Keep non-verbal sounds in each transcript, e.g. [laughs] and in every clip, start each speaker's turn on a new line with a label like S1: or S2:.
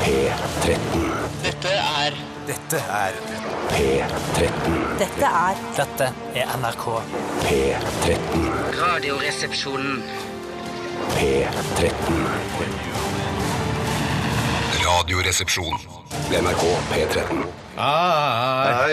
S1: P13.
S2: Dette er
S3: Dette er
S1: P13.
S4: Dette er
S5: Dette er NRK.
S1: P13.
S2: Radioresepsjonen.
S1: P13.
S6: Radioresepsjon.
S1: NRK P13.
S7: Ah,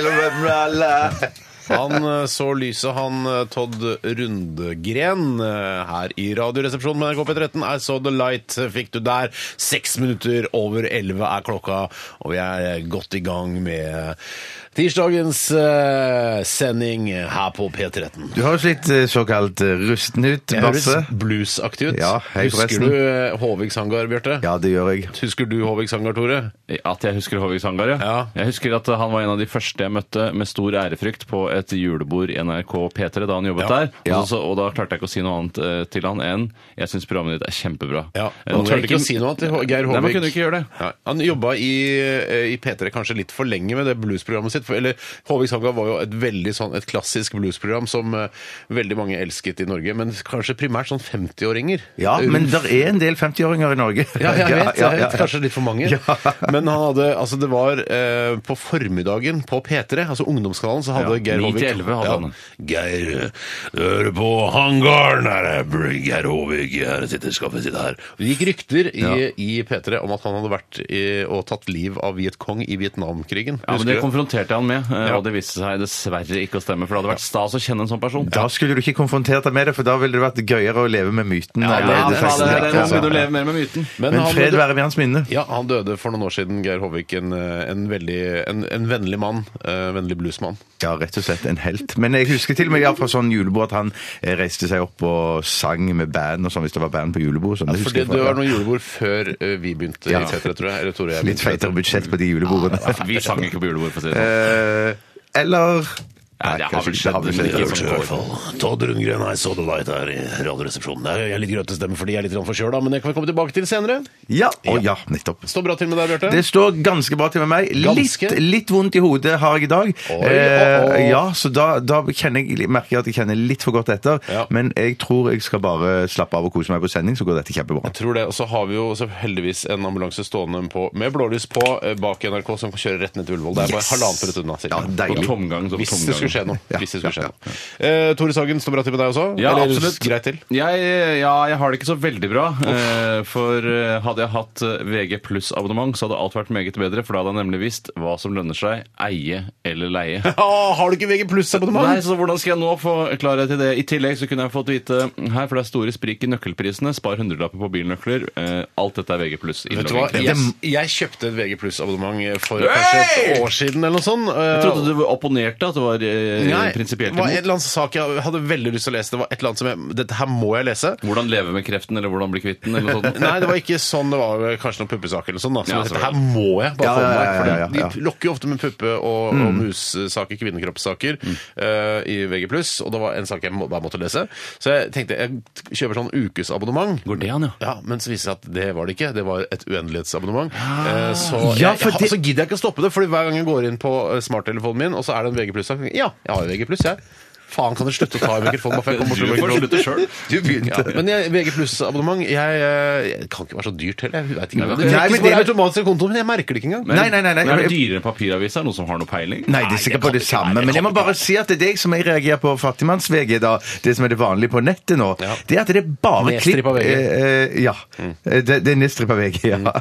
S7: han eh, så lyset, han eh, Todd Rundgren eh, her i Radioresepsjonen med NRK P13. I saw the light, eh, fikk du der. Seks minutter over elleve er klokka, og vi er eh, godt i gang med eh, tirsdagens eh, sending her på P13.
S8: Du høres litt eh, såkalt eh, rusten ut,
S7: Jeg høres
S8: Basse.
S7: bluesaktig ut.
S8: Ja, hei,
S7: Husker
S8: forresten.
S7: du eh, Håvig Sangar, Bjarte?
S8: Ja, det gjør jeg.
S7: Husker du Håvig Sangar, Tore?
S9: At jeg husker Håvig Sangar, ja.
S7: Ja.
S9: Jeg husker at han var en av de første jeg møtte med stor ærefrykt på et julebord i NRK P3 da han jobbet
S7: Ja.
S9: der. Og, så, og da klarte jeg ikke å si noe annet eh, til han enn jeg syns programmet ditt er kjempebra.
S7: Ja,
S9: Eh,
S7: Man
S9: noe
S7: turte
S9: jeg
S7: ikke å si noe annet til Hå- Geir Håvig.
S9: Nei, man kunne ikke gjøre det.
S7: Nei, han jobba i, eh, i P3 kanskje litt for lenge med det bluesprogrammet sitt. For, eller Håvig Sangar var jo et veldig sånn, et klassisk bluesprogram som eh, veldig mange elsket i Norge. Men kanskje primært sånn 50-åringer.
S8: Ja, men det er en del 50-åringer i Norge.
S7: Ja, jeg vet,
S8: [laughs]
S7: jeg
S8: Ja, ja,
S7: vet.
S8: ja.
S7: Kanskje litt for [laughs] mange. Men han hadde, altså det var eh, på formiddagen på P3, altså ungdomskanalen, så hadde
S9: Ja,
S7: Geir
S9: 9
S7: Håvik
S9: til 11 hadde han.
S7: Geir, hør på hangaren her, er Geir Håvik, her sitter skaffet sitt her. Det gikk rykter i, i P3 om at han hadde vært i, og tatt liv av Viet Cong i Vietnamkrigen.
S9: Ja, men
S7: Husker
S9: Det
S7: du?
S9: konfronterte jeg han med, eh,
S7: Ja.
S9: og det viste seg dessverre ikke å stemme. For det hadde vært stas å kjenne en sånn person.
S8: Da skulle du ikke konfrontert deg med det, for da ville det vært gøyere å leve med myten.
S9: Ja,
S8: eller det
S9: faen,
S8: første
S9: det er
S8: trekket,
S9: det. Nå
S8: altså.
S9: må du leve mer med myten.
S7: Men
S8: Men
S7: han-
S8: fred være med hans minne.
S7: Ja, han døde for noen år siden, Geir Håvik. En, eh, en, veldig, en, en vennlig mann. eh, vennlig bluesmann.
S8: Ja, rett og slett en helt. Men jeg husker til og med ja, fra sånn julebord at han eh, reiste seg opp og sang med band og sånn, hvis det var band på julebord. Sånn. Det
S7: For
S8: husker
S7: det,
S8: jeg
S7: det
S8: fra-
S7: var noen julebord før eh, vi begynte
S8: Ja.
S7: i P3, tror jeg. Eller Tore og jeg.
S8: Litt feitere budsjett på de julebordene.
S9: Altså, Vi sang ikke på julebord, for å si det sånn.
S8: [laughs] Eh, Eller
S9: Nei, det har vel
S8: kanskje
S9: skjedd.
S8: ikke. Det har vel
S9: Ikke
S8: skjedd.
S9: sånn.
S7: i hvert fall. Todd Rundgren, I saw the light her i Radioresepsjonen. Det er- Jeg er litt grøtestemme fordi jeg er litt grann forkjøla, men det kan vi komme tilbake til senere.
S8: Ja, å ja, nettopp.
S7: Står bra til med deg, Bjarte.
S8: Det står ganske bra til med meg. Litt,
S7: Ganske?
S8: litt vondt i hodet har jeg i dag.
S7: Oi,
S8: Eh,
S7: å, å.
S8: ja, så da, da kjenner jeg, merker jeg at jeg kjenner litt for godt etter.
S7: Ja.
S8: Men jeg tror jeg skal bare slappe av og kose meg på sending, så går dette kjempebra.
S7: Jeg tror det, og så har vi jo så heldigvis en ambulanse stående på, med blålys på eh, bak NRK som kjører rett ned til Ullevål. Det er bare
S8: Yes!
S7: halvannen minutt unna. cirka.
S8: Ja, deilig.
S9: På tomgang, så på
S7: Hvis det
S9: tomgang.
S7: skulle skje noe.
S8: Ja,
S7: Hvis det skulle skje
S8: ja,
S7: noe. Eh, Tore Sagen, står bra til med deg også?
S9: Ja,
S7: Eller
S9: absolutt.
S7: greit til?
S9: Jeg, ja, jeg har det ikke så veldig bra. eh, For eh, hadde jeg hatt eh, VG pluss-abonnement, så hadde alt vært meget bedre. For da hadde jeg nemlig visst hva som lønner seg eie eller leie.
S7: Ah, har du ikke VG
S9: [laughs]
S7: pluss-abonnement?
S9: Nei, så Hvordan skal jeg nå få klarhet i det? I tillegg så kunne jeg fått vite her, for det er store sprik i nøkkelprisene. Spar hundrelapper på bilnøkler. eh, Alt dette er VG pluss.
S7: Vet du hva? Jeg, jeg kjøpte et VG Pluss-abonnement for kanskje et år siden eller noe sånt.
S9: Jeg trodde du opponerte at det var eh, prinsipielt
S7: det var en
S9: imot.
S7: eller annen sak jeg hadde veldig lyst til å lese. Det var et eller annet som jeg, Dette her må jeg lese.
S9: Hvordan leve med kreften, eller hvordan bli kvitt den, eller noe sånt.
S7: Nei, det var ikke sånn. Det var vel kanskje noen puppesaker eller sånn. Da. Så
S9: Ja,
S7: dette her må jeg bare
S8: Ja,
S7: få med
S8: ja,
S7: meg.
S8: ja,
S7: For det-
S8: ja, ja, ja.
S7: De lokker jo ofte med puppe- og, og mussaker, kvinnekroppssaker, eh, i VG+. Og det var en sak jeg må, bare måtte lese. Så jeg tenkte jeg kjøper sånn ukesabonnement.
S9: Går det an, ja?
S7: Ja, men så viser det seg at det var det ikke. Det var et uendelighetsabonnement. Eh, Så, jeg,
S8: Ja, for
S7: jeg-
S8: det-
S7: så gidder jeg ikke å stoppe det, Fordi hver gang jeg går inn på eh, smarttelefonen min, og så er det en VG pluss-sak Ja, jeg har jo VG pluss, jeg. Faen, kan dere slutte å ta i mikrofonen? bare for jeg kommer bort
S9: Du
S7: til
S9: får
S7: mikrofonen?
S9: slutte sjøl.
S7: [laughs]
S8: Du begynte.
S7: Ja, men jeg, VG pluss-abonnement jeg, eh, jeg kan ikke være så dyrt heller. Jeg vet ikke.
S9: men det-
S7: Det er
S8: Nei,
S7: ikke
S8: men
S7: så bare
S8: det-
S7: automatisk konto, men jeg merker det ikke engang.
S8: Nei, nei, nei, nei.
S9: Men Er det dyrere enn papiravis? Er det noen som har noe peiling?
S8: Nei, det er sikkert på det samme, men jeg må bare si at det er deg som jeg reagerer på fattigmanns-VG, da, det som er det vanlige på nettet nå, det er at det er bare klipp
S7: Nedstrippa VG.
S8: eh, eh, Ja. Det, det er nedstrippa VG, ja.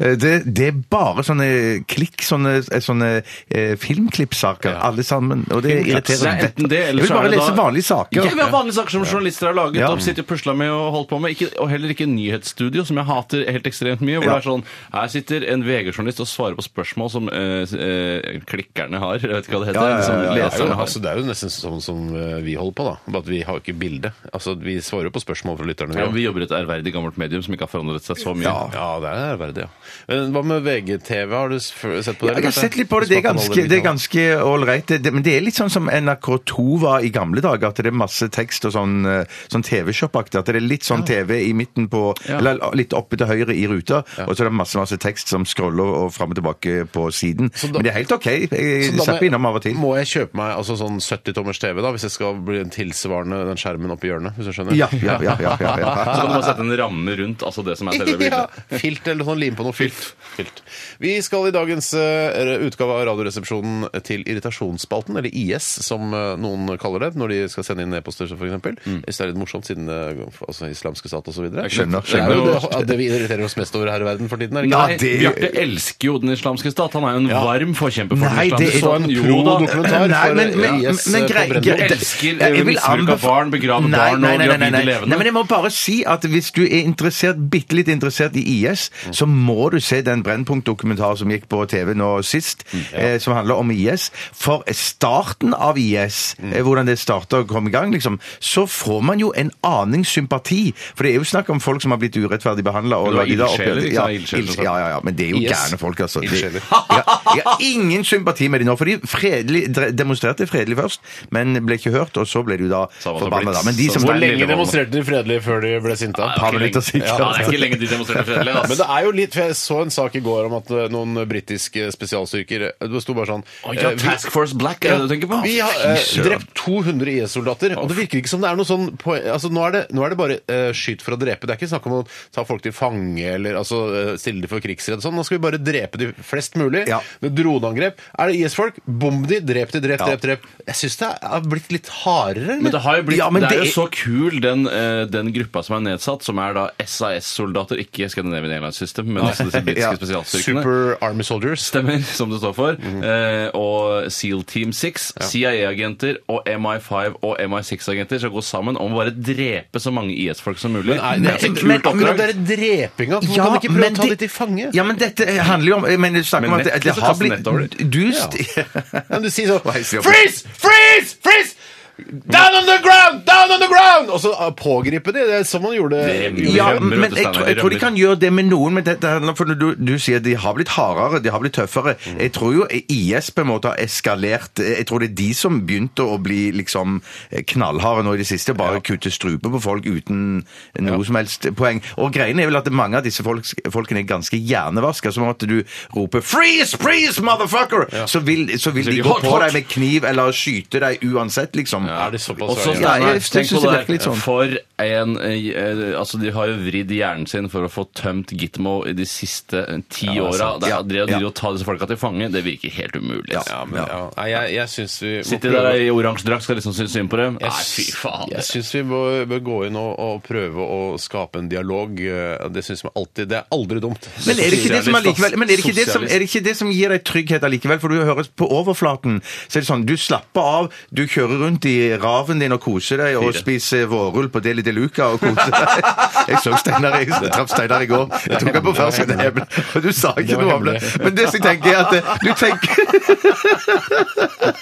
S8: Eh, Det, det er bare sånne klikk, sånne, eh, sånne eh, filmklippsaker, alle sammen, og det
S9: Filmklipp. Det
S8: irriterer
S9: er enten det,
S8: Jeg
S9: eller
S8: vil
S9: så er
S8: bare
S9: det
S8: lese
S9: da-
S8: vanlige
S9: Ja,
S8: saker.
S9: vi har vanlige saker som journalister har laget
S8: Ja.
S9: opp, sitter og pusla med og holdt på med. Ikke, og heller ikke nyhetsstudio, som jeg hater helt ekstremt mye. Hvor
S8: Ja.
S9: det er sånn Her sitter en VG-journalist og svarer på spørsmål som eh, eh, klikkerne har. Jeg vet ikke hva det heter.
S8: Ja, ja, ja,
S9: som
S8: ja, ja,
S7: Det er, jo,
S9: leserne har.
S7: altså, det er jo nesten sånn som eh, vi holder på, da. Bare at vi har ikke bilde. Altså, vi svarer jo på spørsmål fra lytterne.
S9: Ja,
S7: også.
S9: vi jobber i et ærverdig gammelt medium som ikke har forandret seg så mye.
S7: Ja, det er ærverdig, ja. Men hva med VGTV? Har du s- f- sett på det?
S8: Ja, jeg har sett litt på det. Det er ganske, det er ganske all right. Det, det, men det er litt sånn som NRK2 var i i gamle dager at det er masse tekst og sånn, eh, sånn TV-shop-aktig. At det er litt sånn TV i midten på Eller litt oppe til høyre i ruta, og så er det masse masse tekst som scroller og fram og tilbake på siden.
S7: Så da-
S8: Men det er helt OK. Jeg
S7: Så da må
S8: zapper
S7: jeg-
S8: innom av og til.
S7: Må jeg kjøpe meg altså, sånn 70-tommers TV, da, hvis jeg skal bli en tilsvarende den skjermen oppi hjørnet? Hvis du skjønner? [laughs]
S8: Ja, ja, ja, ja, ja,
S9: Så
S8: ja.
S9: kan du bare sette en ramme rundt altså det som er selve
S7: Ja,
S9: bildet.
S7: Filt eller sånn, lim på noe filt. filt. Vi skal i dagens eh, utgave av Radioresepsjonen til irritasjonsspalten, eller IS, som eh, noen kaller det når de skal sende inn e-poster, f.eks. Mm. Hvis det er litt morsomt, siden eh, altså, islamske stat osv. Det er
S8: Skjønner.
S7: jo
S8: skjønner.
S7: det, ja, det vi irriterer oss mest over her i verden for tiden. er det
S8: Ja,
S9: Nei,
S7: ikke det?
S8: det-
S9: Bjarte elsker jo den islamske stat. Han er jo en
S7: Ja.
S9: varm forkjemper for
S8: Nei,
S9: den
S8: det
S9: islamske
S8: er-
S9: staten.
S7: Så en
S9: Jo da.
S7: pro-dokumentar for,
S8: Nei, men, men,
S7: eh,
S8: men,
S7: IS
S8: men
S7: på
S8: grei,
S7: Brennpunkt.
S8: grei-
S9: Jeg elsker,
S8: Nei, jeg
S9: eh,
S8: vil
S9: misbruk av
S8: anbef-
S9: barn, begrave
S8: Nei,
S9: barn og
S8: nei, nei, nei,
S9: gravide
S8: nei, nei.
S9: levende.
S8: Nei, men jeg må bare si at hvis du er interessert, bitte litt interessert i IS, så må du se den Brennpunkt-dokumentaren som gikk på TV nå sist, eh, som handler om IS. For starten av IS, eh, hvordan det starta og kom i gang, liksom, så får man jo en aning sympati. For det er jo snakk om folk som har blitt urettferdig behandla.
S9: Det var ildsjeler,
S8: Ja,
S9: ikke sant? Ildsjeler,
S8: ilds- ja, ja, ja, men det er jo
S7: IS.
S8: gærne folk, altså. De-
S7: Ildsjeler.
S8: jeg, jeg har ingen sympati med de nå, for de fredelig, dre- demonstrerte fredelig først, men ble ikke hørt, og så ble de da
S9: Samme som
S8: forbanna.
S9: Blitz.
S8: da. Men de som
S9: Samme
S7: Hvor
S9: Stein
S7: lenge
S9: Lillevold.
S7: demonstrerte de fredelige før de ble sinte?
S9: Ja, det er ikke
S8: minutter
S9: lenge-
S8: siden.
S9: Ja, det er ikke lenge de demonstrerer fredelig. ass.
S7: Men det er jo litt, for jeg så en sak i går om at eh, noen britiske spesialstyrker eh, Det sto bare sånn
S9: Å, ja,
S7: eh, vi-
S9: Task Force Black er det du tenker på?
S7: Vi har eh, drept 200 IS-soldater, og det virker ikke som det er noe sånn på, altså, nå, er det, nå er det bare eh, skyt for å drepe. Det er ikke snakk om å ta folk til fange eller altså, eh, stille dem for krigsredd. og Sånn. Nå skal vi bare drepe de flest mulig
S8: Ja.
S7: med droneangrep. Er det IS-folk? Bomb de, drep de, drep, drep, drep. Jeg syns det er blitt litt hardere. eller?
S9: Men det, har jo blitt,
S8: Ja, men
S9: det, er
S8: det
S9: jo så kul, den, eh, den gruppa som er nedsatt, som er da SAS-soldater, ikke Scandinavian Airlines System, men altså disse britiske
S8: [laughs] Ja.
S9: spesialstyrkene.
S7: Super Army Soldiers.
S9: Stemmer, som det står for.
S8: Mhm.
S9: eh, og SEAL Team 6, CIA-agenter og MI5 og MI6-agenter skal gå sammen om å bare drepe så mange IS-folk som mulig.
S7: Nei,
S9: det
S7: det
S9: er så
S8: men-
S9: kult
S8: men-
S7: Men
S9: oppdrag.
S7: det er drepinga. Hvorfor kan de ikke prøve
S8: men
S7: å ta
S8: de-
S7: de til fange?
S8: Ja, men dette handler jo om Men du snakker
S9: Men
S8: om at det,
S9: Netflix
S8: det
S9: har
S8: har
S9: kastet
S8: blitt
S9: nettet over det.
S8: Du
S7: Ja.
S8: st-
S7: Men du sier
S8: Hva heiser
S7: sånn
S8: de opp?
S7: Freeze! Freeze! Freeze! Down on the ground! Down on the ground! Og så ah, pågripe de. Det er som man gjorde
S9: Det er mye.
S8: Ja,
S9: rømmer,
S8: men
S9: vet du,
S8: jeg, tror-
S9: Steinar,
S8: jeg
S9: de
S8: tror de
S9: rømmer.
S8: kan gjøre det med noen, men dette handler for når du, du sier de har blitt hardere, de har blitt tøffere. Jeg tror jo IS på en måte har eskalert. Jeg tror det er de som begynte å bli liksom knallharde nå i det siste. Bare kutte strupe på folk uten noe som helst poeng. Og greiene er vel at mange av disse folk, folkene er ganske hjernevaska. Som at du roper 'freeze, freeze, motherfucker', så vil, så vil
S9: Så
S8: de
S9: de
S8: gå
S9: hot,
S8: på
S9: hot.
S8: deg med kniv eller skyte deg uansett, liksom.
S7: Er de såpass
S9: Og så
S7: svære?
S8: Ja,
S9: Steinar,
S8: jeg
S9: tenk
S8: synes
S9: på det
S8: det virker litt
S9: her.
S8: sånn.
S9: For en eh, eh, Altså, de har jo vridd hjernen sin for å få tømt Gitmo i de siste eh, ti
S7: Ja, det er
S9: åra.
S7: sant.
S9: Det
S8: Ja,
S9: er- Det å
S8: ja.
S9: drive og ta disse folka til fange, det virker helt umulig.
S8: Ja.
S9: altså.
S7: Ja, men, ja. Nei, jeg, jeg syns vi må
S9: Sitte
S7: prøve-
S9: der i oransje drakt skal liksom synes synd på dem.
S7: Jeg
S9: Nei, fy
S7: syns-
S9: faen.
S7: Jeg syns vi bør, bør gå inn og, og prøve å skape en dialog. eh, Det syns vi alltid. Det er aldri dumt.
S8: Men er det ikke det som
S9: Sosialist,
S8: allikevel Men er det ikke det som,
S9: sosialist.
S8: er det ikke det som gir deg trygghet allikevel? For du høres på overflaten, så er det sånn Du slapper av, du kjører rundt i raven din og koser deg, og
S9: Fire.
S8: spiser vårrull på Deli de Luca og koser deg. [laughs] Jeg så Steinar i- jeg traff Steinar i går. Jeg tok ham på fersken hemmelig, og du sa ikke
S7: var
S8: noe om det.
S7: hemmelig.
S8: Men det som jeg tenker, er at eh, du tenker [laughs]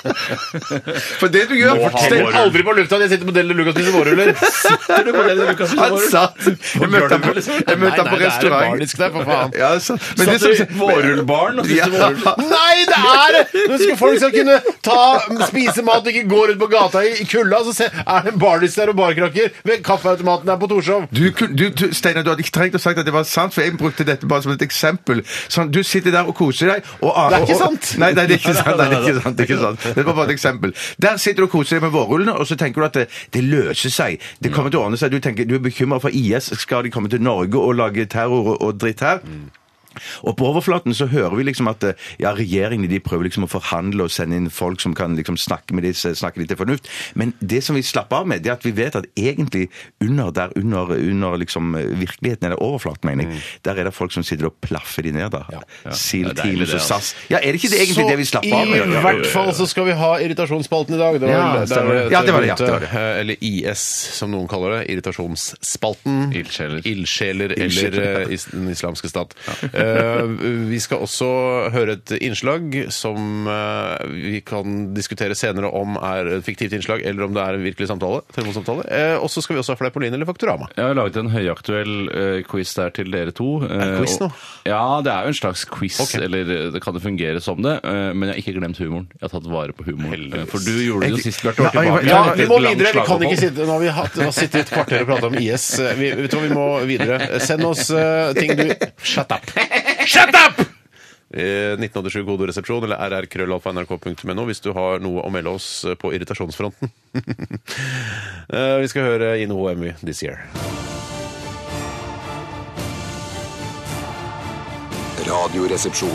S8: For det du gjør
S9: Må ha
S8: Stein-
S9: vårrull.
S7: Aldri på lufta! Jeg sitter på Deli Lucas og spiser vårruller.
S9: Sitter du på det, Lukas?
S8: Han satt Jeg møtte ham på, jeg møtte
S7: Nei, nei, det
S8: ham på
S7: er en
S8: restaurant.
S7: bardisk der, for faen.
S8: Ja, så, men det
S9: Satt i
S8: som,
S9: vårrullbaren og
S8: Ja.
S9: spiste vårrull.
S7: [laughs] Nei, det er det! Nå skal folk skal kunne ta, spise mat og ikke gå rundt på gata i i kulda, så se, er det en bardis der og barkrakker ved kaffeautomaten der på Torshov.
S8: Du, kun- du, du, Steinar, du hadde ikke trengt å sagt at det var sant, for jeg brukte dette bare som et eksempel. Sånn, du sitter der og koser deg og,
S7: Det er ikke
S8: og- og-
S7: sant.
S8: Nei, nei, det er
S7: [laughs]
S8: ikke sant. Nei, det, er ikke sant, det er ikke sant. Det var bare et eksempel. Der sitter du og koser deg med vårrullene, og så tenker du at det, det løser seg. Det kommer til å ordne seg. Du, tenker, du er bekymra for IS. Skal de komme til Norge og lage terror og, og dritt her? Og på overflaten så hører vi liksom at eh, ja, regjeringene de prøver liksom å forhandle og sende inn folk som kan liksom snakke med disse, snakke litt til fornuft. Men det som vi slapper av med, det er at vi vet at egentlig under der, under, under liksom eh, virkeligheten, eller overflaten, mener jeg, der er det folk som sitter og plaffer de ned der.
S9: Det
S8: SEAL
S9: er deilig, det,
S8: Teams og
S9: altså.
S8: SAS. Ja, er det ikke det egentlig det vi slapper av
S7: Så
S8: med? Ja,
S7: i
S8: ja, ja,
S7: hvert
S8: ja.
S7: fall så skal vi ha irritasjonsspalten i dag. Det var,
S8: Ja,
S7: vel- der
S8: stemmer.
S7: et
S8: Ja, det var det, ja, det var det.
S7: rundt, eh, Eller IS, som noen kaller det. Irritasjonsspalten.
S9: Ildsjeler.
S7: Ildsjeler eller eh, is, Den islamske stat. Eh, Eh, vi skal også høre et innslag som eh, vi kan diskutere senere om er et fiktivt innslag, eller om det er en virkelig samtale. telefonsamtale. Eh, og så skal vi også ha Fleipolin eller Faktorama.
S9: Jeg har laget en høyaktuell eh, quiz der til dere to. Eh,
S7: quiz nå?
S9: og- Ja, det er jo en slags quiz,
S7: Ok.
S9: eller eh, det kan det fungere som det. eh, men jeg har ikke glemt humoren. Jeg har tatt vare på humoren. eh, For du gjorde det jo sist, Bjarte. du var
S8: Nei,
S9: tilbake.
S7: Ja, vi må
S9: Et langt
S7: videre. Vi kan
S9: slagopphold.
S7: ikke sitte Nå har vi hatt, nå har vi sittet i et kvarter og prata om IS. Vi, vi tror vi må videre. Send oss eh, ting du Shut up! Shut up! Eh, 1987 koderesepsjon eller rrkrøllalfa.nrk.no hvis du har noe å melde oss eh, på irritasjonsfronten. [laughs] Eh, vi skal høre In HMV This Year.
S1: Radioresepsjon.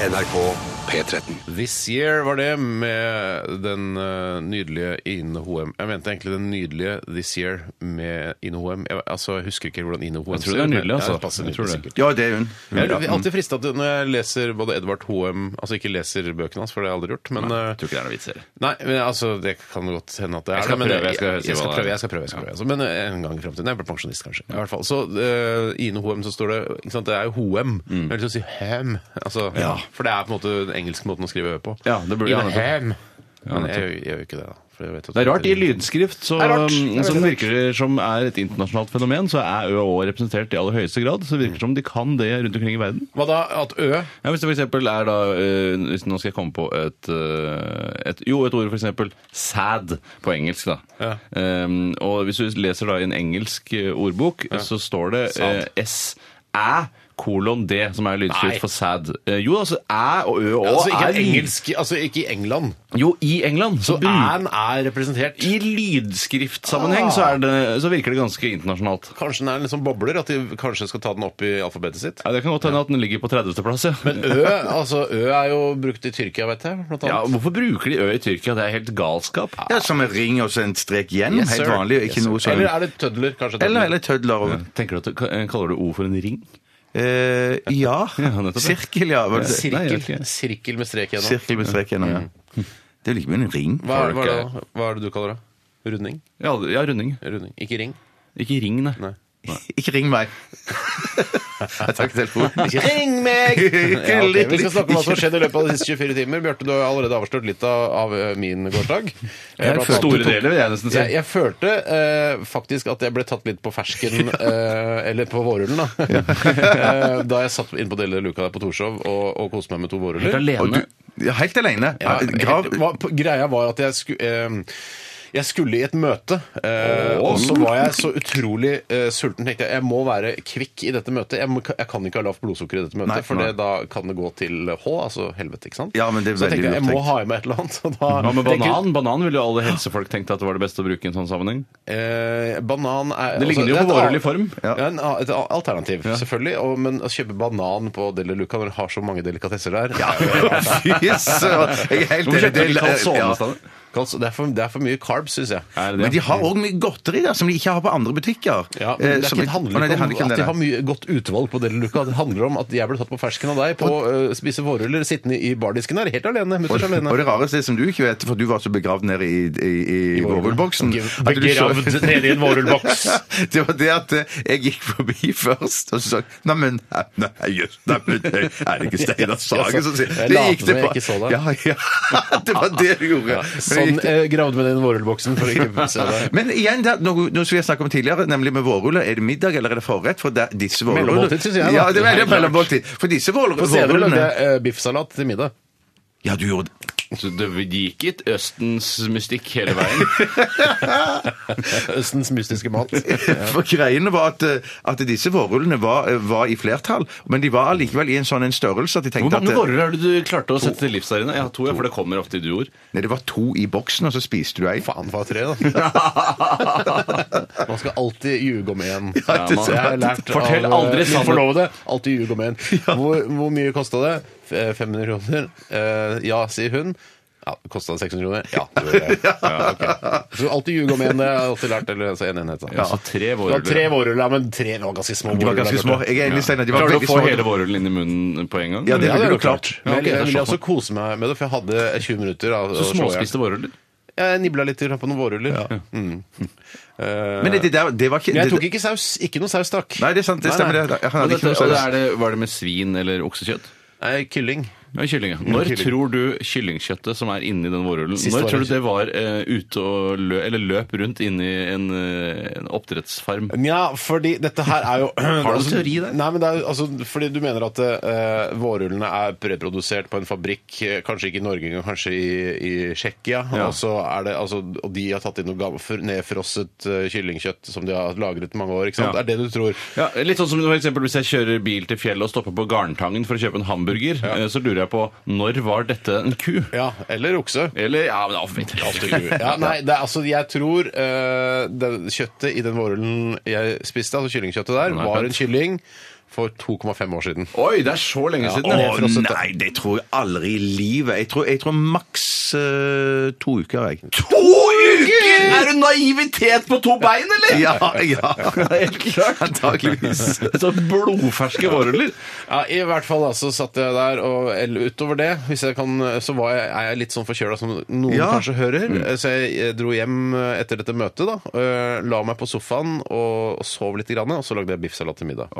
S1: NRK P13.
S7: This Year var det med den eh, nydelige Ine Hoem. Jeg mente egentlig den nydelige This Year med Ine Hoem. Jeg, altså, jeg husker ikke hvordan Ine Hoem
S9: Jeg tror det er
S7: men-
S9: nydelig, altså.
S7: Ja, det passer
S9: Jeg
S7: nydelig,
S9: tror det.
S7: sikkert.
S8: Ja, det er hun.
S7: Jeg er alltid frista til når jeg leser både Edvard Hoem Altså ikke leser bøkene hans, for det har jeg aldri gjort.
S9: Jeg
S7: Men, nei,
S9: eh, tror ikke det er noe vits i det.
S7: nei, men altså, det kan godt hende at det er
S9: skal
S7: det, men eh,
S9: prøve, jeg skal si
S7: jeg
S9: hva
S7: skal
S9: det er.
S7: prøve. Jeg skal prøve, jeg skal prøve altså, men en gang i framtiden. Jeg blir pensjonist, kanskje. I hvert fall. Så eh, Ine Hoem, så står det ikke sant, Det er jo Hoem.
S9: Mm.
S7: Jeg har lyst til å si Hem. Altså, For det er på en måte den engelske måten å skrive Ø på.
S9: Ja, det burde jeg ha
S7: Ine
S9: nettopp.
S7: Hem. Men
S9: nettopp.
S7: jeg, gjør- jeg gjør jo ikke det, da. For jeg vet at
S9: Det er rart. I lydskrift, så, um,
S7: Det er rart. Jeg vet
S9: som
S7: det.
S9: virker det som er et internasjonalt fenomen, så er Ø og Å representert i aller høyeste grad. Så det
S7: Mm.
S9: virker som de kan det rundt omkring i verden.
S7: Hva da? At Ø
S9: Ja, hvis det for eksempel er da eh, hvis Nå skal jeg komme på et, eh, et Jo, et ord, for eksempel sad på engelsk, da.
S7: Ja.
S9: Ehm, og hvis du leser da i en engelsk eh, ordbok, så står det
S7: Sad.
S9: eh, S-æ kolon D, som er
S7: Nei.
S9: lydskrift for sad. Eh, jo, altså æ og ø og å
S7: Altså ikke
S9: er Mm.
S7: engelsk, altså ikke i England.
S9: Jo, i England. Så,
S7: Så
S9: bruk-
S7: Æ-en er representert.
S9: I lydskriftsammenheng
S7: Ah.
S9: så, er det, så virker det ganske internasjonalt.
S7: Kanskje den er en liksom bobler, at de kanskje skal ta den opp i alfabetet sitt.
S9: Ja, det kan godt hende at den ligger på 30.-plass, ja.
S7: Men Ø altså Ø er jo brukt i Tyrkia, vet jeg. Blant
S9: [laughs] ja.
S7: annet.
S9: Hvorfor bruker de Ø i Tyrkia? Det er helt galskap.
S8: Ja, som en ring og så en strek igjen.
S7: Yes,
S8: Helt
S7: sir.
S8: vanlig. og Ikke
S7: Yes,
S8: noe
S7: sir.
S8: sånn.
S7: Eller er det tødler? Kanskje tødler.
S8: Eller, eller tødler. og-
S9: Tenker du at du, ka- eh, Kaller du O for en ring?
S8: Eh, ja.
S9: Ja, nettopp.
S8: Sirkel, ja. Var det det?
S9: Nei, jeg vet
S7: Sirkel,
S9: ikke.
S7: sirkel med strek gjennom.
S8: Sirkel med strek gjennom, ja. Det er jo like mye en ring.
S7: Hva,
S9: Har du
S7: hva, er det,
S9: ikke-
S7: da? hva er det du kaller det? Runding?
S9: Ja, ja runding.
S7: Runding. Ikke ring.
S9: Ikke ring, nei.
S7: Nei.
S8: Ikke ring meg. [laughs] Jeg tar ikke telefonen.
S7: Ikke ring meg! [laughs] ja, ok, Vi skal snakke om hva som har skjedd i løpet av de siste 24 timer. Bjarte, du har jo allerede avslørt litt av, av ø, min gårsdag. Eh, blant annet-
S9: Store deler, vil jeg nesten si.
S7: Jeg, jeg følte eh, faktisk at jeg ble tatt litt på
S8: [laughs]
S7: fersken, eh, eller på vårrullen, da. [laughs] Eh, da jeg satt inne på deler av luka der på Torshov og, og koste meg med to
S9: Helt
S7: vårruller.
S8: Og
S9: alene.
S8: [laughs] du, ja, helt alene.
S7: Ja,
S8: Grav,
S7: helt- hva- på- greia var at jeg skulle eh, jeg skulle i et møte, eh, og så var jeg så utrolig eh, sulten. tenkte Jeg jeg må være kvikk i dette møtet. Jeg, må, jeg kan ikke ha lavt blodsukker i dette møtet,
S8: Nei,
S7: for
S8: nei.
S7: det, da kan det gå til H, altså helvete. ikke sant?
S8: Ja, men det er
S7: så
S8: veldig
S7: tenkte jeg jeg
S8: lurt
S7: må
S8: tenkt.
S7: ha i meg et eller annet. Og da,
S9: Hva med
S7: tenkte jeg-
S9: banan? Banan ville jo alle helsefolk tenkt at det var det beste å bruke i en sånn sammenheng.
S7: Eh, banan er altså,
S9: Det ligner jo
S7: er
S9: på
S7: et
S9: vårrull i
S7: al-
S9: form.
S7: Ja. en a- et al- alternativ, selvfølgelig. Og, men å kjøpe banan på Deli Luca når du har så mange delikatesser der [laughs] ja.
S8: [laughs] [laughs] Fy søren! Jeg er sånn helt
S9: Hvorfor kjøpte de
S8: Det-
S9: ikke
S8: ja.
S9: kalsone?
S7: det, er for, det er for mye carbs, syns jeg.
S9: Er
S8: Men
S9: det
S8: de
S9: det?
S8: har òg mye godteri der som de ikke har på andre butikker.
S7: Ja, men det,
S8: Eh,
S7: er
S8: som-
S7: ikke, det
S8: Å, nei,
S7: handler
S8: det
S7: ikke om at
S8: det,
S7: de har
S8: nei.
S7: mye godt utvalg på Deli Luca. Det handler om at jeg ble tatt på fersken av deg på å spise vårruller sittende i bardisken her, helt alene.
S8: Og,
S7: Mutters alene.
S8: og det rareste er som du ikke vet, for du var så begravd nede i, i, i, i vårrullboksen at du så-
S7: Begravd nede i en vårrullboks.
S8: [laughs] Det var det at eh, jeg gikk forbi først, og så sa jeg Neimen, nei, jøss, neimen,
S7: [laughs]
S8: er det ikke Steinar Sagen som sier
S7: Jeg
S8: Det
S7: later
S8: gikk
S7: som jeg
S8: bare-
S7: ikke så deg.
S8: Ja, [laughs] ja. Det var det du gjorde. Men
S7: Sånn
S8: det gikk-
S7: eh, gravde med den vårrullboksen for å
S8: [laughs]
S7: ikke se deg.
S8: Men igjen, der, noe, noe som vi har snakket om tidligere, nemlig med vårruller. Er det middag eller er det forrett? For der, disse vårrullene-
S7: Mellommåltid, synes jeg, da.
S8: Ja, det er veldig mellommåltid. For disse vårrull-
S7: På senere lagde
S8: vårrullene
S7: jeg eh, biffsalat til middag.
S8: Ja, du gjorde det.
S9: Så det gikk ikke Østens mystikk
S8: [laughs]
S9: hele veien.
S7: Østens mystiske mat.
S8: [laughs] For greiene var at, eh, at disse vårrullene var, eh, var i flertall, men de var allikevel i en sånn en størrelse at de
S9: Hvor
S8: tenkte at
S9: mange
S8: eh,
S9: vårruller har du du klarte å sette til livs der inne? Jeg har to, ja, for det kommer ofte i duoer.
S8: Nei, det var to i boksen, og så spiste du ei.
S7: Faen, det var tre, da. Man skal alltid ljuge om én.
S8: Ja, det-
S7: jeg har lært
S9: Fortell
S7: av eh,
S9: aldri
S7: min
S9: sannhet.
S7: forlovede. Alltid ljuge om én. Hvor, hvor mye kosta det? F- eh, 500 kroner? Eh, ja, sier hun. Ja, Kosta det 600 kroner? Ja. det gjorde det. ja ok. Så alltid ljuge om én. Det har jeg alltid lært. Eller altså én enhet, da.
S9: Ja, så tre
S7: Du har tre
S9: vårruller.
S7: vårruller, ja, men tre var ganske små.
S8: De var
S7: vårruller,
S8: ganske små.
S7: Bjarte.
S8: Jeg er enig, Steinar. De var
S9: Klarer du å
S8: veldig
S9: få
S8: små.
S9: hele vårrullen inn i munnen på en gang?
S8: Ja, det
S7: Ja,
S8: ville
S7: det
S8: du
S7: er klart.
S8: klart.
S7: Men
S8: Ja, ok,
S7: jeg
S8: det er
S7: ville
S8: sånn.
S7: også kose meg med det, for jeg hadde 20 minutter. av-
S9: Så
S7: å slå i hjel.
S9: småspiste vårruller?
S7: Jeg nibla litt grann på noen vårruller. [laughs] Mm. Eh,
S8: Men det, der, det var ikke
S7: jeg
S8: det-
S7: tok ikke saus. Ikke noe saus, takk.
S8: Nei, det er sant. Det stemmer.
S7: Nei,
S8: det.
S7: nei.
S8: Han hadde ikke noe
S9: og det
S8: saus.
S9: er det, var det med svin eller oksekjøtt?
S7: Nei, Kylling.
S9: Ja, kylling, ja. Når
S7: kylling.
S9: tror du kyllingkjøttet som er inni den vårrullen
S7: Sist
S9: Når
S7: var
S9: tror
S7: det
S9: du det var eh, ute og lø, eller løp rundt inni en, eh, en oppdrettsfarm?
S7: Nja, fordi dette her er jo [clears throat] Altså,
S9: noen teori der?
S7: Nei, men det er, jo- altså, fordi du mener at eh, vårrullene er preprodusert på en fabrikk, eh, kanskje ikke i Norge engang, kanskje i, i Tsjekkia.
S9: Ja.
S7: Og, så er det, altså, og de har tatt inn noe gammelt, nedfrosset eh, kyllingkjøtt som de har lagret i mange år. ikke sant?
S9: Ja.
S7: Er det du tror?
S9: Ja, litt sånn som for eksempel Hvis jeg kjører bil til fjellet og stopper på Garntangen for å kjøpe en hamburger, eh, så lurer jeg på når var dette en ku?
S7: Ja, eller okse.
S9: Eller ja, men det er for mitt.
S7: Ja, nei, det er, altså, jeg tror eh, det, kjøttet i den vårrullen jeg spiste, altså kyllingkjøttet der,
S9: Nei,
S7: var
S9: vent.
S7: en kylling for 2,5 år siden.
S9: Oi, det er så lenge
S7: Ja,
S9: siden!
S7: og-
S9: det.
S8: Å nei, det tror jeg aldri i livet. Jeg tror, jeg tror maks eh, to uker, jeg.
S9: To uker! Er det naivitet på to bein, eller?!
S8: Ja, [laughs] ja.
S9: Helt klart.
S8: Antakeligvis.
S9: Så blodferske vårruller.
S7: Ja, I hvert fall altså, satt jeg der, og eller utover det hvis jeg kan, så var jeg, er jeg litt sånn forkjøla som noen
S8: Ja.
S7: kanskje hører. Så jeg eh, dro hjem eh, etter dette møtet, da. eh, La meg på sofaen og, og sov litt, grann, og så lagde jeg biffsalat til middag.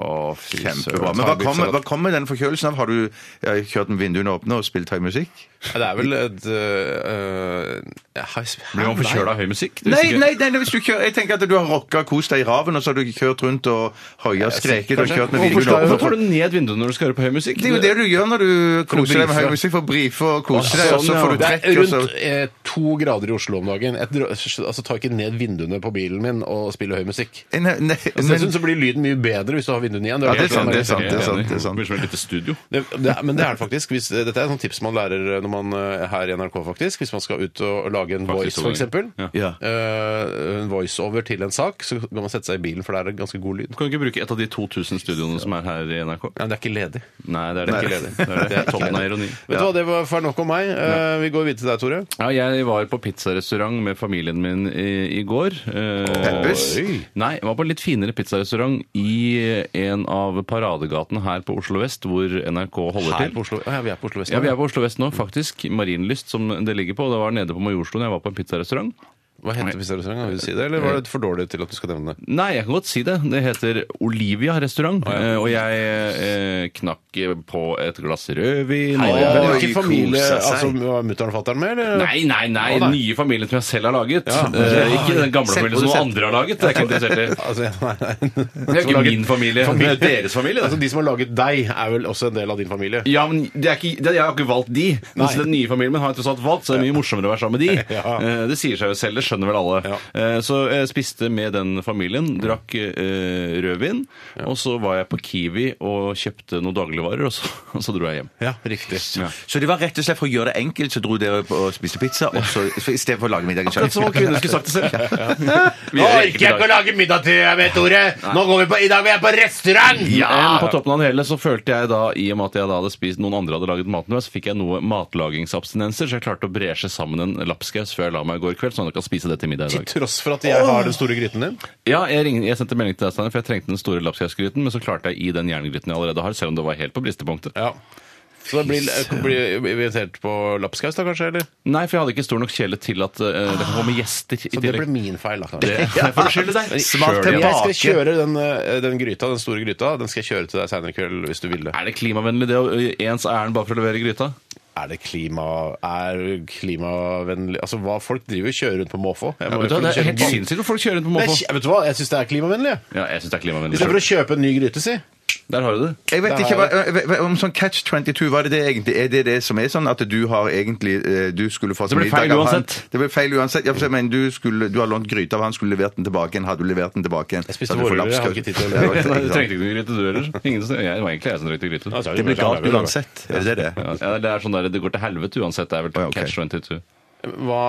S8: Kjempebra. Men hva kommer, hva kommer den forkjølelsen av? Har du eh, kjørt med vinduene åpne og spilt høy musikk?
S7: Ja, Det er vel et eh, eh, hei,
S9: Blir man
S7: nei.
S9: forkjøla av høy musikk? Det
S8: Nei,
S9: husker jeg.
S8: nei, nei, hvis du kjører, jeg tenker at du har rocka og kost deg i raven, og så har du kjørt rundt og hoia skreket og
S7: kanskje.
S8: kjørt med
S7: Hvorfor
S8: vinduene
S7: skal jeg-
S8: åpne.
S9: Hvorfor tar du ned vinduet når du skal høre på høy musikk?
S8: Det er jo det du gjør når du koser deg med høy
S7: brife.
S8: musikk, for å brife og kose deg,
S9: sånn,
S8: og så får du
S7: Det
S8: trekk,
S7: er
S8: og så
S7: rundt eh, to grader i Oslo om dagen. Jeg dro- altså, tar ikke ned vinduene på bilen min og spiller høy musikk.
S8: Nei, nei,
S9: Altså,
S7: Men, jeg
S8: men-
S7: synes så blir lyden mye bedre hvis du har vinduene igjen.
S8: Ja, det er sant, det er sant, det er
S9: Jeg
S8: sant.
S9: enig.
S8: Det er sant.
S9: blir som et lite studio.
S7: Det, det, er- men det er det faktisk. Hvis, dette er et sånt tips man lærer når man eh, her i NRK, faktisk. Hvis man skal ut og lage en
S9: Faktisk,
S7: voice,
S9: så-
S7: for eksempel.
S9: Ja.
S8: Ja.
S7: Eh, en voiceover til en sak, så kan man sette seg i bilen, for der er det ganske god lyd.
S9: Kan du ikke bruke et av de 2000 studioene som er her i NRK?
S7: Nei, men det er ikke ledig.
S9: Nei, det er det
S7: Nei.
S9: ikke.
S8: [laughs]
S9: Det er, det. Det er toppen av ironi.
S7: Vet du hva, det var for nok om meg. Eh, vi går videre til deg, Tore.
S9: Ja, jeg var på pizzarestaurant med familien min i, i går. Eh,
S8: Peppes?
S9: Oi. Nei, jeg var på en litt finere pizzarestaurant i en av paradegatene her på Oslo vest, hvor NRK holder
S7: Her
S9: til.
S7: på Oslo. Ja, vi er på Oslo Vest.
S9: Ja, vi er på Oslo vest nå, faktisk. Marienlyst, som det ligger på. Det var nede på Majorstuen jeg var på en pizzarestaurant.
S7: Hva heter pizzarestauranten? Vil du si det, eller var det for dårlig til at du skal nevne det?
S9: Nei, jeg kan godt si det. Det heter Olivia restaurant. eh, Og jeg eh, knakk på et glass rødvin. og jeg-
S7: Men det
S8: Oi,
S7: var ikke familie,
S8: kosa seg.
S7: altså var mutter'n og fatter'n med, eller?
S9: Nei, nei, nei.
S7: Å, nei.
S9: Nye familien som jeg selv har laget. Eh, ikke den gamle familien som noen andre har laget. Det er jeg ikke interessert i.
S7: [laughs] Altså, nei, nei. Altså,
S9: Det
S7: [laughs]
S9: er jo ikke min familie.
S7: Familie.
S9: Det er deres familie.
S7: Altså, [laughs]
S9: Det.
S7: de som har laget deg, er vel også en del av din familie?
S9: Ja, men det er ikke, det, Jeg har ikke valgt de. Men så den nye familien min har jeg tross alt valgt, så det er mye morsommere å være sammen med de. [laughs]
S7: Ja.
S9: Eh, Det sier seg jo selv, det skjønner vel alle.
S7: Ja.
S9: Eh, Så jeg spiste med den familien, drakk eh, rødvin, og så var jeg på Kiwi og kjøpte noen dagligvarer, og så, [laughs] og så dro jeg hjem.
S7: Ja, riktig.
S9: Ja.
S8: Så det var rett og slett for å gjøre det enkelt, så dro dere på og spiste pizza, og så, for- i stedet for å lage middagen
S9: Akkurat som om kvinner skulle sagt det [laughs] selv. Vi
S7: Nå
S9: gjør det
S7: orker jeg ikke å lage middag til deg, vet Tore! Nå går vi på, I dag er vi på restaurant!
S9: Men på toppen av det hele så følte jeg da, i og med at jeg da hadde spist noen andre hadde laget maten, så fikk jeg noe matlagingsabstinenser, så jeg klarte å bresje sammen en lapskaus før jeg la meg i går kveld, sånn at jeg kan spise det til middag i
S7: Til
S9: dag.
S7: tross for at jeg har den store gryten din.
S9: Ja, jeg, ringte, jeg sendte melding til deg, Steiner, for jeg trengte den store lapskausgryten, men så klarte jeg i den jerngryten jeg allerede har, selv om det var helt på bristepunktet.
S7: Ja. Så det blir, blir vi irritert på lapskaus, da kanskje? eller?
S9: Nei, for jeg hadde ikke stor nok kjele til at eh, det kan komme gjester i
S7: Så det ble
S9: tillegg.
S7: min feil, da.
S9: [laughs] Det,
S7: [laughs] kanskje.
S9: det får du skylde deg.
S8: Smart
S9: Sjøl igjen.
S8: tilbake.
S7: Jeg skal kjøre den, eh, den gryta, den store gryta. Den skal jeg kjøre til deg seinere i kveld hvis du vil det.
S9: Er det klimavennlig det å ø, ens ærend bare for å levere gryta?
S7: Er det klima... Er klimavennlig Altså, hva folk driver og kjører rundt på måfå? Jeg må
S9: vet du,
S7: jo
S9: hva, det er
S7: kjøre
S9: helt
S7: på-
S9: sinnssykt hvor folk kjører rundt på
S7: Det er
S9: måfå.
S7: kj- Vet du hva, jeg syns det er klimavennlig. jeg.
S9: Ja, jeg syns det er
S7: I stedet for
S9: klimavennlig.
S7: å kjøpe en ny gryte, si.
S9: Der har du det.
S8: Jeg vet
S7: Det
S8: ikke
S7: har
S8: hva, hva- hva- om sånn Catch 22, var det det egentlig? Er det det som er sånn at du har egentlig eh, Du skulle fått
S9: Det blir
S8: middag
S9: feil
S8: av han.
S9: uansett.
S8: Det ble feil uansett. Ja, for jeg mener, du, skulle, du har lånt gryte av han, skulle levert den tilbake igjen. Hadde du levert den tilbake igjen?
S7: Jeg spiste
S8: hadde du fått
S7: vårruller, jeg har
S8: lapskaus.
S7: ikke tid til å
S8: [laughs] Ja,
S9: Nei,
S8: ikke sant.
S9: Du trengte ikke noe gryte, du heller. Ingen som- Jeg det var egentlig jeg som trengte gryte.
S7: Altså,
S8: Det blir galt uansett. Er det det?
S9: Ja, det er sånn der, det går til helvete uansett. Det er vel
S8: Ja, ok.
S9: catch 22.
S7: Hva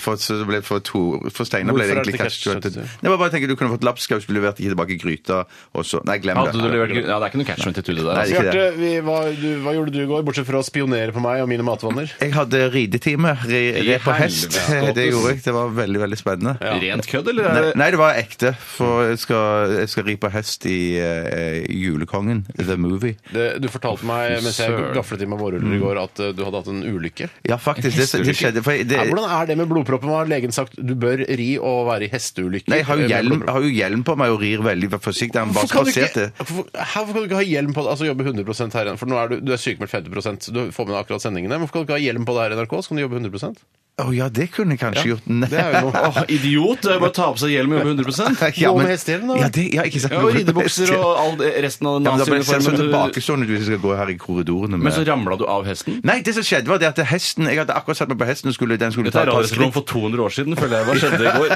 S8: For, så det ble for, to, for Steinar ble
S7: Hvorfor
S8: det
S7: er
S8: egentlig
S7: det
S8: Catch
S7: Catch
S8: 22. Nei, bare bare tenker, Du kunne fått lapskaus, levert ikke tilbake gryta, og så Nei, glem
S9: Hadde
S8: det.
S9: du levert gryte? Ja, det er ikke noe catch 22 det der.
S8: Nei,
S9: Altså.
S8: det er ikke
S7: Bjarte, vi, hva, du, hva gjorde du i går, bortsett fra å spionere på meg og mine matvaner?
S8: Jeg hadde ridetime. Re,
S9: I
S8: re på hest.
S9: helvete.
S8: [laughs] Det gjorde jeg. Det var veldig, veldig spennende.
S9: Rent kødd, eller? er
S8: Nei,
S9: det-
S8: nei, det var ekte. For jeg skal, jeg skal ri på hest i eh, Julekongen, The Movie.
S7: Det, du fortalte meg mens jeg
S9: Søren. Mm.
S7: gaflet i meg vårruller i går, at eh, du hadde hatt en ulykke.
S8: Ja, faktisk. Det, det skjedde. For jeg, det,
S7: er, hvordan er det med blodproppen? Hva har legen sagt? Du bør ri og være i hesteulykker.
S8: Nei, jeg har jo
S7: med
S8: hjelm,
S7: blodproppen.
S8: har jo hjelm på meg og rir veldig forsiktig. Han bare
S7: Hvorfor kan, du
S8: spaserte.
S7: ikke, hvorfor, hæ, hvorfor kan du ikke ha hjelm på det? Altså jobbe 100 her igjen? For nå er du, du er sykemeldt 50 så du får med deg akkurat sendingene. Hvorfor kan du ikke ha hjelm på det her i NRK, så kan du jobbe 100
S8: Å ja, det kunne jeg kanskje gjort. Nei.
S7: Det
S8: [laughs]
S7: er jo noe.
S9: Åh, idiot! Det er bare å ta på seg hjelm og jobbe 100
S8: Ja,
S7: Gå
S8: men-
S7: med hestehjelm, da.
S8: Ja, det, ja, ikke sant.
S9: ja, Og ridebukser
S8: [laughs]
S9: og all det, resten av
S8: ja, men da blir det selv som
S9: naziuniformen.
S8: tilbakestående hvis jeg skal gå her i korridorene med
S9: Men så ramla du av hesten?
S8: Nei, det som skjedde var det at hesten Jeg hadde akkurat satt meg på hesten og skulle, den skulle
S9: Dette er
S8: ta et par
S9: radioresepsjonen
S8: skritt.
S9: for 200 år siden, føler jeg. Hva skjedde i går?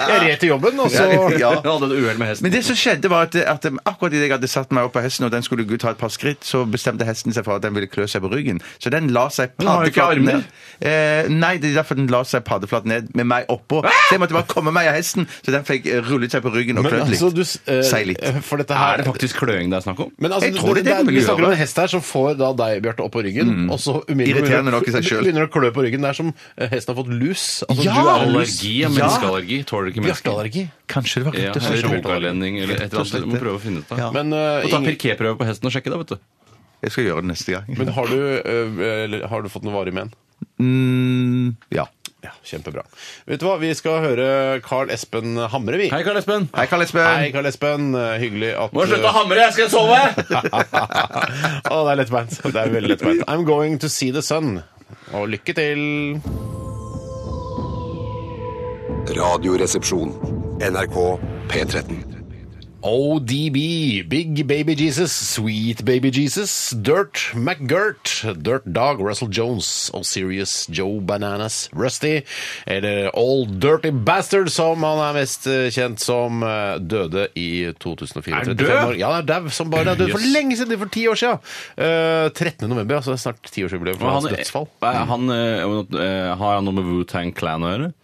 S7: Jeg red til jobben, og så
S8: Ja.
S9: Jeg hadde et uhell med hesten.
S8: Men det som skjedde var at, at akkurat idet jeg hadde satt meg opp på hesten og den skulle ta et par skritt, så bestemte hesten seg for at den ville klø seg på ryggen. Så den la seg
S9: Den har jo ikke armer.
S8: paddeflatt ned. Eh, nei, det er derfor den la seg paddeflatt ned med meg oppå. Så jeg måtte bare komme meg av hesten, så den fikk eh, rullet seg på ryggen og
S7: Men
S8: klødd litt.
S7: altså, du, s- eh,
S8: Sei litt.
S7: For dette her
S9: Er det faktisk kløing det er snakk om?
S7: Men altså,
S8: Jeg tror det er det
S7: er-
S8: man vil
S7: vi snakker om
S8: gjøre. Mm.
S7: en hest her som får da deg, Bjarte, opp på ryggen. Og så umiddelbart
S8: Irriterende nok i seg selv.
S7: begynner det å klø på ryggen. Det er som eh, hesten har fått lus. Altså,
S8: Ja!
S7: du er en lus.
S9: Allergi, ja. menneskeallergi. Tåler ikke mennesker.
S7: Bjarteallergi.
S8: Kanskje det var
S9: Ja,
S8: rett og slett
S9: eller
S8: sånn.
S9: rogalending eller et eller annet. Du må prøve å finne ut av.
S7: Men, eh,
S9: Få ta
S7: ingen-
S9: pirképrøve på hesten og sjekke det, vet du.
S8: Jeg skal gjøre det neste gang.
S7: men har du, eh, eller har du fått noe varig men?
S8: Mm, ja.
S7: Ja, kjempebra. Vet du hva, vi skal høre Carl Espen Hamre, vi.
S9: Hei, Karl Espen.
S8: Hei, Karl Espen.
S7: Hei, Carl Espen. Eh, Hyggelig at
S9: Må slutte å hamre, jeg skal sove!
S7: Å, det er lettbeint. Det er veldig lettbeint. I'm going to see the sun. Og lykke til.
S1: Radioresepsjon. NRK P13.
S7: ODB, Big Baby Jesus, Sweet Baby Jesus, Dirt McGirt, Dirt Dog, Russell Jones og Serious Joe Bananas, Rusty, eller Old Dirty Bastard, som han er mest eh, kjent som, eh, døde i 2004.
S9: Er han
S7: 35 år.
S9: død?
S7: Ja, han er dau som bare det. Han døde for
S9: Jøss.
S7: lenge siden, det er for ti år siden. Eh, 13. november, altså det er snart tiårsjubileum for hans dødsfall.
S9: Er eh, han, eh, eh, har han noe med Wu-Tang Clan å gjøre?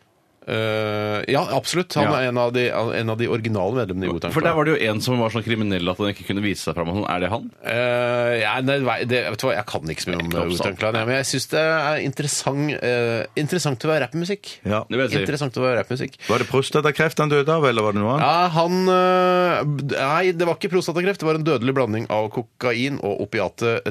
S7: Eh, ja, absolutt. Han
S9: Ja.
S7: er en av de, en av de originale medlemmene i Wu-Tang.
S9: For der var det jo en som var sånn kriminell at han ikke kunne vise seg fram. og sånn. Er det han?
S7: Eh, ja, nei, nei, det, vet du hva, Jeg kan ikke så mye om
S9: Ikke
S7: Wu-Tang Clan, jeg, men jeg syns det er interessant, eh, interessant å være rappmusikk.
S8: Ja.
S9: Det vil jeg si.
S7: Interessant å være rappmusikk.
S8: Var det prostatakreft han døde av, eller var det noe annet?
S7: Ja, han eh, Nei, det var ikke prostatakreft. Det var en dødelig blanding av kokain og opiatet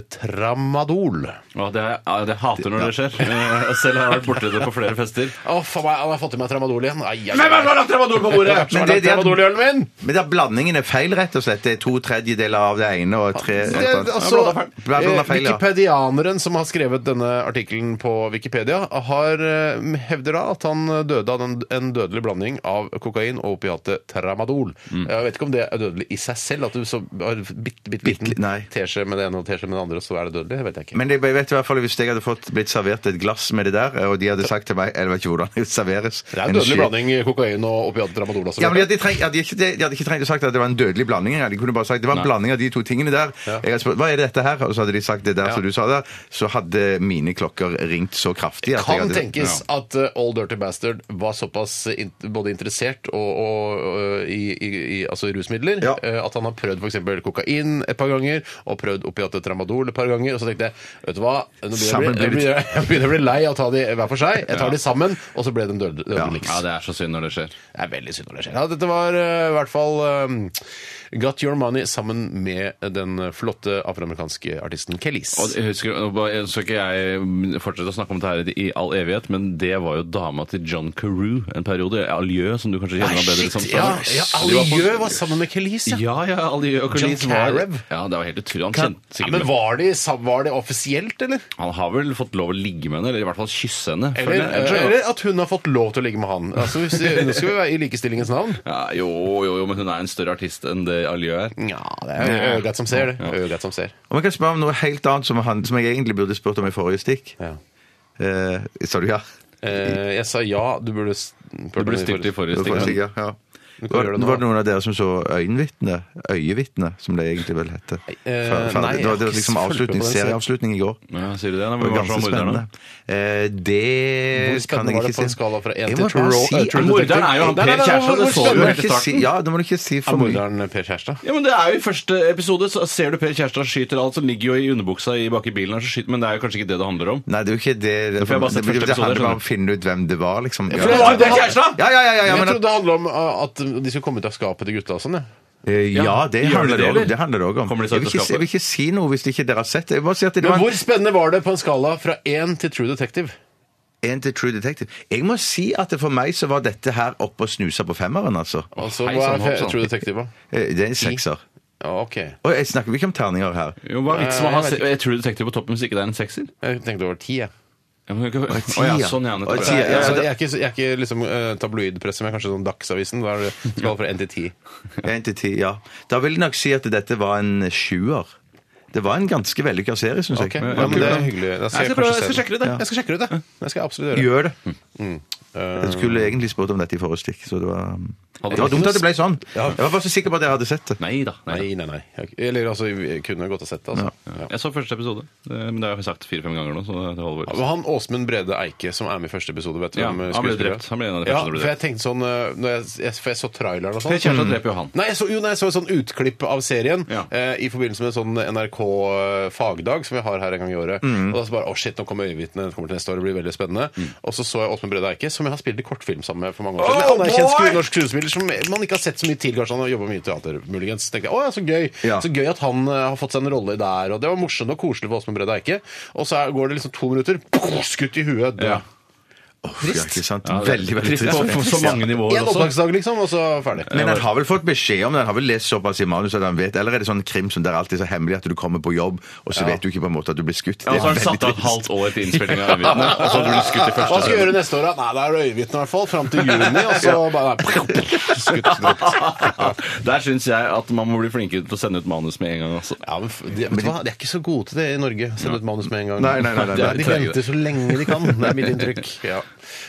S7: tramadol.
S9: Å, det, er, ja, det hater når det skjer. Eh, Selv har jeg vært borti det på [laughs] flere fester.
S7: Å, faen meg, han har fått i meg tramadol igjen. Ai, ai,
S9: Hvem er det som har
S7: ai.
S9: lagt tramadol på bordet?
S7: Hvem
S8: Men
S7: har lagt
S8: det- det er-
S7: tramadol i ølen min?
S8: Men da blandingen er feil, rett og slett. Det er to tredjedeler av det ene og tre
S7: Det er
S8: eh,
S7: altså,
S8: Bla, bla, bla,
S7: eh,
S8: feil, ja.
S7: Wikipedianeren som har skrevet denne artikkelen på Wikipedia, har, eh, hevder da at han døde av en, en dødelig blanding av kokain og opiatet tramadol.
S8: Mm.
S7: Jeg vet ikke om det er dødelig i seg selv, at du så har bitte, bitte liten
S8: Bitte- nei.
S7: teskje med det ene og teskje med det andre, så er det dødelig. Det vet jeg ikke.
S8: Men jeg vet i hvert fall hvis jeg hadde fått blitt servert et glass med det der, og de hadde sagt til meg Jeg vet ikke hvordan det serveres.
S7: det er
S8: en
S7: en dødelig
S8: skje-
S7: blanding kokain og opiatet tramadol. Altså.
S8: Ja, men de hadde, trengt, de, hadde ikke, de hadde ikke trengt å sagt at det var en dødelig blanding. engang. De kunne bare sagt det var en blanding av de to tingene der. Jeg hadde spurt hva er dette her, og så hadde de sagt det der som du sa der. Så hadde mine klokker ringt så kraftig at jeg
S7: kan
S8: hadde
S7: tenkes at eh, Old Dirty Bastard var såpass in både interessert og, og, og, i, i, i altså i rusmidler
S8: Ja.
S7: eh, at han har prøvd f.eks. kokain et par ganger og prøvd opiatet tramadol et par ganger. Og så tenkte jeg vet du hva, nå begynner jeg,
S8: Sammen
S7: å bli-
S8: blir det-
S7: jeg, begynner, jeg begynner å bli lei av å ta de hver for seg. Jeg tar de sammen, og så ble den dødelig. dødeligst.
S9: Ja, det er så synd når det skjer.
S7: Det er veldig synd når det skjer. Ja, dette var eh, i hvert fall eh, Got Your Money sammen med den flotte afroamerikanske artisten Kelis.
S9: Og jeg husker, nå bare- jeg- så skal jeg mm, fortsette å snakke om dette her i all evighet, men det var jo dama til John Carew en periode. Alieu, som du kanskje kjenner ham bedre sånn som.
S7: ja, ja,
S9: De var på-
S7: Alieu var sammen med Kelis, ja.
S9: Ja, ja, Alieu og
S7: John
S9: Collins var
S7: Carew?
S9: Ja, det var helt utrolig. Han
S7: Kan-
S9: kjente
S7: Ja,
S9: sikkert
S7: men var det, var det offisielt, eller?
S9: Han har vel fått lov å ligge med henne, eller i hvert fall kysse henne. føler
S7: Eller,
S9: jeg. Ellers-
S7: eller at hun har fått lov til å ligge med han. Altså, hvis, nå skal vi være i likestillingens navn.
S9: Ja, jo, jo, jo, men hun er en større artist enn det Alieu er.
S7: Ja, det er øgat som ser, det. Øgat som ser.
S8: Om jeg kan spørre om noe helt annet som, han, som jeg egentlig burde spurt om i forrige stikk.
S7: Ja.
S8: Eh, sa du ja?
S7: Eh, jeg sa ja, du burde Du
S9: Du ble stilt i forrige
S8: Det var
S9: stikk.
S8: faktisk- ja, ja.
S7: Du kan
S8: Var,
S7: gjøre det nå,
S8: var det
S7: da.
S8: noen av dere som så Øyenvitne? Øyevitne, som det egentlig vel heter.
S7: Eh, nei, jeg
S8: Fer- ferdig. det var,
S7: har
S8: det var
S7: ikke
S8: liksom
S7: fulgt med
S8: avslutning,
S7: på den serien.
S8: serieavslutning i går.
S9: Ja, sier du det? Da,
S8: Det
S9: men
S8: var
S9: hva som
S8: ganske
S9: var morderen, da?
S8: spennende. Eh, det
S7: Hvor
S8: kan
S7: spennende var
S8: jeg ikke
S7: det
S8: si.
S7: på en skala fra én
S8: Jeg
S7: til
S8: må bare
S7: True-
S8: si-
S7: eh, True
S8: Nei,
S9: Morderen er jo han
S7: Nei,
S9: Per
S7: nei, nei,
S9: Kjærstad, det
S7: hvor-
S9: så vi
S8: Du må
S9: helt i
S8: ikke si,
S9: starten.
S8: ja, du må ikke si for
S7: Er
S8: mye.
S7: morderen eh, Per Kjærstad?
S9: Ja, men det er jo I første episode så ser du Per Kjærstad skyter alt, så ligger jo i underbuksa i bak i bilen, og så skyter, men det er jo kanskje ikke det det handler om.
S8: Nei, det er jo ikke det. Det,
S9: får jeg bare sett
S8: det, det,
S9: første episode,
S8: handler bare
S9: skjønner
S8: om å finne ut hvem det var, liksom. Ja,
S9: For det var jo Per Kjærstad!
S8: ja, ja, ja, ja,
S7: Jeg
S8: men,
S7: trodde det handla om uh, at de skulle komme ut av skapet til gutta og sånn, jeg.
S8: eh, ja, det
S9: Gjør det
S8: handler
S9: det,
S8: det
S9: eller?
S8: òg det handler det også om.
S9: Kommer de seg
S8: Jeg
S9: ut av
S8: vil, ikke, si- jeg
S9: skapet?
S8: vil ikke si noe hvis ikke dere har sett det. Jeg vil bare si at det
S7: Men
S8: var en-
S7: hvor spennende var det på en skala fra én til True Detective?
S8: én til True Detective. Jeg må si at det for meg så var dette her oppe og snusa på femmeren, altså.
S7: Altså,
S9: Hei,
S7: hva
S9: sann,
S7: er
S9: hopp,
S7: fe-
S9: sann.
S7: True Detective, da?
S8: Eh, Det er en sekser.
S7: Ja, OK.
S8: Og jeg snakker vi ikke om
S9: [laughs]
S8: terninger her.
S9: Jo, hva er vitsen med å ha
S7: Nei, jeg vet
S9: se- True Detective på toppen hvis ikke det er en sekser?
S7: Jeg tenkte over ti, jeg.
S9: Ja, men du kan-
S8: ti,
S9: Å ja,
S8: ja.
S9: sånn, ja,
S8: Og
S9: nettopp.
S8: ti,
S7: Jeg,
S8: ja.
S7: altså, jeg er ikke, jeg er ikke liksom, eh, tabloidpresse, men kanskje sånn Dagsavisen. Da er det skal fra 1 til 10.
S8: Én til ti, ja. Da vil jeg nok si at dette var en sjuer. Det var en ganske vellykka serie, syns jeg.
S7: Ok, Ja, men det er hyggelig. Da
S9: Jeg
S7: skal
S9: skal prøve-
S7: jeg
S9: jeg
S7: kanskje
S9: skal
S7: se
S9: sjekke
S7: den.
S9: det ut, jeg.
S7: Jeg skal sjekke det ut, jeg. Det skal jeg absolutt gjøre.
S8: Gjør det.
S9: Mm.
S8: Eh, Jeg skulle egentlig spurt om dette i forrige stikk, så det var mm.
S9: Hadde
S8: Det var
S9: du-
S8: dumt at det ble sånn. Jeg var bare så sikker på at jeg hadde sett det.
S9: Nei da. Nei, da.
S7: Nei, nei, nei. Jeg- Eller altså, jeg kunne godt ha sett det. altså. Ja.
S9: Jeg så første episode, Det- men det har jeg sagt fire-fem ganger nå. så det holder vel.
S7: Ja, men han Åsmund Brede Eike, som er med i første episode, vet du
S9: Ja,
S7: hvem
S9: han ble
S7: skuespiller
S9: drept.
S7: er?
S9: Han ble en av de
S7: ja,
S9: første som ble
S7: for jeg tenkte sånn øh, når jeg, jeg, For jeg så traileren og sånn.
S9: Per Kjartan dreper jo han.
S7: Nei, jeg så, jo, nei, jeg så et sånn utklipp av serien
S9: Ja.
S7: eh, i forbindelse med en sånn NRK eh, fagdag som vi har her en gang i året.
S9: Mm.
S7: Og da så bare, å shit, nå kommer Øyevitne, den kommer til neste år, det blir veldig spennende. Og så så jeg Åsmund Brede Eike, som jeg har spilt i kortfilm sammen med for mange år siden.
S8: Oh,
S7: han er en kjent
S8: boy!
S7: skru- norsk skuespiller som man ikke har sett så mye til, kanskje han har jobbet mye i teater, muligens. tenkte jeg, å ja, så gøy.
S8: Ja.
S7: Så gøy at han eh, har fått seg en rolle der, og det var morsomt og koselig for Åsmund Brede Eike. Og så er- går det liksom to minutter, skutt i huet, død.
S9: Ja.
S8: Trist. Ja, ikke sant?
S9: Ja, det er
S8: veldig, veldig
S9: trist
S8: trist.
S9: på- på så mange nivåer
S7: En
S9: også.
S7: oppdragsdag, liksom, og så ferdig.
S8: Men han har vel fått beskjed om det? Han har vel lest såpass i manus at han vet Eller er det sånn krim som det er alltid så hemmelig at du kommer på jobb, og så vet du ikke på en måte at du blir skutt?
S9: Ja, og så har han satt av et halvt år til innspilling av Øyenvitne, og så blir du skutt i
S7: Hva
S9: første
S7: skal jeg gjøre neste år, da? Nei, det er Øyevitne i hvert fall. Fram til juni, og så bare [laughs] skutt drept.
S9: Der syns jeg at man må bli flinkere til å sende ut manus med en gang. Altså.
S7: Ja, men f- de, vet du hva? de er ikke så gode til det i Norge. Send ut manus med en gang.
S8: Nei, nei, nei, nei, nei.
S7: De venter så lenge de kan. Det er mitt inntrykk. [laughs] Ja.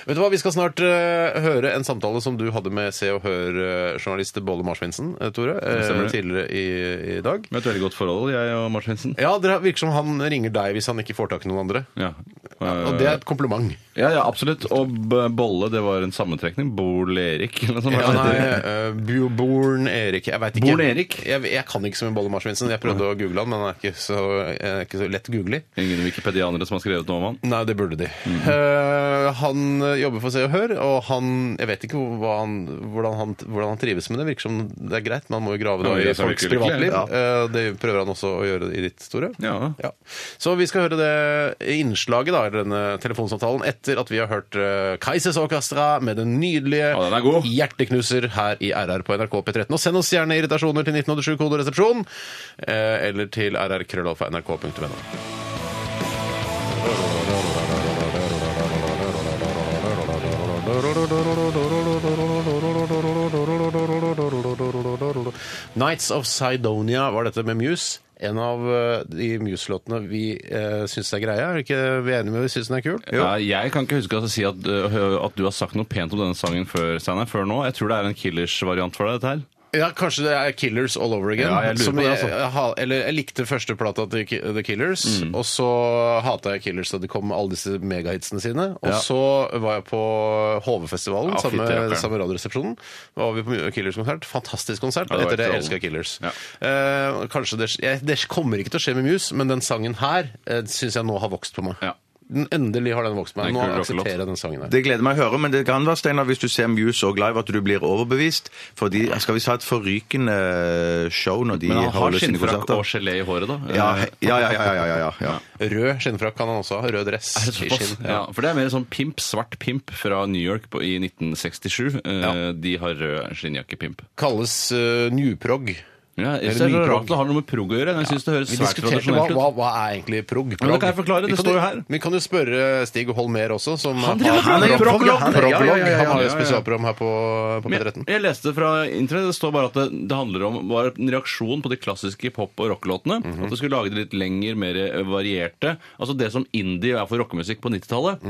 S7: Vet du hva, Vi skal snart eh, høre en samtale som du hadde med Se og Hør-journalist Bolle Marsvinsen, eh, Tore, eh,
S9: Stemmer det.
S7: tidligere i, i dag.
S9: Vi har et veldig godt forhold, jeg og Martinsen.
S7: Ja, det virker som han ringer deg hvis han ikke får tak i noen andre.
S9: Ja. Eh,
S7: Og det er et kompliment.
S9: ja, ja, absolutt. Og B- Bolle, det var en sammentrekning. Bol-Erik, eller noe sånt.
S7: Ja, nei,
S9: nei.
S7: eh, Bu- Born Erik. Jeg veit ikke.
S9: Born Erik?
S7: Jeg, jeg kan ikke så mye Bolle Marsvinsen. Jeg prøvde å google han, men han er ikke så, eh, ikke så lett googlig.
S9: Ingen wikipedianere som har skrevet noe om han.
S7: Nei, det burde de.
S9: Mm.
S7: Eh, han eh, jobber for Se og Hør, og han Jeg vet ikke hvor- hva han, hvordan, han, hvordan han trives med det. Virker som det er greit, men han må jo grave da
S9: Ja,
S7: i
S9: det er
S7: folks
S9: virkelig,
S7: privatliv.
S9: ja.
S7: Eh, det prøver han også å gjøre i ditt store.
S9: Ja.
S7: Så vi skal høre det innslaget, da, eller denne telefonsamtalen, etter at vi har hørt eh, Kaizers Orkestra med den nydelige
S9: Ja, den er god.
S7: Hjerteknuser her i RR på NRK P13. Og send oss gjerne irritasjoner til 1987 koderesepsjon, eh, eller til rrkrøllalfa.nrk.no. Nights of Sidonia var dette med Muse. En av eh, de Muse-låtene vi eh, syns er greie. Er vi ikke vi er enige med at vi syns den er kul?
S9: Nei, jeg kan ikke huske at, jeg sier at, øh, at du har sagt noe pent om denne sangen før, Steinar. Før nå. Jeg tror det er en killers-variant for deg, dette her.
S7: Ja, kanskje det er Killers all over again.
S9: Ja, jeg lurer
S7: som
S9: på det,
S7: jeg,
S9: altså. Mm.
S7: jeg ha- eller jeg likte første plata til Ki- The Killers, og så hata jeg Killers da de kom med alle disse megahitsene sine. Og
S9: Ja.
S7: så var jeg på HV-festivalen
S9: Ja,
S7: sammen
S9: fytti rakkeren.
S7: med samme Radioresepsjonen. Da var vi på Killers-konsert. Fantastisk konsert.
S9: Ja, det var
S7: Etter det
S9: helt
S7: elska
S9: strålende.
S7: Killers.
S9: Ja.
S7: Eh, kanskje det, jeg, det kommer ikke til å skje med Muse, men den sangen her eh, syns jeg nå har vokst på meg.
S9: Ja.
S7: Den endelig har den vokst på
S9: Det er
S7: meg. Nå
S9: en kul rockelåt.
S7: aksepterer jeg den sangen her.
S8: Det gleder meg å høre, men det kan være Steinar, hvis du ser Muse og live, at du blir overbevist. Fordi skal vi ha et forrykende eh, show når de
S9: Men han har
S8: holder sine
S9: skinnfrakk
S8: konserter?
S9: og gelé i håret, da.
S8: Ja,
S9: Eh,
S8: ja, ja, ja, ja, ja, ja.
S7: Rød skinnfrakk kan han også ha. Rød dress.
S9: Er det
S7: i
S9: såpass?
S7: skinn.
S9: Ja, for det er mer sånn pimp, svart pimp fra New York på, i 1967. Eh, De har rød skinnjakke-pimp.
S7: Kalles uh, newprog.
S9: Ja, jeg
S7: Eller
S9: synes det er
S7: nyprog.
S9: rart det har noe med prog å gjøre. men Jeg synes det høres
S7: Vi
S9: svært
S7: diskuterte hva,
S9: tradisjonelt
S7: hva,
S9: ut.
S7: hva er egentlig prog.
S9: Men det kan jeg forklare, det
S7: Vi kan
S9: står jo
S7: jo-
S9: her.
S7: Vi kan jo spørre Stig Holmér også, som han,
S9: driver
S7: har-
S9: med
S7: prog-
S9: proglog.
S7: Han, proglog.
S8: Ja, ja, ja, ja,
S7: han har jo
S9: ja, ja.
S7: spesialprogram her på, på
S9: Men
S7: P13.
S9: Jeg leste fra internett, det står bare at det, det handler om var en reaksjon på de klassiske pop- og rockelåtene.
S7: Mhm.
S9: At du skulle lage det litt lenger, mer eh, varierte. Altså det som indie er for rockemusikk på 90-tallet,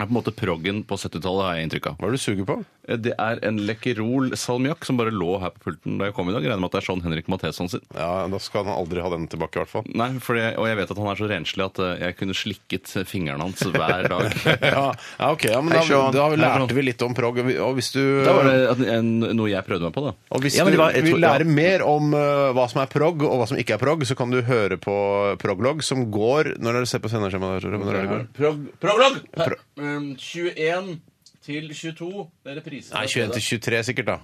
S9: er på en måte proggen på 70-tallet, har jeg inntrykk av.
S7: Mm. Hva er det du suger på?
S9: Eh, Det er en Lekkerol salmiakk som bare lå her på pulten da jeg kom i dag. Regner med at det er sånn Henrik Matheson sin.
S7: Ja, Da skal han aldri ha den tilbake, i hvert fall.
S9: Nei, for jeg, og jeg vet at han er så renslig at eh, jeg kunne slikket fingrene hans hver dag.
S7: [laughs] Ja, ja ok, ja, men
S8: Hei,
S7: da,
S8: Sean.
S7: da
S9: Hei, Sean.
S7: lærte vi litt om prog. og vi- Og hvis du
S9: Da var det at- en, noe jeg prøvde meg på, da.
S7: og hvis
S8: Ja, men
S7: du
S8: det var- jeg
S7: vil
S8: tror- ja.
S7: lære mer om eh, hva som er prog og hva som ikke er prog, så kan du høre på proglog, som går når dere ser på sendeskjemaet. der, Tore, når dere går.
S9: Eh, Prolog! 21 Eh, til 22. Det er reprise.
S7: Nei, 21 til 23 sikkert, da.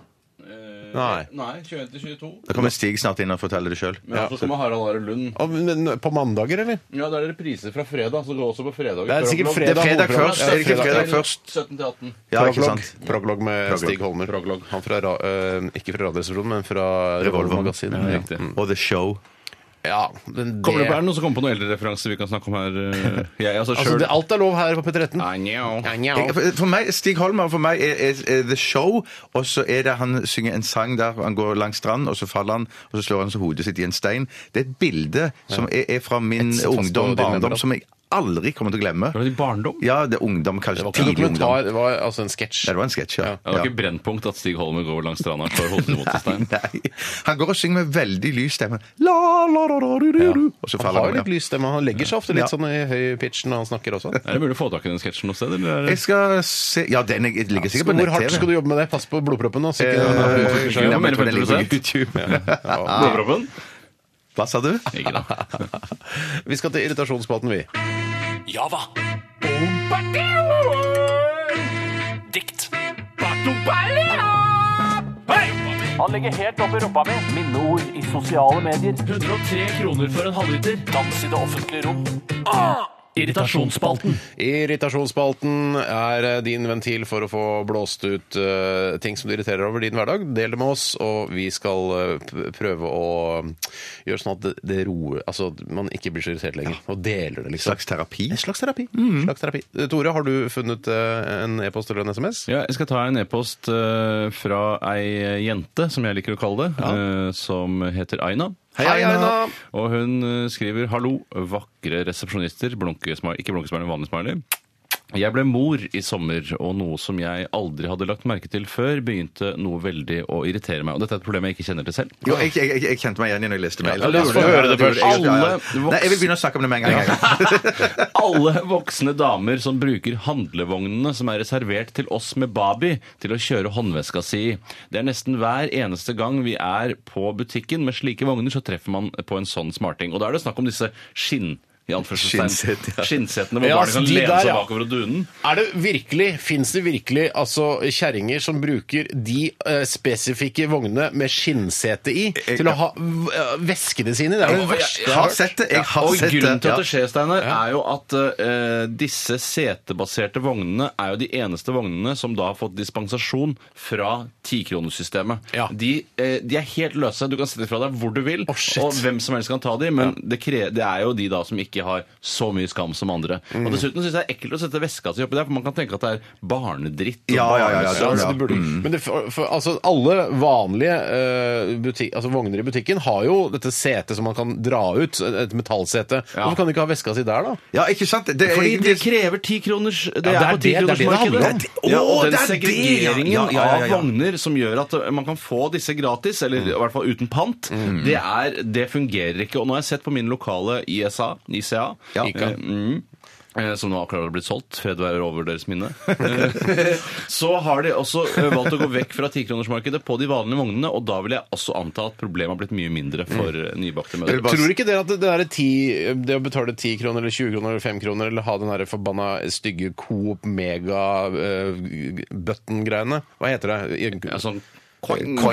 S9: eh,
S8: Nei.
S9: nei 21 til 22.
S8: Da kommer Stig snart inn og forteller det sjøl.
S9: Men så kommer Harald Are Lund.
S7: Å, Men på mandager, eller?
S9: Ja, Da er det repriser fra fredag. Så går også på fredag.
S7: Det er sikkert
S8: Det er
S7: fredag
S8: fredag
S7: hovedprogram.
S8: først.
S7: Ja,
S8: Er det ikke
S7: fredag.
S8: fredag først?
S9: 17 til 18.
S8: Ja, ikke
S7: Proglog.
S8: sant?
S7: Proglog med
S8: Proglog.
S7: Stig Holmer. Han fra, ra- eh, ikke fra Radioresepsjonen, men fra Revolver-magasinet.
S9: Ja,
S7: Ja,
S9: riktig.
S7: Mm.
S8: Og The Show.
S7: Ja, men
S9: Kommer det,
S7: det-
S9: er det noen som kommer på noen eldre referanser vi kan snakke om her? eh, Jeg, altså,
S7: [laughs] Altså,
S9: selv-
S7: det, alt er lov her på P13.
S9: Nei, njau.
S8: Jeg- For for meg, Stig Holmer for meg er, er, er The Show, og så er det han synger en sang der han går langs stranden, og så faller han, og så slår han så hodet sitt i en stein. Det er et bilde som er, er fra min
S7: Et fast på
S8: ungdom,
S7: din
S8: barndom,
S7: lemmer.
S8: som jeg aldri kommer til å glemme.
S9: Var det i barndom?
S8: Ja, det er ungdom, kanskje
S7: Det var ikke en
S8: tidlig
S7: dokumentar,
S8: ungdom.
S7: det var altså en sketsj.
S8: Ja, det var en sketsj, ja.
S9: Ja, Det var
S8: ja.
S9: ikke Brennpunkt at Stig Holmer går langs stranda og slår hodet mot en
S7: [laughs]
S9: stein.
S8: [laughs] Nei. Han går og synger med veldig lys stemme. La, la, la, la, ru, ru, ru. Og så
S7: Han
S8: faller
S7: har jo
S8: han.
S7: litt
S8: Ja.
S7: lys stemme, han legger seg ofte litt
S8: Ja.
S7: sånn i høy pitch når han snakker også.
S9: Er det mulig å få tak i den sketsjen noe sted? Eller?
S8: Jeg skal se Ja, den er- ligger sikkert på
S7: Hvor hardt skal du
S8: nett-TV.
S7: jobbe med det? Pass på blodproppen nå. så ikke-
S8: Eh,
S9: Kanskje
S8: nei, men
S9: mer
S8: jeg tror den ligger på
S9: 50%?
S8: YouTube.
S9: Blodproppen?
S8: [laughs] Hva sa du?
S9: Ikke da.
S7: Vi skal til irritasjonsspalten, vi.
S3: Java. Dikt. Han ligger helt oppi rumpa mi. Minneord i sosiale medier. 103 kroner for en halvliter. Dans i det offentlige rom. Irritasjonsspalten.
S7: Irritasjonsspalten er eh, din ventil for å få blåst ut eh, ting som du irriterer over i din hverdag. Del det med oss, og vi skal eh, p- prøve å gjøre sånn at det, det roer Altså at man ikke blir så irritert lenger. Og deler det, liksom.
S8: Slags terapi?
S7: En slags terapi.
S9: Mm-hmm.
S7: Slags terapi. Eh, Tore, har du funnet eh, en e-post eller en SMS?
S9: Ja, jeg skal ta en e-post eh, fra ei jente, som jeg liker å kalle det, eh, som heter Aina.
S7: Hei, Aina!
S9: Og hun eh, skriver 'Hallo, vakre resepsjonister'. Blunkesmiley, ikke blunkesmiley, vanlig smiley. Jeg ble mor i sommer, og noe som jeg aldri hadde lagt merke til før, begynte noe veldig å irritere meg. Og dette er et problem jeg ikke kjenner til selv.
S8: Jo, jeg, jeg, jeg, jeg kjente meg igjen i når jeg leste mailen.
S7: Ja, la oss få høre det først.
S8: Ja, ja, ja.
S9: Alle
S8: Nei, jeg vil begynne å snakke om det med en gang.
S9: Alle voksne damer som bruker handlevognene som er reservert til oss med baby, til å kjøre håndveska si i. Det er nesten hver eneste gang vi er på butikken med slike vogner, så treffer man på en sånn smarting. Og da er det snakk om disse skinn... I anførselstegn.
S8: Skinnset, ja.
S9: Skinnsetene hvor
S7: Ja,
S9: barnet kan
S7: de
S9: lene
S7: der,
S9: seg
S7: ja.
S9: bakover og dune den.
S7: Er det virkelig, Fins det virkelig altså kjerringer som bruker de eh, spesifikke vognene med skinnsete i til å ha eh, veskene sine i? Det er det
S9: Ja,
S7: verste
S9: jeg
S7: jeg
S8: Jeg
S7: har
S8: har
S7: hørt.
S8: sett det. Jeg har
S9: Og
S8: sett
S9: grunnen til at det
S8: det.
S9: skjer, Steinar, er jo at eh, disse setebaserte vognene er jo de eneste vognene som da har fått dispensasjon fra tikronesystemet.
S7: Ja.
S9: De, eh, de er helt løse. Du kan sette dem fra deg hvor du vil,
S7: shit.
S9: og hvem som helst kan ta dem, men det, kre det er jo de da som ikke har så mye skam som andre.
S8: Mm.
S9: Og dessuten syns jeg det er ekkelt å sette veska si oppi der, for man kan tenke at det er barnedritt. og
S8: Ja, ja, ja,
S9: barnes-
S7: Ja,
S8: ja, ja, Mm.
S7: altså, det burde, Men det, for, for, altså, alle vanlige eh, buti- altså, vogner i butikken har jo dette setet som man kan dra ut, et metallsete. Hvorfor kan de ikke ha veska si der, da?
S8: Ja, ikke sant? Det er
S9: Fordi
S8: egentlig-
S9: det krever ti kroners Det
S7: det er
S9: er på
S7: det- det er det det handler om.
S9: tikronersmarkedet.
S8: Ja, å,
S9: Og den
S8: det er det, ja.
S9: segregeringen
S8: Ja, ja, ja, Mm. ja.
S9: av vogner som gjør at eh, man kan få disse gratis, eller i hvert fall uten pant,
S8: Mm.
S9: det, er, det fungerer ikke. Og nå har jeg sett på min lokale ISA, ICA
S8: Ja.
S9: eh, mm, eh, som nå akkurat har blitt solgt. Fred være over deres
S8: [laughs]
S9: minne. Eh, Så har de også eh, valgt å gå vekk fra tikronersmarkedet på de vanlige vognene, og da vil jeg også anta at problemet har blitt mye mindre for eh, nybakte mødre.
S8: Mm. Bare-
S7: Tror ikke dere at det, det, er ti, det å betale 10 kroner eller 20 kroner eller 5 kroner eller ha den her forbanna stygge Coop Mega-button-greiene Hva heter det? I-
S9: Ja, sånn
S8: Coing.
S7: [laughs] Hva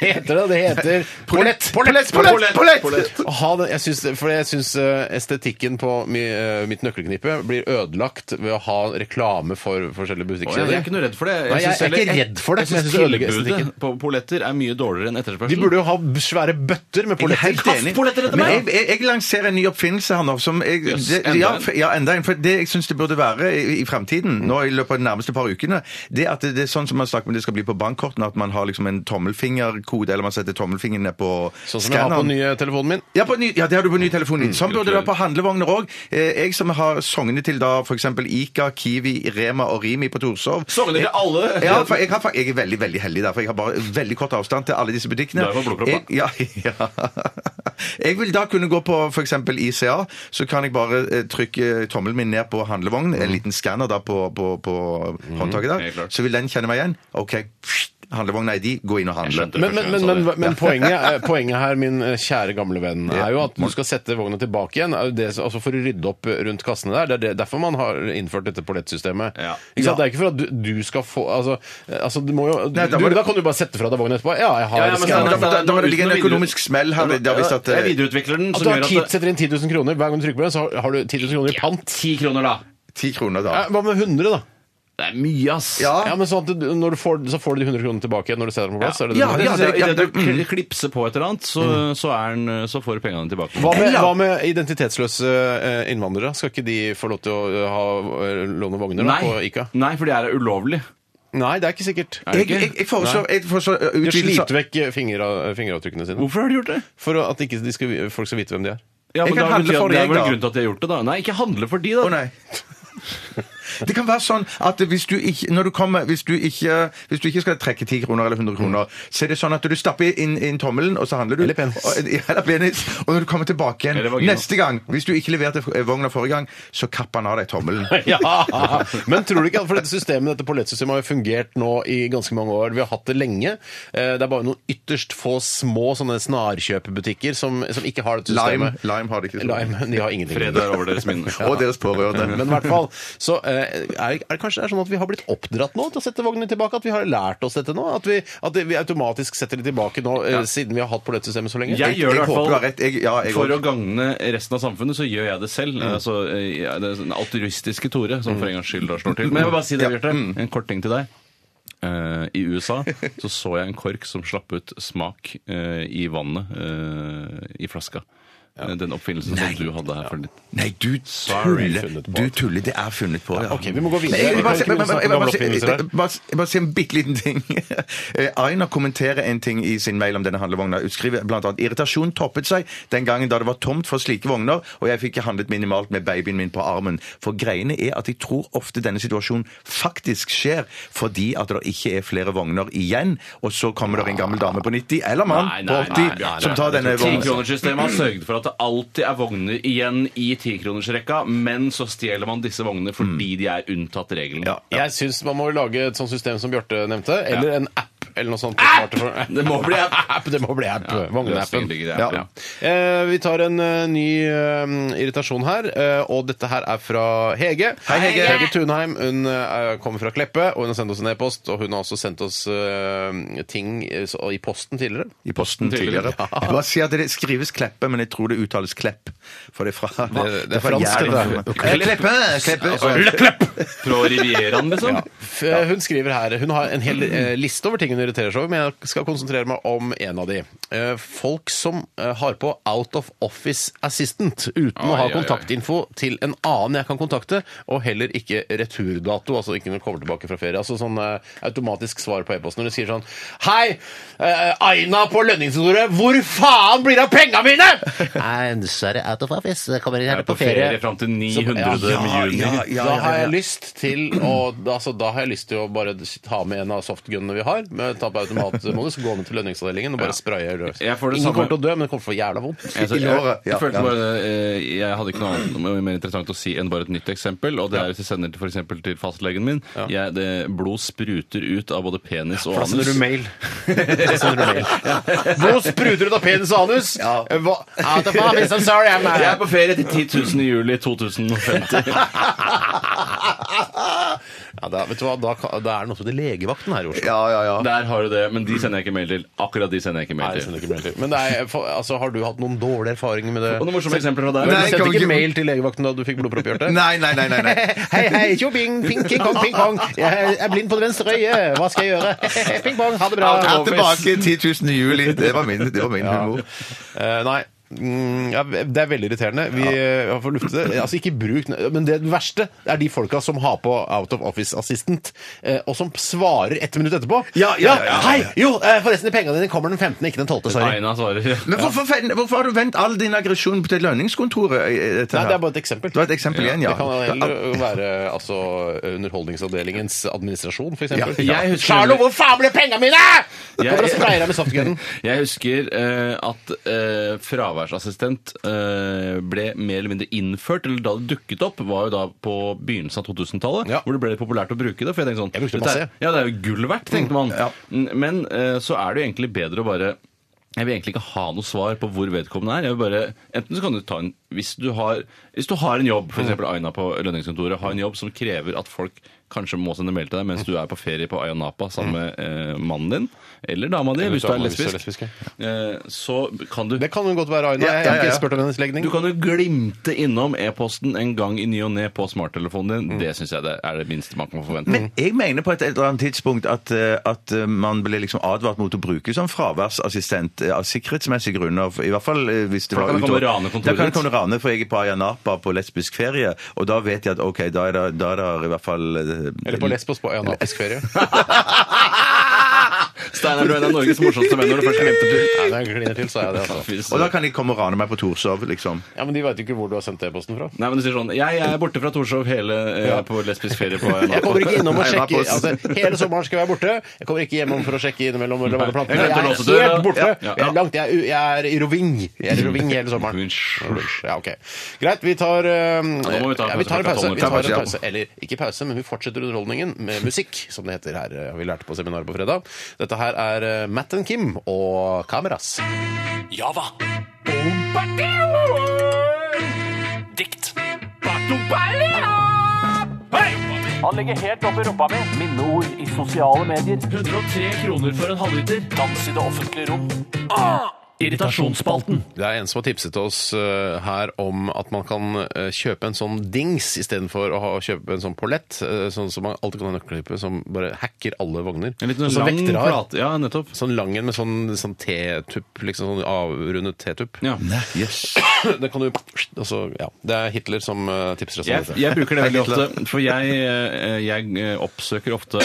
S7: heter det? Det
S9: [laughs]
S7: heter Polett!
S8: Polett, polett, polett!
S7: Å ha det, jeg syns, for jeg syns eh, estetikken på mi, eh, mitt nøkkelknippe blir ødelagt ved å ha reklame for
S9: Å, Jeg,
S7: forskjellige
S9: jeg er
S7: butikkjeder.
S9: ikke noe redd for det.
S7: Nei, jeg
S9: synes
S7: er ikke
S9: heller-
S7: redd for det,
S9: Jeg, synes
S7: men jeg synes det ødelegger
S9: tilbudet
S7: estetikken.
S9: på polletter er mye dårligere enn etterspørselen.
S7: De burde jo ha b- svære bøtter med poletter.
S8: Helt enig. Men jeg, jeg, jeg lanserer en ny oppfinnelse her nå. Som jeg,
S9: Jøss,
S8: det,
S9: enda
S8: ja,
S9: en.
S8: for- ja, enda en. For det jeg syns det burde være i, i fremtiden, nå i løpet av de nærmeste par ukene, det at det, det er sånn som man snakker om det skal bli på bankkortene, at man har liksom en tommelfingerkode, eller man setter tommelfingeren ned på
S7: Sånn som jeg har på den
S8: skanneren.
S7: nye telefonen min.
S8: Ja, på ny, ja, det har du
S9: Mm,
S8: på ny telefon. sånn burde det være på handlevogner òg. Eh, jeg som har sognet til da f.eks. Ica, Kiwi, Rema og Rimi på Torshov.
S9: Sogner til alle.
S8: Ja, for jeg, har, fa- jeg er veldig veldig heldig der, for jeg har bare veldig kort avstand til alle disse butikkene.
S9: Da er det for blodpropper.
S8: jeg, ja, [laughs] ja. jeg vil da kunne gå på f.eks. ICA, så kan jeg bare eh, trykke tommelen min ned på handlevognen, en liten skanner da på, på, på håndtaket
S9: Mm. Helt
S8: der,
S9: klart.
S8: så vil den kjenne meg igjen. OK, handlevogna er de, gå inn og handle.
S9: skjønte.
S7: Men, men, men, men, men poenget, er- poenget her, min eh, kjære gamle venn, er jo at du skal sette vogna tilbake igjen. er jo Det, altså for å rydde opp rundt kassene der. Det er det, derfor man har innført dette pollettsystemet.
S9: Ja.
S7: Ikke sant? Det er ikke for at du, du skal få Altså, eh, altså du må jo du,
S8: Nei, da var det-
S7: Da kan du bare sette fra deg vogna etterpå. Ja, jeg har
S9: Ja, ja, men
S8: Ja,
S7: skannet.
S8: men da, da, da må det
S9: Uten
S8: ligge en
S9: å videre-
S8: økonomisk smell her. Det har vi satt,
S9: Jeg
S8: eh,
S9: videreutvikler den,
S7: At
S9: som
S7: du har
S9: gjør
S7: ti-
S9: at det-
S7: setter inn 10 000 kroner hver gang du trykker på den, så har, har du 10 000 kroner i pant.
S9: Ti kroner, da.
S8: ti kroner da.
S7: Eh, Hva med 100, da?
S9: Det er mye, ass.
S8: Ja.
S7: Ja, men sånn at du, når du får, Så får du de 100 kronene tilbake igjen når du setter dem på plass? er det det
S8: Ja,
S7: du mener?
S9: Det synes jeg,
S8: ja,
S9: Altså, I det du
S8: det- mm.
S9: kl- klipser på et eller annet, så, så, er den, så får du pengene tilbake.
S7: Hva med,
S8: Eller-
S7: hva med identitetsløse eh, innvandrere? Skal ikke de få lov til å eh, ha eh, låne vogner da,
S9: Nei,
S7: på ICA?
S9: Nei, for det er ulovlig.
S7: Nei, det er ikke sikkert.
S9: Er det
S8: Jeg,
S9: ikke?
S8: jeg, jeg foreslår, jeg foreslår eh,
S7: De
S8: utvidelse
S7: sliter vekk eh, fingra, fingeravtrykkene sine.
S9: Hvorfor har de gjort det?
S7: For at ikke de skal, vi- folk skal vite hvem de er.
S9: Ja,
S8: Jeg
S9: men
S8: kan
S9: da
S8: handle
S9: betyr
S8: for
S9: at Det
S8: deg,
S9: er vel
S8: da.
S9: grunnen til at de har gjort det, da. Nei, ikke handle for de, da.
S8: Å nei. [laughs] Det kan være sånn at hvis du ikke, når du kommer, hvis du ikke, hvis du ikke skal trekke 10 kroner eller 100 kroner, så er det sånn at du stapper inn, inn tommelen, og så handler du.
S7: Eller penis.
S8: Og, eller penis. Og når du kommer tilbake
S9: Eller
S8: igjen
S9: vagina.
S8: neste gang, hvis du ikke leverte eh, vogna forrige gang, så kapper han av deg tommelen.
S7: Ja! [laughs] Men tror du ikke at for dette systemet, dette pollettsystemet har jo fungert nå i ganske mange år. Vi har hatt det lenge. Eh, Det er bare noen ytterst få små sånne snarkjøpebutikker som, som ikke har dette
S8: Lime,
S7: systemet.
S8: lime har det ikke sånn.
S7: Lime, De har ingenting.
S9: Fred er over deres minne.
S8: Og deres pårørende.
S7: Men i hvert fall, så eh, er, er det kanskje det er sånn at vi har blitt oppdratt nå til å sette vognene tilbake? At vi har lært oss dette nå? At vi, at vi automatisk setter de tilbake nå, eh, siden vi har hatt pollettsystemet så lenge?
S9: Jeg gjør det i
S8: jeg
S9: hvert
S8: håper du har
S9: fall.
S8: rett. Jeg, ja, jeg
S9: For å
S8: også. Mm.
S9: gagne resten av samfunnet, så gjør jeg det selv. Altså, jeg- det er den altruistiske Tore, som for en gangs skyld da slår
S8: Mm.
S9: til. Men jeg vil bare si det, Bjarte. En kort ting til deg. Eh, I
S8: [laughs]
S9: USA så så jeg en kork som slapp ut smak eh, i vannet eh, i flaska. Eh, Den oppfinnelsen som du hadde her for litt.
S8: Nei, du
S7: Sorry,
S8: tuller.
S7: funnet på.
S8: Du tuller. Det er funnet på, ja.
S7: ok, vi må gå videre.
S8: Men Jeg vil bare si-
S7: Kan ikke vi
S8: men- men-
S7: snakke
S8: jeg
S7: om
S8: vil
S7: gamle
S8: bare
S7: oppfinnelser her?
S8: si- bare si- bare si en bitte liten ting. [laughs] Eh, Aina kommenterer en ting i sin mail om denne handlevogna. Hun skriver bl.a.: Irritasjon toppet seg den gangen da det var tomt for slike vogner, og jeg fikk handlet minimalt med babyen min på armen. For greiene er at jeg tror ofte denne situasjonen faktisk skjer fordi at det ikke er flere vogner igjen, og så kommer det en gammel dame på 90, eller mann på 80, som tar denne vogna.
S9: Tikronersystemet har sørget for at det alltid er vogner igjen i tikronersrekka, men så stjeler man disse vognene fordi de er unntatt regelen.
S8: Mm. Ja.
S7: Jeg syns man må lage et sånt system som Bjarte nevnte, eller en app. Eller noe sånt.
S9: App! [laughs] Det må bli app.
S8: [laughs]
S7: Det må bli app. Vogneappen.
S9: løsningen ligger i
S7: Ja.
S9: appen,
S7: Eh, vi tar en eh, ny eh, irritasjon her, eh, og dette her er fra Hege. Hei, Hege. Hege Tunheim. Hun eh, kommer fra Kleppe, og hun har sendt oss en e-post. Og hun har også sendt oss eh, ting eh, så- i posten tidligere.
S8: I posten tidligere. Jeg bare sier at det skrives Kleppe, men jeg tror det uttales Klepp. For det er fra
S7: det er Altså, fransk, det
S8: Jæren.
S7: der.
S8: Eh, Kleppe! Kleppe.
S9: Fra Rivieraen, liksom.
S7: F- eh, Hun skriver her Hun har en hel eh, liste over ting hun irriterer seg over, men jeg skal konsentrere meg om en av de. Eh, Folk som eh, har på out of office assistant uten å
S9: Oi,
S7: ha
S9: oi, oi.
S7: kontaktinfo til en annen jeg kan kontakte, og heller ikke returdato, altså ikke når du kommer tilbake fra ferie. Altså sånn eh, automatisk svar på e-posten når du sier sånn Hei, eh, Aina på lønningskontoret, hvor faen blir det av penga mine?! [laughs] Nei, dessverre, out of office. Jeg Kommer
S9: Jeg er på ferie fram til 900. juni.
S8: ja, ja,
S7: Da
S8: ja,
S7: har jeg
S8: ja.
S7: lyst til å altså, Da har jeg lyst til å bare ta med en av softgunene vi har. Med, ta på automatmodus, gå ned til lønningsavdelingen og bare spraye løs.
S9: Jeg får det
S7: Ingen
S9: samme-
S7: kommer til å dø, men det kommer til å få jævla vondt.
S9: Jeg, jeg,
S8: I låret, ja,
S9: Altså, jeg følte
S8: ja.
S7: [laughs]
S9: bare eh, Jeg hadde ikke noe annet noe mer interessant å si enn bare et nytt eksempel. Og det er hvis jeg sender til, for eksempel til fastlegen min. Jeg, det, blod spruter ut av både penis og anus. [laughs]
S7: mail. Blod spruter ut av penis og anus.
S8: Ja.
S7: Hva- Out of office, I'm sorry, I'm
S9: Jeg er på ferie til 10 000 i juli 2050.
S7: [laughs] ja, da, vet du hva, da, kan- da er det noe som heter legevakten her i Oslo.
S8: Ja, ja, ja.
S9: Der har du det, men de sender jeg ikke mail til. Akkurat de sender jeg ikke
S7: Nei,
S9: mail
S7: jeg
S9: til.
S7: sender ikke mail til. Men det er, for, altså, har du hatt noen dårlige erfaringer med det?
S9: Og noen morsomme eksempler fra deg.
S7: Men
S8: Nei,
S7: du
S8: kan
S7: sendte
S8: ikke-
S7: ikke mail til legevakten da du fikk blodpropp, Bjarte?
S8: Nei, nei, nei. nei, nei.
S7: [laughs] Hei, hei, tjo bing, ping, king kong, ping kong. Jeg er blind på det venstre øyet. Hva skal jeg gjøre? [laughs] Ping pong, ha det bra.
S8: Jeg er tilbake 10 000 i juli. Det var min, det var min humor.
S7: Eh, nei. Mm, ja, det er veldig irriterende. Vi eh, har fått luftet det. Altså, ikke bruk Men det verste er de folka som har på Out of Office Assistant, eh, og som svarer ett minutt etterpå.
S8: Ja, ja, ja, ja, ja.
S7: Hei! Jo, eh, forresten, de pengene dine kommer den 15., ikke den 12., sorry.
S9: Aina svarer.
S8: Men hvorfor, fen- hvorfor har du vendt all din aggresjon til lønningskontoret? eh, eh, dette
S7: Nei,
S8: her?
S7: det er bare et eksempel.
S8: Det var et eksempel igjen, ja.
S7: Det kan heller være altså, Underholdningsavdelingens administrasjon, f.eks.
S8: Ja,
S9: jeg husker-
S7: Charlo, hvor faen ble penga mine?!
S9: Jeg- [laughs]
S7: Jeg kommer og sprayer deg med softgunnen.
S9: Jeg husker eh, at uh, fraværsassistent eh, ble mer eller mindre innført, eller da det dukket opp, var jo da på begynnelsen av 2000-tallet,
S7: Ja.
S9: hvor det ble litt populært å bruke det. For jeg tenkte sånn,
S7: Jeg brukte det
S9: dette er-
S7: masse, jeg.
S9: Ja, det er jo gull verdt, tenkte man.
S8: ja.
S9: Mm, Men eh, så er det jo egentlig bedre å bare jeg vil egentlig ikke ha noe svar på hvor vedkommende er. Jeg vil bare, enten så kan du ta en, Hvis du har, hvis du har en
S7: Mm.
S9: jobb, f.eks. Aina på lønningskontoret, har en jobb som krever at folk kanskje må sende mail til deg mens du er på ferie på Ayanapa sammen med eh, mannen din, eller dama di,
S7: Mm. Eller
S9: hvis du er
S7: dama hvis du er
S9: lesbisk, eh, så kan du
S7: Det kan hun godt være, Aina.
S8: Ja,
S7: Jeg har
S8: ja, ja,
S7: ikke
S8: ja.
S7: spurt om hennes legning.
S9: du kan jo glimte innom e-posten en gang i ny og ne på smarttelefonen
S7: Mm.
S9: din. Det syns jeg det er det minste man kan forvente.
S8: Men jeg mener på et eller annet tidspunkt at, eh, at eh, man ble liksom advart mot å bruke sånn fraværsassistent eh, av sikkerhetsmessige grunner. for- I hvert fall eh, hvis det
S9: For da
S8: var
S9: kan det
S8: utover-
S9: komme rane kontoret
S8: Da kan det
S9: ditt.
S8: komme rane, for jeg er på Ayanapa på lesbisk ferie, og da vet jeg at ok, da er det, da er det i hvert fall eh,
S7: Eller på Lesbos på Øyanapisk ferie.
S9: Steinar, du er en av Norges morsomste menn når du først glemte det.
S7: Nei, når jeg kliner til, så er jeg det. Altså.
S8: [laughs] Og da kan de komme og rane meg på Torshov, liksom.
S7: Ja, Men de veit jo ikke hvor du har sendt e-posten fra.
S9: Nei, men du sier sånn Jeg er borte fra Torshov hele Jeg er på lesbisk ferie på
S7: Jeg kommer ikke innom og
S8: Nei,
S7: sjekker
S8: Øyanapost.
S7: altså, Hele sommeren skal jeg være borte. Jeg kommer ikke hjemom for å sjekke innimellom. Eller
S9: Nei,
S7: vanne planter.
S9: jeg
S7: jeg
S9: glemte
S7: er
S9: låsedøra.
S7: helt borte.
S9: Ja, ja.
S7: Jeg, er langt, jeg, er, u- jeg er i roving. Jeg er i roving hele sommeren.
S9: Vinsj.
S7: Ja, ok. Greit, vi tar um,
S9: nå må vi ta en
S7: ja, vi tar en
S9: pause.
S7: pause. Vi
S8: Ta
S7: tar
S8: pause,
S7: en
S8: ja.
S7: pause. Eller ikke pause, men vi fortsetter underholdningen med musikk, som det heter her. eh, Vi lærte på seminaret på fredag. Dette her er uh, Matt and Kim og Kameras.
S3: Java. Dikt. Han legger helt opp i rumpa mi. Minneord i sosiale medier. 103 kroner for en halvliter. Dans i det offentlige rom. Ah! Irritasjonsspalten.
S7: Det er en som har tipset oss eh, her om at man kan eh, kjøpe en sånn dings istedenfor å ha, å kjøpe en sånn pollett, eh, sånn som man alltid kan ha nøkkelklippe, som bare hacker alle vogner.
S9: En liten
S7: Sånn som
S9: lang
S7: vektere har.
S9: plate Ja, nettopp.
S7: Sånn lang en med sånn, sånn T-tupp, liksom sånn avrundet T-tupp.
S9: Ja.
S8: Yes.
S7: [clears throat] Det kan du og så, ja. Det er Hitler som eh, tipser oss om
S9: Jeg,
S7: dette.
S9: jeg bruker det veldig ofte, for jeg, eh, jeg eh, oppsøker ofte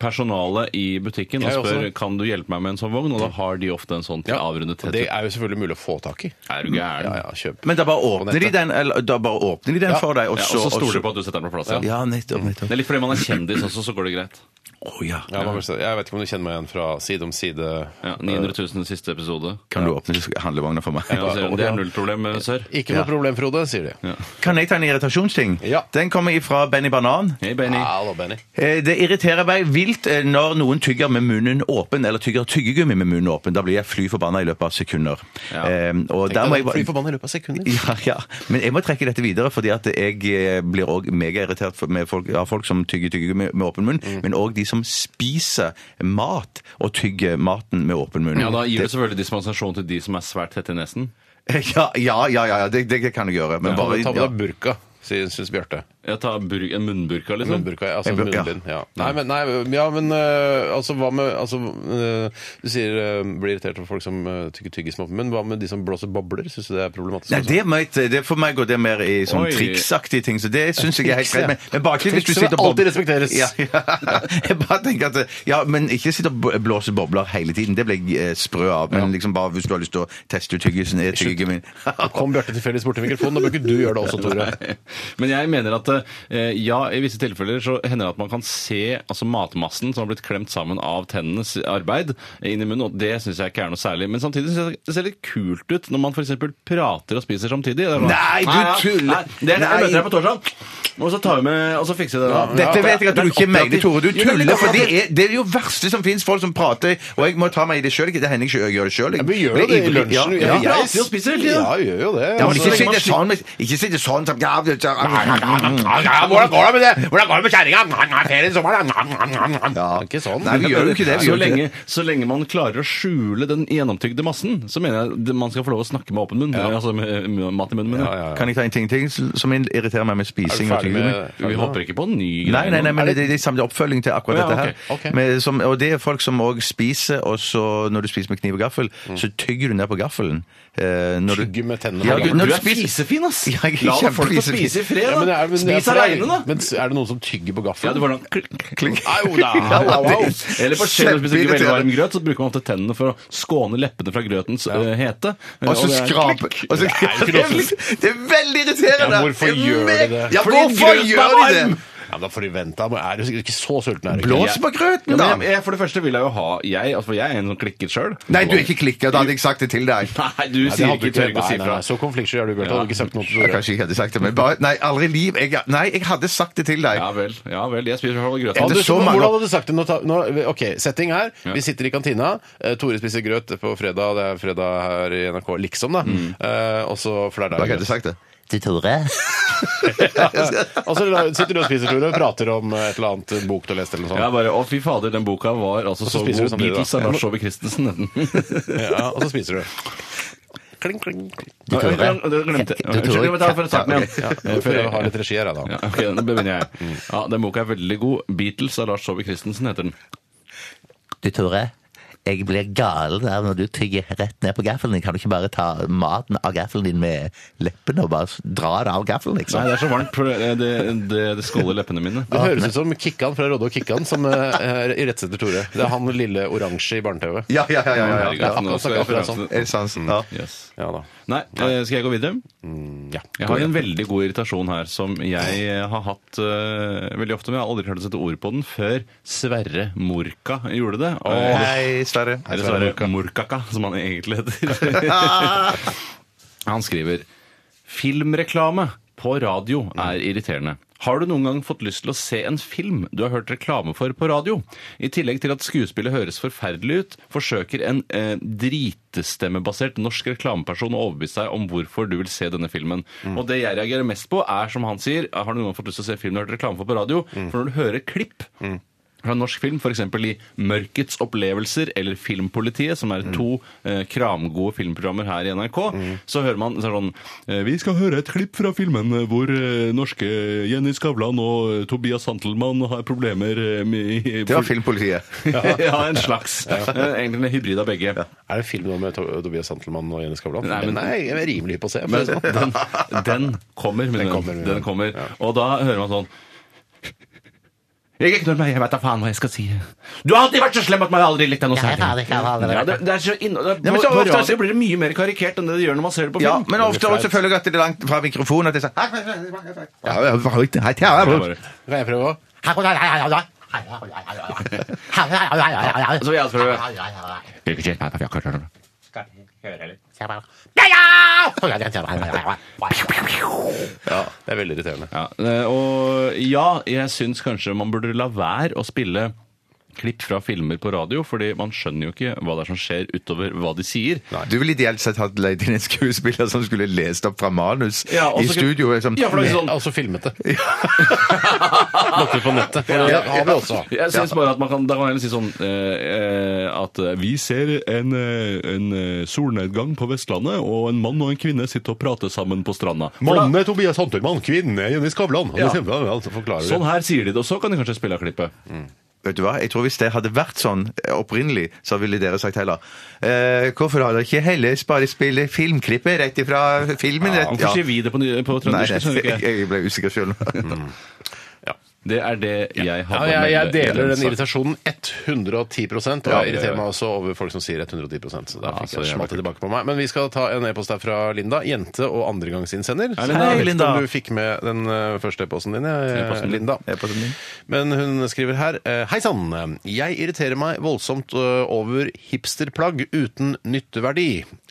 S9: personalet i butikken og
S7: Jeg
S9: spør
S7: også.
S9: kan du hjelpe meg med en sånn vogn, og da har de ofte en sånn til
S7: Ja,
S9: avrundet
S7: og Det
S9: tett.
S7: er jo selvfølgelig mulig å få tak i.
S9: Er du gæren?
S7: Ja, ja, kjøp.
S8: Men da bare
S7: På
S8: åpner de
S7: nettet.
S8: den, eller, da bare åpner de den
S7: Ja.
S8: for deg, og
S9: Ja,
S8: så
S9: og så
S8: og
S9: stoler
S8: så-
S9: du på at du setter den på plass. Ja.
S8: Ja, nettopp. nettopp.
S9: Det er litt fordi man er kjendis også, så går det greit.
S8: Å ja.
S7: Ja, man, jeg vet ikke om du kjenner meg igjen fra Side om side.
S9: Ja, 900 000 siste episode.
S8: Kan du åpne handlevogna for meg?
S9: Ja, så sier de, det er null problem, eh, sør.
S7: Ikke noe problem, Frode, sier de.
S8: Kan jeg ta en irritasjonsting?
S7: Ja.
S8: Den kommer ifra Benny Banan.
S9: Hei, Benny.
S7: Hallo, Benny.
S8: Eh, Det irriterer meg vilt eh, når noen tygger med munnen åpen, eller tygger tyggegummi med munnen åpen. Da blir jeg fly forbanna i løpet av sekunder.
S9: Ja.
S8: Eh, og da må jeg
S7: Fly
S8: bare
S7: forbanna i løpet av sekunder.
S8: ja, ja. Men jeg må trekke dette videre, fordi at jeg eh, blir òg megairritert for- med folk, av folk som tygger tyggegummi med åpen munn,
S9: Mm.
S8: men òg de som spiser mat og tygger maten med åpen munn.
S9: Ja, da gir du selvfølgelig dispensasjon til de som er svært tette i nesen.
S8: [laughs] ja, ja, ja, ja, ja, det, det kan jeg gjøre. Men
S7: Ta
S8: bare
S7: med
S8: ja.
S7: deg burka, sier- syns Bjarte.
S9: Ja, ta bur en munnburka, liksom.
S7: Munnburka, ja, altså
S8: En bur- ja.
S7: munnbind. Ja. Nei, men, nei, ja, men øh, altså, hva med altså, øh, Du sier øh, blir irritert over folk som øh, tygger tyggis med åpen munn. Hva med de som blåser bobler? Syns du det er problematisk?
S8: Nei,
S7: også?
S8: det er meg, det for meg går det mer i sånn
S9: Oi.
S8: triksaktige ting, så det syns jeg er helt
S7: Triks,
S8: greit.
S7: ja.
S8: Men, men bare ikke hvis du
S7: Triks
S8: sitter
S7: skal
S8: og bob-
S7: alltid respekteres.
S8: Ja, ja. [laughs] Jeg bare tenker at eh, Ja, men ikke sitte og bo- blåse bobler hele tiden. Det blir jeg eh, sprø av. Men liksom bare hvis du har lyst til å teste ut tyggisen i tyggegummi [laughs]
S7: Nå Kom Bjarte tilfeldigvis borti mikrofonen, da bør ikke du gjøre det også, Tore.
S9: [laughs] Men jeg mener at eh, ja, i visse tilfeller så hender det at man kan se altså matmassen som har blitt klemt sammen av tennenes arbeid eh, inn i munnen, og det syns jeg ikke er noe særlig. Men samtidig syns jeg det ser litt kult ut når man f.eks. prater og spiser samtidig. Det er sånn,
S8: Nei, du
S9: ja,
S8: tuller!
S9: Nei, det er,
S8: Nei.
S9: jeg møter deg på torsdag, og så tar vi med Og så fikser jeg det. da.
S8: Dette vet jeg at
S9: Det er
S8: du ikke mener,
S9: operativt.
S8: Tore. Du
S9: Jo, det er litt
S8: tuller. For det
S9: operativt.
S8: er det er jo verste som fins, folk som prater. Og jeg må ta meg i det sjøl. Det hender ikke jeg gjør det sjøl.
S7: Ja, men gjør jo det i lunsjen.
S8: Ja,
S9: Vi
S8: ja.
S9: prater jo og spiser hele tiden.
S7: Ja, vi gjør jo det.
S8: Ja, men
S7: altså.
S8: ikke sitte sånn med- Ikke sitte sånn som ja, det- ja, ja, ja, ja.
S7: Hvordan går det med det? Hvordan går det med kjerringa? Ferien i sommeren? Ja, ikke sånn.
S8: Nei, vi gjør jo ikke det. Vi
S9: Så
S8: gjør ikke det.
S9: lenge, så lenge man klarer å skjule den gjennomtygde massen, så mener jeg det- man skal få lov å snakke med åpen munn. Altså med, med mat i munnen. mener jeg.
S8: Kan jeg ta en ting, ting som irriterer meg med spising og
S7: ferdig med-
S8: tyggegummi?
S9: Vi hopper ikke på en ny
S8: Nei,
S9: greie
S8: nei, nei,
S9: nå.
S8: men det, det er samme oppfølging til akkurat
S9: Ja,
S8: dette her.
S9: ok,
S7: ok.
S8: Men som, og det er folk som òg spiser, og så når du spiser med kniv og gaffel, så tygger du ned på gaffelen. Eh, når du-
S7: Mm. Tygger med tennene
S8: Ja,
S7: på
S8: du,
S7: gaffelen.
S8: når
S9: Du
S8: du
S9: er
S8: spiser
S9: fisefin, ass!
S8: Ja, jeg er
S9: La da folk få
S8: kjempefisefin.
S9: spis i fred,
S7: Ja,
S9: da!
S7: men det er- men det er-
S9: Spis aleine, da!
S7: Men er det noen som tygger på
S9: Ja, det
S7: gaffelen?
S9: var sånn klink, klink.
S8: [laughs]
S7: Au da! Au, au.
S9: Eller på skjell, hvis du spiser
S8: Kjempeirriterende.
S9: veldig varm grøt, så bruker man ofte tennene for å skåne leppene fra grøtens eh, hete.
S8: Og så
S9: det er-
S8: skraper og så- [laughs]
S7: Det er jo ikke sånn.
S8: Det er veldig irriterende!
S7: Ja, hvorfor
S8: Det er
S7: gjør de det?
S8: Ja,
S9: Fordi
S8: hvorfor
S9: grøten er
S8: gjør de
S9: varm!
S8: det?
S7: Ja, men da får de vente. Men er du sikkert ikke så sulten? Er du ikke?
S8: Blås på grøten,
S9: Ja,
S8: da!
S9: men jeg, jeg, for det første vil jeg jo ha Jeg, altså, for jeg er en som klikker sjøl.
S8: Nei, du er ikke klikka. Da hadde jeg sagt det til deg.
S9: Nei, du
S7: Nei, det
S9: sier
S7: hadde
S9: ikke
S7: du
S9: tør ikke å si
S7: Nei, nei,
S9: fra.
S7: nei, Så konfliktsky er du, Bjarte.
S9: Ja.
S7: Hadde ikke sagt noe til
S8: Jeg
S7: Tore.
S8: kanskje ikke hadde sagt det, men bare, Nei, aldri i liv. Jeg, nei, jeg hadde sagt det til deg.
S9: Ja vel. ja vel, Jeg spiser i hvert fall
S7: Ja,
S9: grøt.
S8: Etter
S7: du,
S8: så
S7: men
S8: mange-
S7: Hvordan hadde du sagt det? Nå, ta- nå, ok, setting her.
S9: Ja.
S7: Vi sitter i kantina. Eh, Tore spiser grøt på fredag. Det er fredag her i NRK, liksom, da. Eh, og så fler
S8: Da
S7: deg
S8: hadde jeg
S7: grøt.
S8: sagt det.
S4: Til Tore.
S7: Og så la- sitter du og spiser, Tore, og prater om eh, et eller annet eh, bok du har lest, eller noe sånt.
S9: Ja, bare, Å, fy fader, den boka var altså
S7: så
S9: så,
S7: spiser du
S9: god.
S7: samtidig, da.
S9: Beatles er Lars Saabye Christensen.
S7: Ja,
S9: [laughs]
S7: og så spiser du. Kling, kling. kling.
S4: Til
S9: Oi,
S4: Tore.
S9: oi, Det glemte jeg.
S4: Til
S9: Unnskyld,
S4: Tore.
S9: jeg må ta for starten igjen.
S7: Ja,
S9: Eh,
S7: for
S9: før
S7: jeg har
S9: jeg-
S7: litt Mm. regi her, jeg, da.
S9: Ja, ok, den begynner jeg. Ja, Den boka er veldig god. 'Beatles' av Lars Saabye Christensen heter den.
S4: Du, Tore. Jeg blir gal der når du tygger rett ned på gaffelen din. Kan du ikke bare ta maten av gaffelen din med leppene og bare s- dra det av gaffelen,
S9: Nei,
S4: liksom?
S9: det er så varmt. for Det, det, det, det skåler leppene mine.
S7: Det høres ut som Kikkan fra Rodde og Kikkan som eh, irettsetter Tore. Det er han lille oransje i barne-TV.
S8: Ja, ja, ja. ja, ja,
S9: Herregud,
S8: ja.
S9: nå skal jeg
S7: akkurat sånn.
S9: referanse-
S8: Er det sant? Ja.
S9: Yes.
S7: Ja da.
S9: Nei, eh, skal jeg gå videre?
S7: Ja.
S9: Jeg har en veldig god irritasjon her som jeg har hatt eh, veldig ofte, men jeg har aldri klart å sette ord på den før Sverre Morka gjorde det. Og,
S8: Hei, Sverre.
S9: eller Sverre Morkaka, som han egentlig heter. han skriver Filmreklame på radio er irriterende. Har du noen gang fått lyst til å se en film du har hørt reklame for på radio? I tillegg til at skuespillet høres forferdelig ut, forsøker en eh, dritestemmebasert norsk reklameperson å overbevise deg om hvorfor du vil se denne filmen. Og det jeg reagerer mest på, er som han sier, har du noen gang fått lyst til å se en film du har hørt reklame for på radio? For når du hører klipp fra en norsk film, f.eks. i 'Mørkets opplevelser' eller 'Filmpolitiet', som er to eh, kramgode filmprogrammer her i NRK, så hører man så er det sånn eh, Vi skal høre et klipp fra filmen eh, hvor eh, norske Jenny Skavlan og eh, Tobias Santelmann har problemer eh, med
S8: Det var [laughs] filmpolitiet.
S9: [laughs] ja, en slags. Eh, Egentlig en hybrid av begge.
S7: Er det en film nå med To- Tobias Santelmann og Jenny Skavlan?
S9: Nei, men-
S7: Nei, jeg er rimelig hypp på å se. for å [laughs]
S9: Men
S7: si det sånn.
S9: den, den kommer. men Den
S7: kommer,
S9: kommer,
S7: ja.
S9: den kommer. Og da hører man sånn jeg er ikke noe med, jeg vet da faen hva jeg skal si. Du har alltid vært så slem at man aldri likte deg noe
S4: Ja, jeg har
S9: særlig.
S4: aldri- jeg har aldri-
S9: Ja, det, det er så inn... Det,
S8: Ja, men
S9: på,
S8: så
S9: på
S8: ofte-
S9: radio blir det mye mer karikert enn det det gjør når man ser det på
S8: Ja,
S9: film.
S8: men ofte også føler jeg at det er langt fra mikrofonen at det er sånn «Hei, hei, hei, hei, hei». Ja, ja, hva har jeg- hei, hei, hei, hei.
S7: Kan jeg prøve òg?
S9: [laughs] Så jeg tror
S7: Ja, det er veldig irriterende.
S9: Ja, eh, og ja, jeg syns kanskje man burde la være å spille klipp fra filmer på radio, fordi man skjønner jo ikke hva det er som skjer utover hva de sier.
S8: Du ville ideelt sett hatt leid inn en skuespiller som skulle lest opp fra manus
S9: Ja, og
S8: i
S9: så-
S8: studio. Liksom.
S9: Ja, for det er ikke
S7: Jeg
S9: sånn
S7: har også filmet det. [laughs] Lagt ut på nettet. Og Det har vi også.
S9: Jeg synes bare at man kan, Da kan man heller si sånn eh, eh, at eh, vi ser en, eh, en eh, solnedgang på Vestlandet, og en mann og en kvinne sitter og prater sammen på stranda. For da-
S7: Tobias Santelmann, kvinne Jenny Skavlan.
S9: Ja.
S7: Sånn
S9: Sånn her sier de det, og så kan de kanskje spille av klippet.
S8: Vet du hva? Jeg tror Hvis det hadde vært sånn eh, opprinnelig, så ville dere sagt heller eh, Hvorfor har dere ikke heller bare spille filmklippet rett ifra filmen?
S9: Ja,
S8: Rett?
S9: Hvorfor sier vi det på, ny- på
S8: Nei,
S9: trøndersk? skjønner du
S8: jeg,
S9: ikke? Mm.
S8: jeg ble
S9: [laughs]
S8: usikker sjøl.
S9: Det er det jeg
S7: Ja,
S9: hadde
S7: jeg,
S9: å
S7: jeg
S9: melde i
S7: deler den
S9: saken.
S7: irritasjonen 110 og
S9: Ja,
S7: jeg
S9: ja, ja.
S7: irriterer meg også over folk som sier 110 så der
S9: Ja,
S7: fikk
S9: så jævla
S7: jeg smalt det tilbake på meg. Men vi skal ta en e-post her fra Linda, jente og andregangsinnsender.
S9: Hei, Linda.
S7: Jeg vet ikke
S8: Linda.
S7: om du fikk med den eh, første e-posten din, jeg,
S9: E-posten din.
S7: Linda. Men hun skriver her eh, Hei sann, jeg irriterer meg voldsomt eh, over hipsterplagg uten nytteverdi.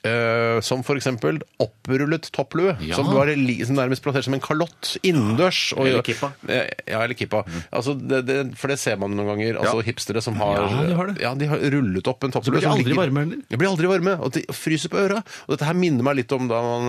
S7: Eh, Som for eksempel opprullet topplue, som, bare, li- som nærmest plassert som en kalott innendørs. og-
S9: Eller kippa. Mm.
S7: Eh, Ja, eller kippa. Altså, det, det, for det ser man noen ganger. Altså hipstere som har
S9: Ja, de har det.
S7: ja, de har rullet opp en topplue.
S9: blir de
S7: som
S9: aldri
S7: ligger-
S9: varme, eller?
S7: De blir aldri varme, og de fryser på øra. Og dette her minner meg litt om da, man,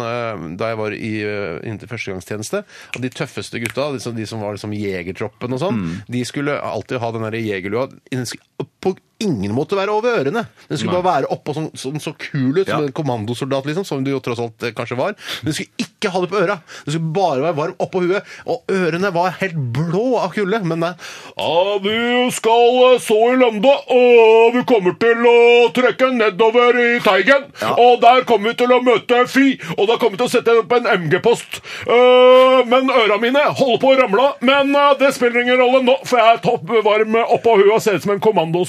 S7: eh, da jeg var i eh, inn til førstegangstjeneste. At de tøffeste gutta, de som, de som var liksom jegertroppen og sånn,
S9: Mm.
S7: de skulle alltid ha den der jegerlua Den skulle på ingen måte være over ørene. Den skulle bare være oppå sånn, sånn så kul ut, som
S9: Ja.
S7: en kommandosoldat, liksom, som du jo tross alt eh, kanskje var. Men du skulle ikke ha det på øra. Du skulle bare være varm oppå huet. Og ørene var helt blå av kulde. Men nei. Ja, du skal eh, så i lende, og vi kommer til å trekke nedover i Teigen. Og der kommer vi til å møte Fi, og da kommer vi til å sette opp en MG-post. Eh, men øra mine holder på å ramle, men eh, det spiller ingen rolle nå, for jeg er topp varm oppå huet og ser ut som en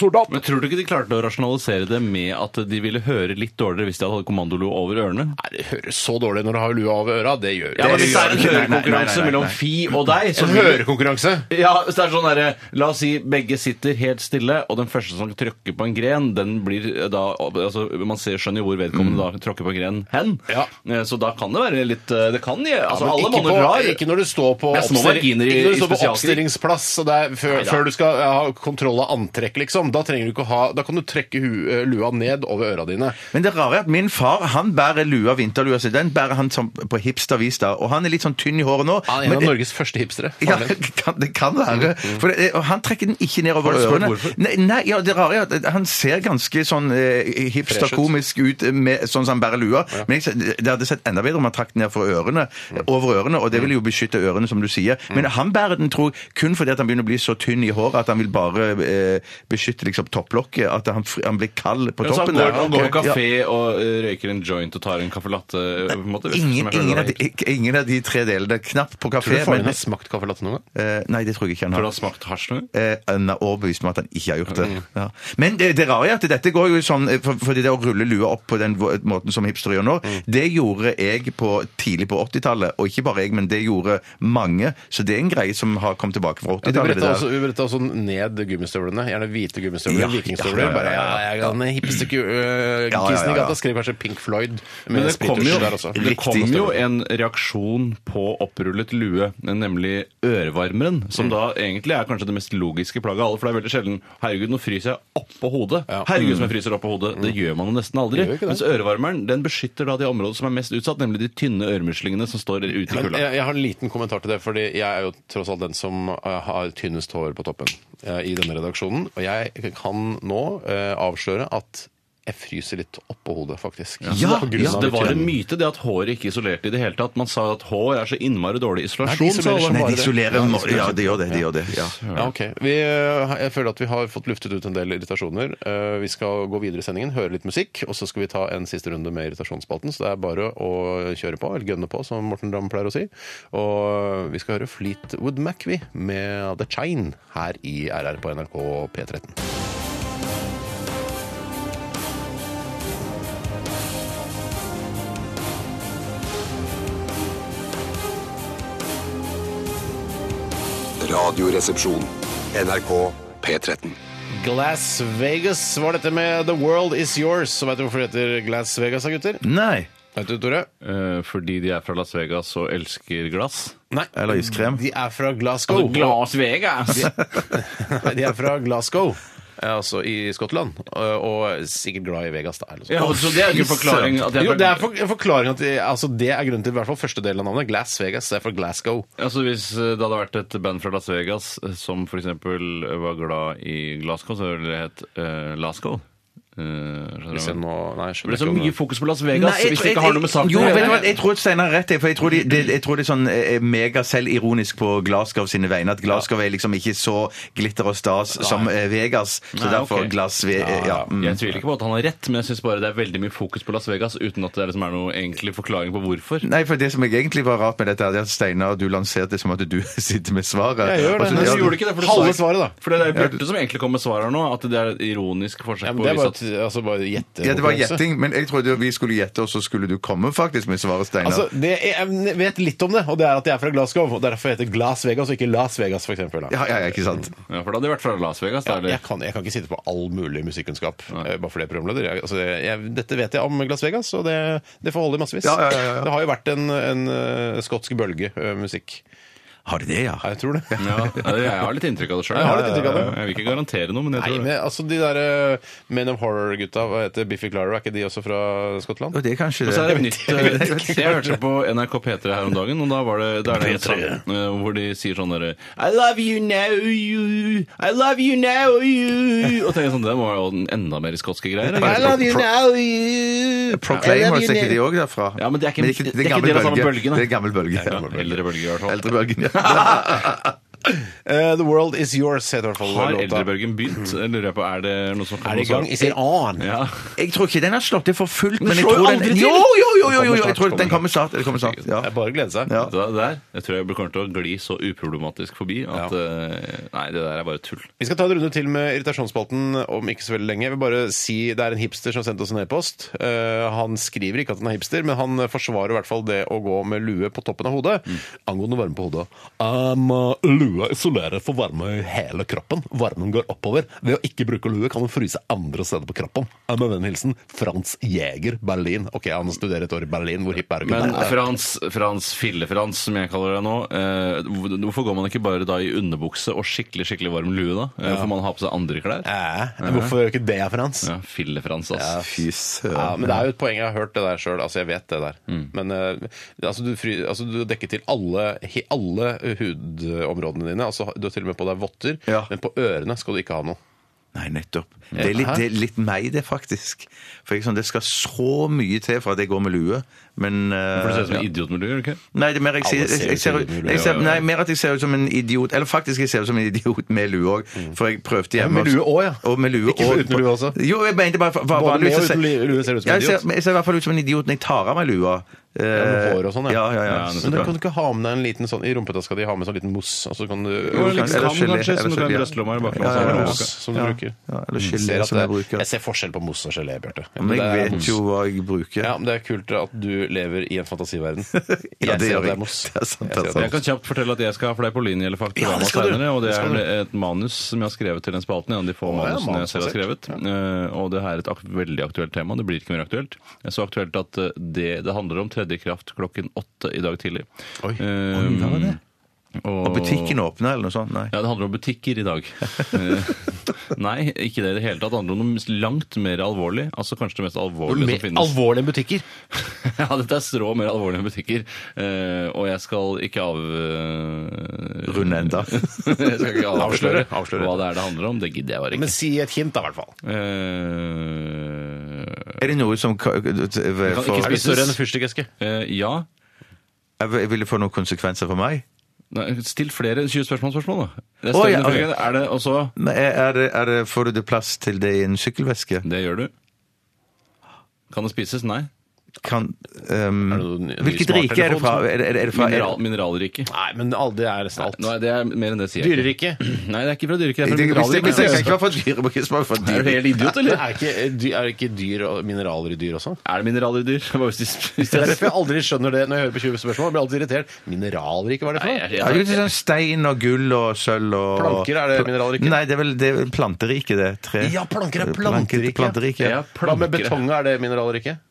S1: soldat.
S9: Men tror du ikke de klarte å rasjonalisere det med at de ville høre litt dårligere hvis de hadde kommandolo over ørene?
S7: Nei, det høres så dårlig når du har lua over øra. Det gjør
S9: Ja, men Hvis det er en
S8: Nei, nei, nei, nei,
S9: hørekonkurranse
S8: nei.
S9: mellom Fi og deg så
S7: En
S9: vil-
S7: hørekonkurranse.
S9: Ja, hvis det er sånn derre La oss si begge sitter helt stille, og den første som tråkker på en gren, den blir da altså, Man ser skjønner jo hvor vedkommende
S8: Mm.
S9: da tråkker på en gren hen.
S7: Ja.
S9: Eh, Så da kan det være litt eh, Det kan ja, altså,
S7: Men
S9: Alle
S7: ikke,
S9: monner
S7: på,
S9: drar.
S7: ikke når du står på,
S9: Det er små
S7: oppstilling-
S9: marginer i-
S7: ikke når du
S9: i
S7: står på
S9: spesialkrig.
S7: oppstillingsplass og det er før,
S9: Neida.
S7: før du skal ja, ha kontroll av antrekk, liksom. Da trenger du ikke å ha Da kan du trekke hu, eh, lua ned over øra dine.
S8: Men det rare er at min far han bærer lua, vinterlua si. Den bærer han som på hipstervis da. Og han er litt sånn tynn i håret nå.
S9: Ah,
S7: Han er en
S8: men-
S7: av Norges første hipstere.
S8: Ja, det kan, det kan være. For det, og han trekker den ikke ned over
S9: Mm, Har du spurt
S8: ørene.
S9: hvorfor?
S8: Nei, nei ja, det rare er at han ser ganske sånn eh, hipster-komisk ut, med, sånn som han bærer lua. Men jeg, ser- det hadde sett enda bedre om han trakk den ned for ørene,
S9: Mm.
S8: over ørene, og det ville jo beskytte ørene, som du sier. Men han bærer den, tror jeg, kun fordi at han begynner å bli så tynn i håret at han vil bare eh, beskytte liksom topplokket, at han, fr- han blir kald på
S9: Ja, så
S8: toppen.
S9: han går,
S8: der.
S9: han går på
S8: Ja.
S9: kafé og eh, røyker en joint og tar en caffè latte. eh, på en måte, som
S8: Ingen,
S9: jeg føler
S8: ingen,
S9: var
S8: av de,
S9: helt-
S8: ikke- ingen av de tre delene. Knapt på
S7: Tror
S8: kafé.
S7: du faren
S8: men-
S7: din har smakt caffè latte noen gang?
S8: eh, nei, det tror jeg ikke han
S9: Tror du
S8: har.
S9: han smakte hasj nå?
S8: Eh, Han er overbevist om at han ikke har gjort det. Ja. Men det, det rare er at dette går jo i sånn eh, for, Fordi det å rulle lua opp på den vo- måten som hipstere gjør nå, det gjorde jeg på, tidlig på 80-tallet. Og ikke bare jeg, men det gjorde mange. Så det er en greie som har kommet tilbake fra
S7: Ja, du
S8: 80-tallet. det
S7: bretta
S8: der.
S7: også, du bretta også ned gummistøvlene. Gjerne hvite gummistøvler.
S8: Ja,
S7: vikingstøvler.
S8: ja, ja, ja,
S7: Bare,
S8: ja.
S7: ja, jeg er den hipste ku- øh,
S8: ja,
S7: kisen i
S8: ja.
S7: gata. Skrev kanskje Pink Floyd
S9: Men
S7: med
S9: det kom jo,
S7: splittersen der også.
S9: det kom
S8: Riktig
S9: jo
S8: historie.
S9: en reaksjon på opprullet lue, nemlig ørevarmeren,
S7: Mm.
S9: som da egentlig er kanskje det mest logiske plagget av alle, for det er veldig sjelden Herregud, nå fryser jeg oppå hodet. Herregud, som jeg fryser oppå hodet. Det gjør man jo nesten aldri.
S7: Mm. Det gjør ikke det.
S9: Mens ørevarmeren den beskytter da de områdene som er mest utsatt, nemlig de tynne øremuslingene som står ute i
S7: Men
S9: kulda.
S7: jeg, jeg har en liten kommentar til det, fordi jeg er jo tross alt den som eh, har tynnest hår på toppen eh, i denne redaksjonen. Og jeg kan nå eh, avsløre at jeg fryser litt oppå hodet, faktisk.
S8: Ja,
S7: På grunn
S9: Ja,
S7: av
S9: det var
S7: tynn-
S9: en myte det at håret ikke isolerte i det hele tatt. Man sa at hår er så innmari dårlig
S7: Nei,
S9: isolasjon.
S7: det
S9: sa
S7: isolerer
S9: alle.
S7: seg.
S8: Nei,
S7: bare
S8: de
S7: det.
S8: isolerer
S7: Ja, de
S8: må- Ja, det gjør det. De gjør det. Ja.
S7: Ja, ok. Vi, eh, jeg føler at vi har fått luftet ut en del irritasjoner. Eh, Vi skal gå videre i sendingen, høre litt musikk, og så skal vi ta en siste runde med irritasjonsspalten. Så det er bare å kjøre på, eller gønne på, som Morten Ramm pleier å si. Og vi skal høre Fleetwood Mac, vi, med The Chain her i RR på NRK P13.
S6: Radioresepsjon. NRK P13.
S7: Glass Vegas var dette med The World Is Yours. Så vet du hvorfor det heter Glass Vegas, da, gutter?
S8: Nei.
S7: Vet du, Tore?
S9: Eh, Fordi de er fra Las Vegas og elsker glass. Altså,
S7: Nei. oh.
S8: Eller iskrem.
S7: De er fra Glasgow.
S9: Vegas!
S7: Nei, de er fra [laughs] Glasgow. eh, Altså i Skottland, eh, og sikkert glad i Vegas, da. Eller noe sånt.
S9: Ja, så det er jo ikke en forklaring at jeg-
S7: Jo, det er for, en forklaring at de, altså, det er grunnen til i hvert fall første delen av navnet. Glass Vegas det er fra Glasgow.
S9: Altså Hvis eh, det hadde vært et band fra Las Vegas eh, som f.eks. var glad i Glasgow, så ville det hett Eh, uh, Lasco.
S7: Hvis jeg
S9: det
S7: nå, nei, jeg
S9: ble
S7: skjønner
S9: så
S7: ikke om
S9: mye
S7: det-
S9: fokus på Las Vegas
S8: Nei, jeg
S9: hvis
S8: tror-
S9: det ikke har noe med saken
S8: Jo,
S9: å
S8: vet du hva,
S9: gjøre.
S8: jeg tror Steinar har rett, jeg, for jeg tror, de, det- jeg tror det er sånn eh, megaselvironisk på Glasgow sine vegne. At Glasgow er liksom ikke så glitter og stas som eh, Vegas. Så
S9: Nei,
S8: derfor
S9: ok.
S8: glass ved, eh, ja. mm.
S9: Jeg tviler ikke på at han har rett, men jeg syns bare det er veldig mye fokus på Las Vegas uten at det liksom er noe egentlig forklaring på hvorfor.
S8: Nei, for det som jeg egentlig var rart med dette, er at Steinar, du lanserte det som at du [laughs] sitter med svaret.
S7: Jeg gjør det.
S8: Og så-
S7: Men så
S8: ja,
S7: gjorde du ikke det, for du sa- Halve svaret, da.
S9: For det er Bjarte som egentlig kom med svaret her nå, at det er et ironisk forsøk
S7: ja, men
S9: på å
S7: Det er
S9: vise
S7: bare,
S9: at
S7: et- altså, bare gjette.
S8: ja, det var gjetting, men jeg trodde vi skulle gjette, og så skulle du komme faktisk med svaret, Steinar.
S7: Altså, det, jeg vet litt om det, og det er at de er fra Glasgow. Og Derfor heter det Glass Vegas og ikke Las Vegas, for eksempel. Da.
S8: ja, ja, ja, ikke sant?
S9: ja, For da hadde det vært fra Las Vegas. da,
S7: Ja,
S9: eller?
S7: jeg, kan, jeg kan ikke sitte på all mulig musikkunnskap eh, bare fordi jeg er programleder. Jeg, altså, jeg, dette vet jeg om Las Vegas, og det, det får holde i massevis.
S8: Ja, ja, ja, ja.
S7: Det har jo vært en, en eh, skotsk bølge eh, musikk.
S8: Har de det, ja?
S7: Ja, Jeg tror det.
S9: Ja, jeg har litt inntrykk av det sjøl.
S7: Ja, jeg har litt inntrykk av det.
S9: Jeg vil ikke garantere noe, men [laughs] jeg
S7: Nei,
S9: tror
S7: men altså de der eh, Men of Horror-gutta, hva heter Biffy Clara, er ikke de også fra Skottland?
S8: Jo, det er kanskje
S9: Og så er det
S8: det.
S9: et nytt eh, Jeg hørte på NRK P3 her om dagen, og da var det, da er det en sang eh, hvor de sier sånn derre I love you now, you. I love you now, you. Og tenker jeg sånn, det var jo den enda mer skotske greier.
S8: I
S9: eller?
S8: love you
S7: now, you
S8: Proclaim, var det ikke de òg derfra?
S9: Ja, men det er ikke-
S8: Men
S9: det er ikke del av samme bølgen, da.
S8: Det er gammel bølge.
S9: Ja, Eldre bølge, i hvert fall.
S8: [laughs] Eldrebølgen, ja.
S7: Eh, the world is yours, heter i hvert fall
S9: Har
S7: låta.
S9: eldrebølgen begynt? Jeg Lurer jeg på, er det noe som
S7: Er det i gang? Is it on?
S9: Ja.
S8: Jeg tror ikke den har slått til for fullt, men, jeg
S9: slår jo
S8: tror den
S9: aldri til!
S8: Jo, jo, jo, jo, jo, jo, jeg tror
S9: Kommer snart,
S8: den kommer snart. Den kommer snart ja.
S7: Det er bare å glede seg.
S8: Ja.
S9: Det der, jeg tror jeg kommer til å gli så uproblematisk forbi at eh, Nei, det der er bare tull.
S7: Vi skal ta en runde til med irritasjonsspalten om ikke så veldig lenge. Jeg vil bare si Det er en hipster som har sendt oss en e-post. Eh, han skriver ikke at han er hipster, men han forsvarer i hvert fall det å gå med lue på toppen av hodet. Angående varme på hodet. Um, lua isolerer for varme i hele kroppen. Varmen går oppover. Ved å ikke bruke lue kan du fryse andre steder på kroppen. Eh, Med vennlig hilsen Frans Jæger, Berlin. Ok, han studerer et år i Berlin. Hvor hipp er du?
S9: Men Frans, Frans Fille-Frans, som jeg kaller deg nå, eh, hvor- hvorfor går man ikke bare da i underbukse og skikkelig skikkelig varm lue, da? Eh, Får man ha på seg andre klær?
S7: Eh, hvorfor gjør ikke det, Frans?
S9: Ja, Fille-Frans, ass.
S8: Fy søren.
S7: Ja, men det er jo et poeng. Jeg har hørt det der sjøl. Altså, jeg vet det der.
S8: Mm.
S7: Men eh, altså, du, fry, altså, du dekker til alle, he- alle hudområdene dine. Altså, du har til og med på deg votter.
S8: Ja.
S7: Men på ørene skal du ikke ha noe.
S8: Nei, nettopp. Det er, litt, det er litt meg, det, faktisk. For jeg, er sånn, Det skal så mye til for at jeg går med lue, men eh,
S9: For du ser ut som en idiot med lue, gjør du ikke?
S8: Nei, det er mer, jeg, sier- jeg, jeg, ser, ut- jeg ser, nei, mer at jeg ser ut som en idiot. Eller faktisk, jeg ser ut som en idiot med lue òg. For jeg prøvde hjemme
S7: med lue også, Mm. ja.
S8: Og med lue
S7: Ikke
S8: og-
S7: uten lue også.
S8: Jo, jeg mente bare for, for,
S7: Både
S8: vanligvis
S7: med og
S8: så ser-
S7: uten lue ser du ut som en
S8: Ja, jeg
S7: idiot.
S8: Ser, men jeg ser i hvert fall ut som en idiot når jeg tar av meg lua. Eh,
S7: med hår og sånn, ja.
S8: ja. Ja,
S9: Ja,
S8: Så
S7: Men da
S8: det
S7: kan du ikke ha med deg en liten sånn I rumpetaska di ha med en sånn liten mos. Og så kan du
S9: Jo, litt
S8: kanskje-
S9: skam,
S8: eller gelé,
S9: kanskje, som
S8: eller
S9: du kan i
S8: gelé.
S9: brystlomma eller baklomma.
S8: Ja, ja, ja.
S9: eller
S7: mos
S9: bak.
S7: som du
S8: Ja.
S7: bruker.
S8: Ja, eller
S7: Mm.
S8: gelé
S7: Ser at
S8: som jeg
S7: det-
S8: bruker.
S7: Jeg ser forskjell på mos og gelé, Bjarte.
S8: Men
S7: Det er
S8: jeg vet
S7: mos.
S8: jo hva jeg bruker.
S7: ja, men Det er kult at du lever i en fantasiverden.
S8: [laughs] Ja,
S7: Jeg ser at
S8: det gjør
S7: det
S8: jeg.
S7: er mos.
S8: Det er sant,
S7: Jeg ser at
S8: det er sant.
S7: det er
S9: Jeg kan kjapt fortelle at jeg skal ha Fleipolini eller
S8: Ja,
S9: Faktorama
S8: det skal du.
S9: senere. Og det
S8: Det skal
S9: er et manus som jeg har skrevet til den spalten. En av de få
S7: ja,
S9: manusene jeg selv har
S7: manusbasert.
S9: skrevet. Eh, Og det her er et ak veldig aktuelt tema. Det blir ikke mer aktuelt. Det er Så aktuelt at eh, det, det handler om tredje kraft klokken åtte i dag tidlig.
S7: Oi.
S9: Eh,
S8: da var det.
S9: og,
S8: Og butikken åpner, eller noe sånt? Nei.
S9: ja, det handler om butikker i
S8: [laughs]
S9: dag. Eh, Nei, ikke det i det hele tatt. Det handler om noe langt mer alvorlig. Altså kanskje det mest alvorlige som finnes.
S7: Alvorlige butikker.
S9: [laughs] Ja, dette er strå mer alvorlig enn butikker. Eh, og jeg skal ikke av... eh,
S8: Runde enda.
S9: [laughs] jeg skal ikke avsløre,
S7: Avsløre, avsløre.
S9: hva det er det handler om. Det gidder jeg bare
S7: Men
S9: ikke. Ehm,
S7: si et hint, da, i hvert fall.
S8: Er det noe som ka-
S9: ikke
S8: for,
S7: Er det større
S9: spises.
S7: enn en fyrstikkeske?
S9: Eh, eh, ja.
S8: jeg Vil det få noen konsekvenser for meg?
S9: Nei, still flere enn 20 spørsmål, spørsmål da. Det er,
S8: Å,
S9: større
S8: ja,
S9: enn
S8: ok.
S9: flere. er det også...
S8: Nei, er det, er det, får du det plass til det i en sykkelveske?
S9: Det gjør du. Kan det spises? Nei.
S8: Kan, ehm,
S7: Er det noen-
S8: hvilket
S7: ny
S8: rike er det fra?
S7: smarttelefon?
S8: Er det, er det- er det fra er
S9: Mineral,
S8: det,
S9: mineralrike.
S7: Nei, men alle- det er nesten alt.
S9: Nei, det er mer enn det sier jeg ikke.
S7: Dyreriket.
S9: [clears throat] Nei, det er ikke fra dyreriket, det er fra
S8: det, hvis det, hvis det skal
S9: mineralriket.
S8: ikke være fra dyrebruket, så må det være fra
S9: Er du
S8: dyr.
S9: helt idiot,
S7: Men
S9: eller?
S7: Er ikke, eh, er ikke dyr og mineraler i dyr også?
S9: Er det mineraler i dyr? [laughs] Bare hvis de spiser-
S7: Det
S8: [laughs]
S7: er derfor jeg aldri skjønner det når jeg hører på 20 spørsmål. Jeg blir alltid irritert. Mineralrike, hva er det
S9: Nei,
S7: for noe?
S9: jeg-
S8: Ja, det er jo sånn stein og gull og sølv og
S7: Planker, er det mineralriket?
S8: Nei, det er vel det er planteriket, det. Tre.
S7: Ja, planker er planteriket.
S8: planteriket.
S9: Ja,
S8: Ja.
S7: Hva med
S9: plankere.
S7: betong, er det mineralrike?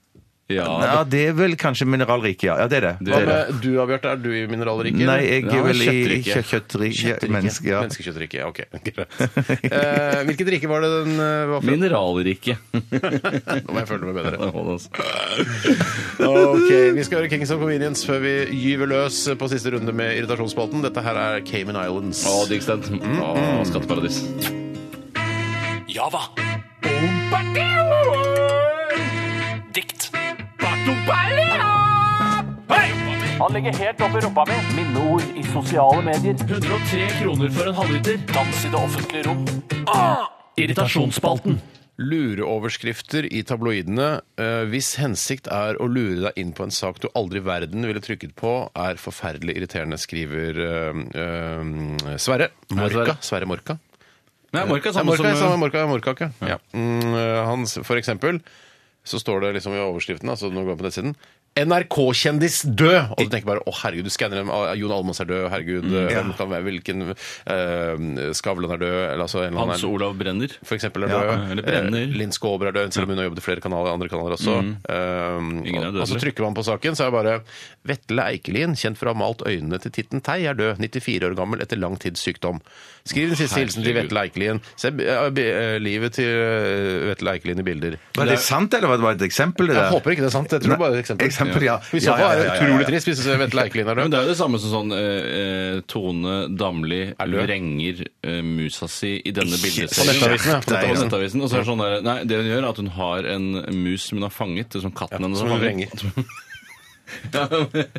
S9: Ja,
S8: det er vel kanskje mineralriket, ja. ja. Det er det.
S9: Det
S7: Hva
S9: er det.
S7: med du, Bjarte, er du i mineralrike?
S8: Nei, jeg
S9: Ja,
S8: er vel i
S9: kjøttriket.
S8: kjøttriket. Menneske, ja.
S7: Menneskekjøttrike, ok. Greit. Eh, hvilket rike var det den eh, var fra?
S9: Mineralrike. [laughs]
S7: Nå må jeg føle meg bedre.
S9: Hva
S7: Ok, Vi skal høre Kings of Convenience før vi gyver løs på siste runde med irritasjonsspalten. Dette her er Cayman Islands.
S8: Mm.
S9: skatteparadis.
S3: Java. Dikt. Han legger helt opp i rumpa mi. Minneord i sosiale medier. 103 kroner for en halvliter. Dans i det offentlige rom. Ah! Irritasjonsspalten.
S7: Lureoverskrifter i tabloidene eh, hvis hensikt er å lure deg inn på en sak du aldri i verden ville trykket på, er forferdelig irriterende, skriver eh, eh, Sverre. Morka.
S9: Sverre.
S7: Sverre Morka.
S9: Nei, Morka er
S7: Ja,
S9: samme
S7: Morka,
S9: som eh,
S7: er samme Morka, Morka, ikke? Ja. Mm, eh, han, s- for eksempel så står det liksom i overskriften, altså når du går på nettsiden NRK-kjendis død! Og du tenker bare å herregud, du skanner dem. ah, Jon Almaas er død, herregud.
S9: Mm,
S7: eh, hvem Kan være, hvilken eh, Skavlan er død, eller altså en eller annen
S9: Hans Olav Brenner.
S7: for eksempel er
S9: Ja,
S7: død.
S9: eller brenner. Mm.
S7: Eh, Linn Skåber er død, selv om hun har jobbet i flere kanaler, andre kanaler også. Eh,
S9: Ingen er
S7: og- og så
S9: dødelig.
S7: trykker man på saken, så er det bare Vetle Eikelien, kjent for å ha malt øynene til Titten Tei, er død, 94 år gammel etter lang tids sykdom. Skriv den siste hilsen til
S9: Herregud.
S7: Vetle Eikelien. Se eh, be- eh, livet til eh, Vetle Eikelien i bilder.
S8: Var det sant, eller var det bare et eksempel? Det der?
S7: Jeg håper ikke det er sant. Jeg tror bare det er et eksempel.
S8: Eksempel, ja.
S7: I så
S8: Ja, ja,
S7: fall er det
S8: ja, ja, ja.
S7: utrolig trist hvis Vetle Eikelien er
S9: Ja, men
S7: død.
S9: det er jo det samme som sånn eh, eh, Tone Damli
S7: lø.
S9: vrenger eh, musa si i denne
S7: På
S9: bildeserien.
S7: nettavisen, ja. På
S9: På
S7: nettavisen.
S9: Nettavisen. Og så er det sånn der, nei, det hun gjør, er at hun har en mus som hun har fanget. det er Som katten hennes
S7: Som
S9: har
S7: hun
S9: [laughs] fanget.
S7: vrenger.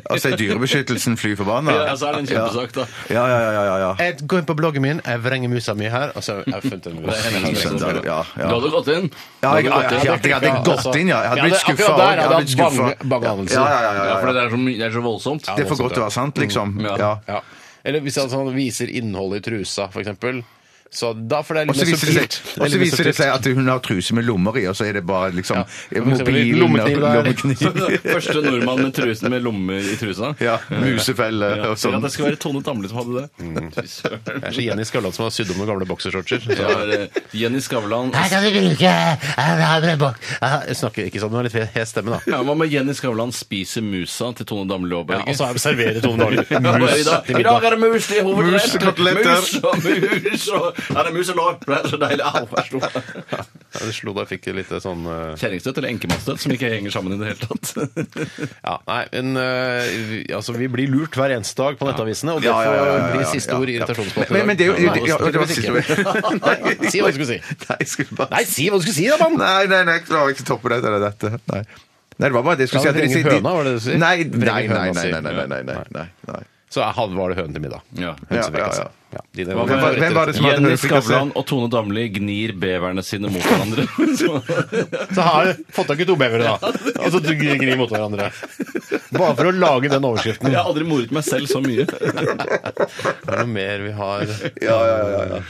S8: Altså er dyrebeskyttelsen fly forbanna?
S9: Ja, så er det en kjempesak, da.
S8: Ja, ja, ja. ja, ja.
S7: Jeg går inn på bloggen min, jeg vrenger musa mi her, og så har jeg funnet en
S8: Fy
S7: mus.
S8: søren, da er det- Ja,
S9: Du
S8: ja.
S9: hadde gått inn.
S8: Ja, jeg, jeg, jeg, jeg, jeg hadde gått inn, ja. Jeg hadde blitt
S7: altså,
S8: skuffa.
S7: Akkurat der hadde jeg hatt bange, bangeanelser.
S8: Ja, ja, ja,
S9: Ja,
S8: ja,
S9: for
S8: ja,
S9: det er så, my- det er så voldsomt.
S8: Det er for godt til å være sant, liksom.
S9: Ja.
S8: Ja.
S7: Ja. Eller hvis han sånn viser innholdet i trusa, for eksempel. Så da får det liksom
S8: Og
S7: litt mer
S8: så viser, det
S7: subtilt.
S8: seg, og så viser det seg at hun har truse med lommer i, og så er det bare liksom
S7: Ja.
S8: mobilen
S7: Lommekniv der.
S9: [laughs] Første nordmann med, trusen, med lommer i trusa.
S8: Ja, musefelle
S9: Ja,
S8: og
S9: Ja,
S8: sånn. Mm.
S9: det skulle være Tone Damli som hadde det. Fy søren.
S7: Det er så Jenny Skavlan som har sydd om noen gamle boksershortser.
S9: Det var, eh, Jenny Skavlan
S4: Her kan du bruke her har vi en bok.
S7: Jeg snakker ikke sånn, hun har litt hes stemme, da.
S9: ja, Hva med Jenny Skavlan spiser musa til Tone Damli Aaberge?
S7: og så er det serverer Tone Dahl
S9: Ja, bare i, dag,
S7: til
S9: I dag
S7: middag.
S9: er det mus til hovedrett!
S8: Mus, koteletter.
S9: Mus og mus og Ja, det er mus og lår. Det er så deilig. Au, jeg slo meg.
S7: Ja, det slo da jeg fikk litt sånn eh,
S9: Kjerringstøt eller enkemannsstøt, som ikke henger sammen i det hele [laughs] tatt.
S7: Ja, nei, men eh, vi, altså, vi blir lurt hver eneste dag på nettavisene, og det
S8: Ja, ja, ja, ja, ja, ja,
S7: blir siste
S8: ja,
S7: ord i
S8: ja.
S7: irritasjonsspalten. i
S8: Men,
S7: dag.
S8: men det er jo
S7: Ja,
S8: ja, det var
S7: tydeligvis
S8: siste
S7: ikke.
S8: ord.
S7: Nei, si hva du skulle si.
S8: [laughs] Nei, jeg skulle bare
S7: Nei, si hva du skulle si, da, mann!
S8: Nei, nei, nei, jeg klarer ikke å toppe dette eller dette. Nei. nei, det var bare det jeg skulle
S7: Ja,
S8: si. at de-
S7: vrenge
S8: de-
S7: høna, var det det du sier?
S8: Nei, nei,
S7: Vrenge
S8: nei,
S7: høna,
S8: nei,
S7: sier.
S8: nei, nei, nei, nei, nei, nei.
S7: Så jeg hadde- var det høne til middag.
S9: Ja.
S8: Ja, ja, ja.
S7: altså. Ja, dine-
S9: Hva-
S7: Hvem var-
S8: hvem var det som- hadde
S9: Jenny
S8: høyest frekvenser.
S9: Skavlan og Tone Damli gnir beverne sine mot hverandre. [laughs] Så-
S7: Så har jeg fått tak i to
S8: [laughs]
S7: bevere, da. Og så glir mot hverandre. Bare for å lage den overskriften.
S9: Jeg har aldri moret meg selv så mye.
S7: Er det noe mer vi har?
S8: Ja, ja, ja, ja, ja.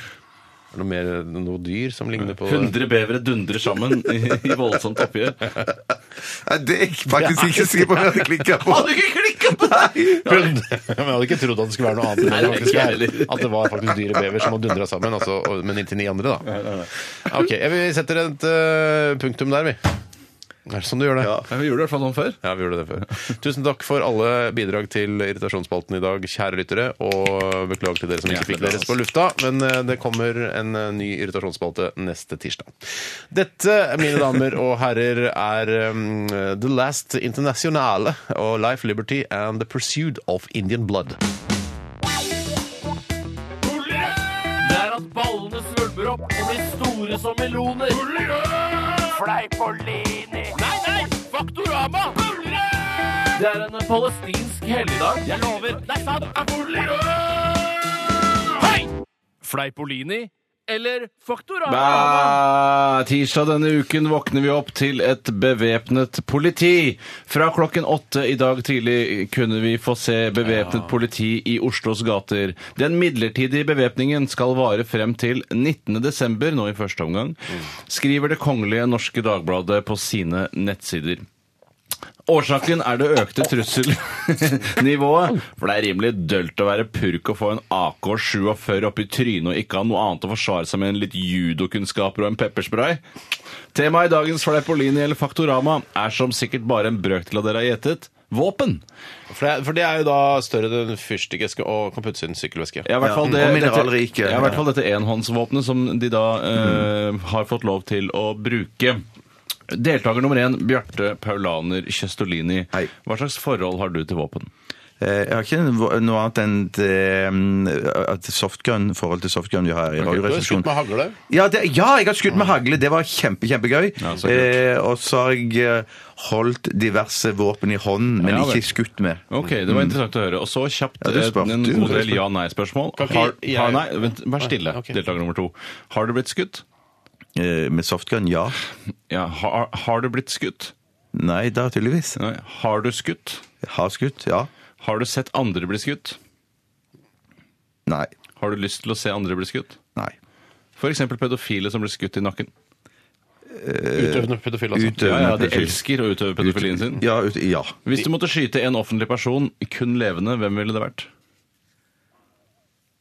S7: Er det noe mer noe dyr som ligner på
S9: 100 bevere dundrer sammen i, i voldsomt oppgjør.
S8: Nei, Det er jeg faktisk ikke sikker på om jeg hadde klikka på.
S9: Hadde du ikke klikka på deg?!
S7: Hund! [laughs] Men jeg hadde ikke trodd at det skulle være noe annet enn det det
S9: Nei,
S7: faktisk
S9: ikke
S7: er.
S9: heller.
S7: At det var faktisk dyr og bever som hadde dundra sammen, altså, og- men inntil ni andre, da. Ok, jeg, vi setter et eh, punktum der, vi. Er det sånn du gjør det?
S9: Ja, vi gjorde det i hvert fall sånn før.
S7: Ja, vi gjorde det
S9: [laughs]
S7: før. Tusen takk for alle bidrag til Irritasjonsspalten i dag, kjære lyttere. Og beklager til dere som ikke fikk deres på lufta, men eh, det kommer en eh, ny irritasjonsspalte neste tirsdag. Dette, mine damer og herrer, er um, The Last Internationale og Life, Liberty and the Pursuit of Indian Blood.
S3: Det er at ballene svulmer opp og blir store som meloner. Fleipolini. Nei, nei! Faktorama! Det er en palestinsk helligdag. Jeg lover. Det er sant. Hei! Fleipolini eller Faktorama?
S9: Bæ! Tirsdag denne uken våkner vi opp til et bevæpnet politi. Fra klokken åtte i dag tidlig kunne vi få se bevæpnet politi i Oslos gater. Den midlertidige bevæpningen skal vare frem til 19.12., nå i første omgang, skriver Det kongelige norske dagbladet på sine nettsider. Årsaken er det økte trusselnivået. For det er rimelig dølt å være purk og få en AK-47 opp i trynet og ikke ha noe annet å forsvare seg med enn litt judokunnskaper og en pepperspray. Temaet i dagens Fleipolini eller Faktorama er som sikkert bare en brøkdel av dere har gjettet våpen.
S7: For det, for det er jo da større enn fyrstikkeske og kan puttes inn sykkelveske.
S9: Ja, i hvert fall
S8: Ja,
S9: det,
S8: og mineralrike.
S9: dette, ja, i hvert fall dette enhåndsvåpenet som de da eh, har fått lov til å bruke. Deltaker nummer én, Bjarte Paulaner Kjøstolini.
S8: Hei.
S9: Hva slags forhold har du til våpen?
S8: Eh, Jeg har ikke noe annet enn eh, at softgun, forhold til softgun vi har
S7: Du
S8: i
S7: har skutt
S8: radioresepsjonen.
S7: med hagle.
S8: Ja, det, ja, jeg har skutt med hagle. Det var kjempe, kjempegøy.
S9: Mm. Ja, så kult.
S8: eh, og så har jeg eh, holdt diverse våpen i hånden, men
S9: Ja, vel.
S8: ikke skutt med.
S9: Ok, Det var interessant å høre. Og så kjapt
S8: Mm. Ja, du
S9: eh,
S8: spurte
S9: en
S8: jo.
S9: god del ja-nei-spørsmål.
S7: Kan ikke
S9: Har,
S7: jeg-
S9: har, nei, vent, vær stille,
S7: Ah, ok.
S9: deltaker nummer to. Har du blitt skutt?
S8: Eh, med softgun, ja.
S9: Ja, har, har du blitt skutt?
S8: Nei, da tydeligvis.
S9: Nei. Har du skutt?
S8: Jeg har skutt, ja.
S9: Har du sett andre bli skutt?
S8: Nei.
S9: Har du lyst til å se andre bli skutt?
S8: Nei.
S9: F.eks. pedofile som blir skutt i nakken. Eh,
S7: Utøvende pedofil, altså.
S8: Utøvende
S9: Ja, ja, De
S8: pedofil.
S9: elsker å utøve pedofilien sin.
S8: Ja, ut, ja. [laughs]
S9: Hvis du måtte skyte en offentlig person, kun levende, hvem ville det vært?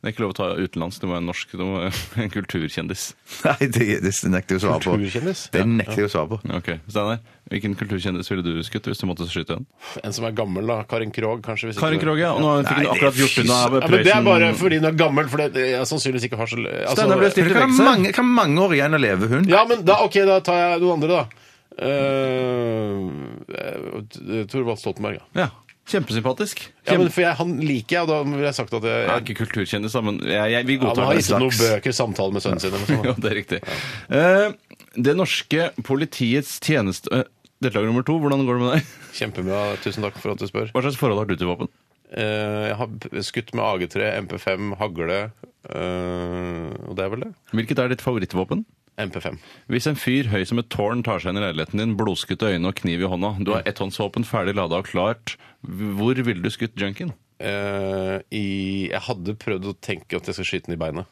S9: Det er ikke lov å ta utenlands. Du må være norsk. Du må være [laughs] en kulturkjendis.
S8: Nei, det, det nekter jeg å svare på.
S7: Kulturkjendis?
S8: Det nekter jeg å svare på.
S9: Ok, Steinar, Hvilken kulturkjendis ville du skutt hvis du måtte skyte en?
S7: En som er gammel, da. Karin Krog, kanskje. hvis ikke-
S9: Karin Krog, ja. Og nå fikk hun
S8: Nei, det
S9: akkurat
S8: er
S9: gjort unna
S8: fys-
S7: Ja, men Det er bare
S9: Prøysen.
S7: fordi hun er gammel, for det, jeg sannsynligvis ikke har så altså-
S9: Steinar ble stilt i
S8: Det kan
S9: vekse.
S8: ha mange, kan ha mange år igjen å leve, hun.
S7: Ja, men da, ok, da tar jeg noen andre, da. Eh, Uh, Torvald Stoltenberg, ja.
S9: Ja. Kjempesympatisk.
S7: ja men
S9: Kjempe...
S7: for jeg, han liker jeg, og da ville jeg sagt at jeg,
S9: Jeg er
S7: jeg
S9: ikke kulturkjendis, da, men jeg, jeg, vi
S7: ja, men Han
S9: godtar
S7: har
S9: det.
S7: gitt ut noen bøker,
S9: [laughs]
S7: samtale med sønnen sin eller noe sånt.
S9: Jo, det er riktig. Eh, det norske politiets tjeneste... eh, deltaker nummer to, hvordan går det med deg?
S7: Kjempebra. Tusen takk for at du spør.
S9: Hva slags forhold har du til våpen?
S7: Eh, jeg har b- skutt med AG3, MP5, hagle eh, Og det er vel det?
S9: Hvilket er ditt favorittvåpen?
S7: MP5.
S9: Hvis en fyr høy som et tårn tar seg inn i leiligheten din, blodskutte øyne og kniv i hånda, du har etthåndsvåpen ferdig lada og klart, hvor ville du skutt junken?
S7: Eh, i, jeg hadde prøvd å tenke at jeg skal skyte den i beinet.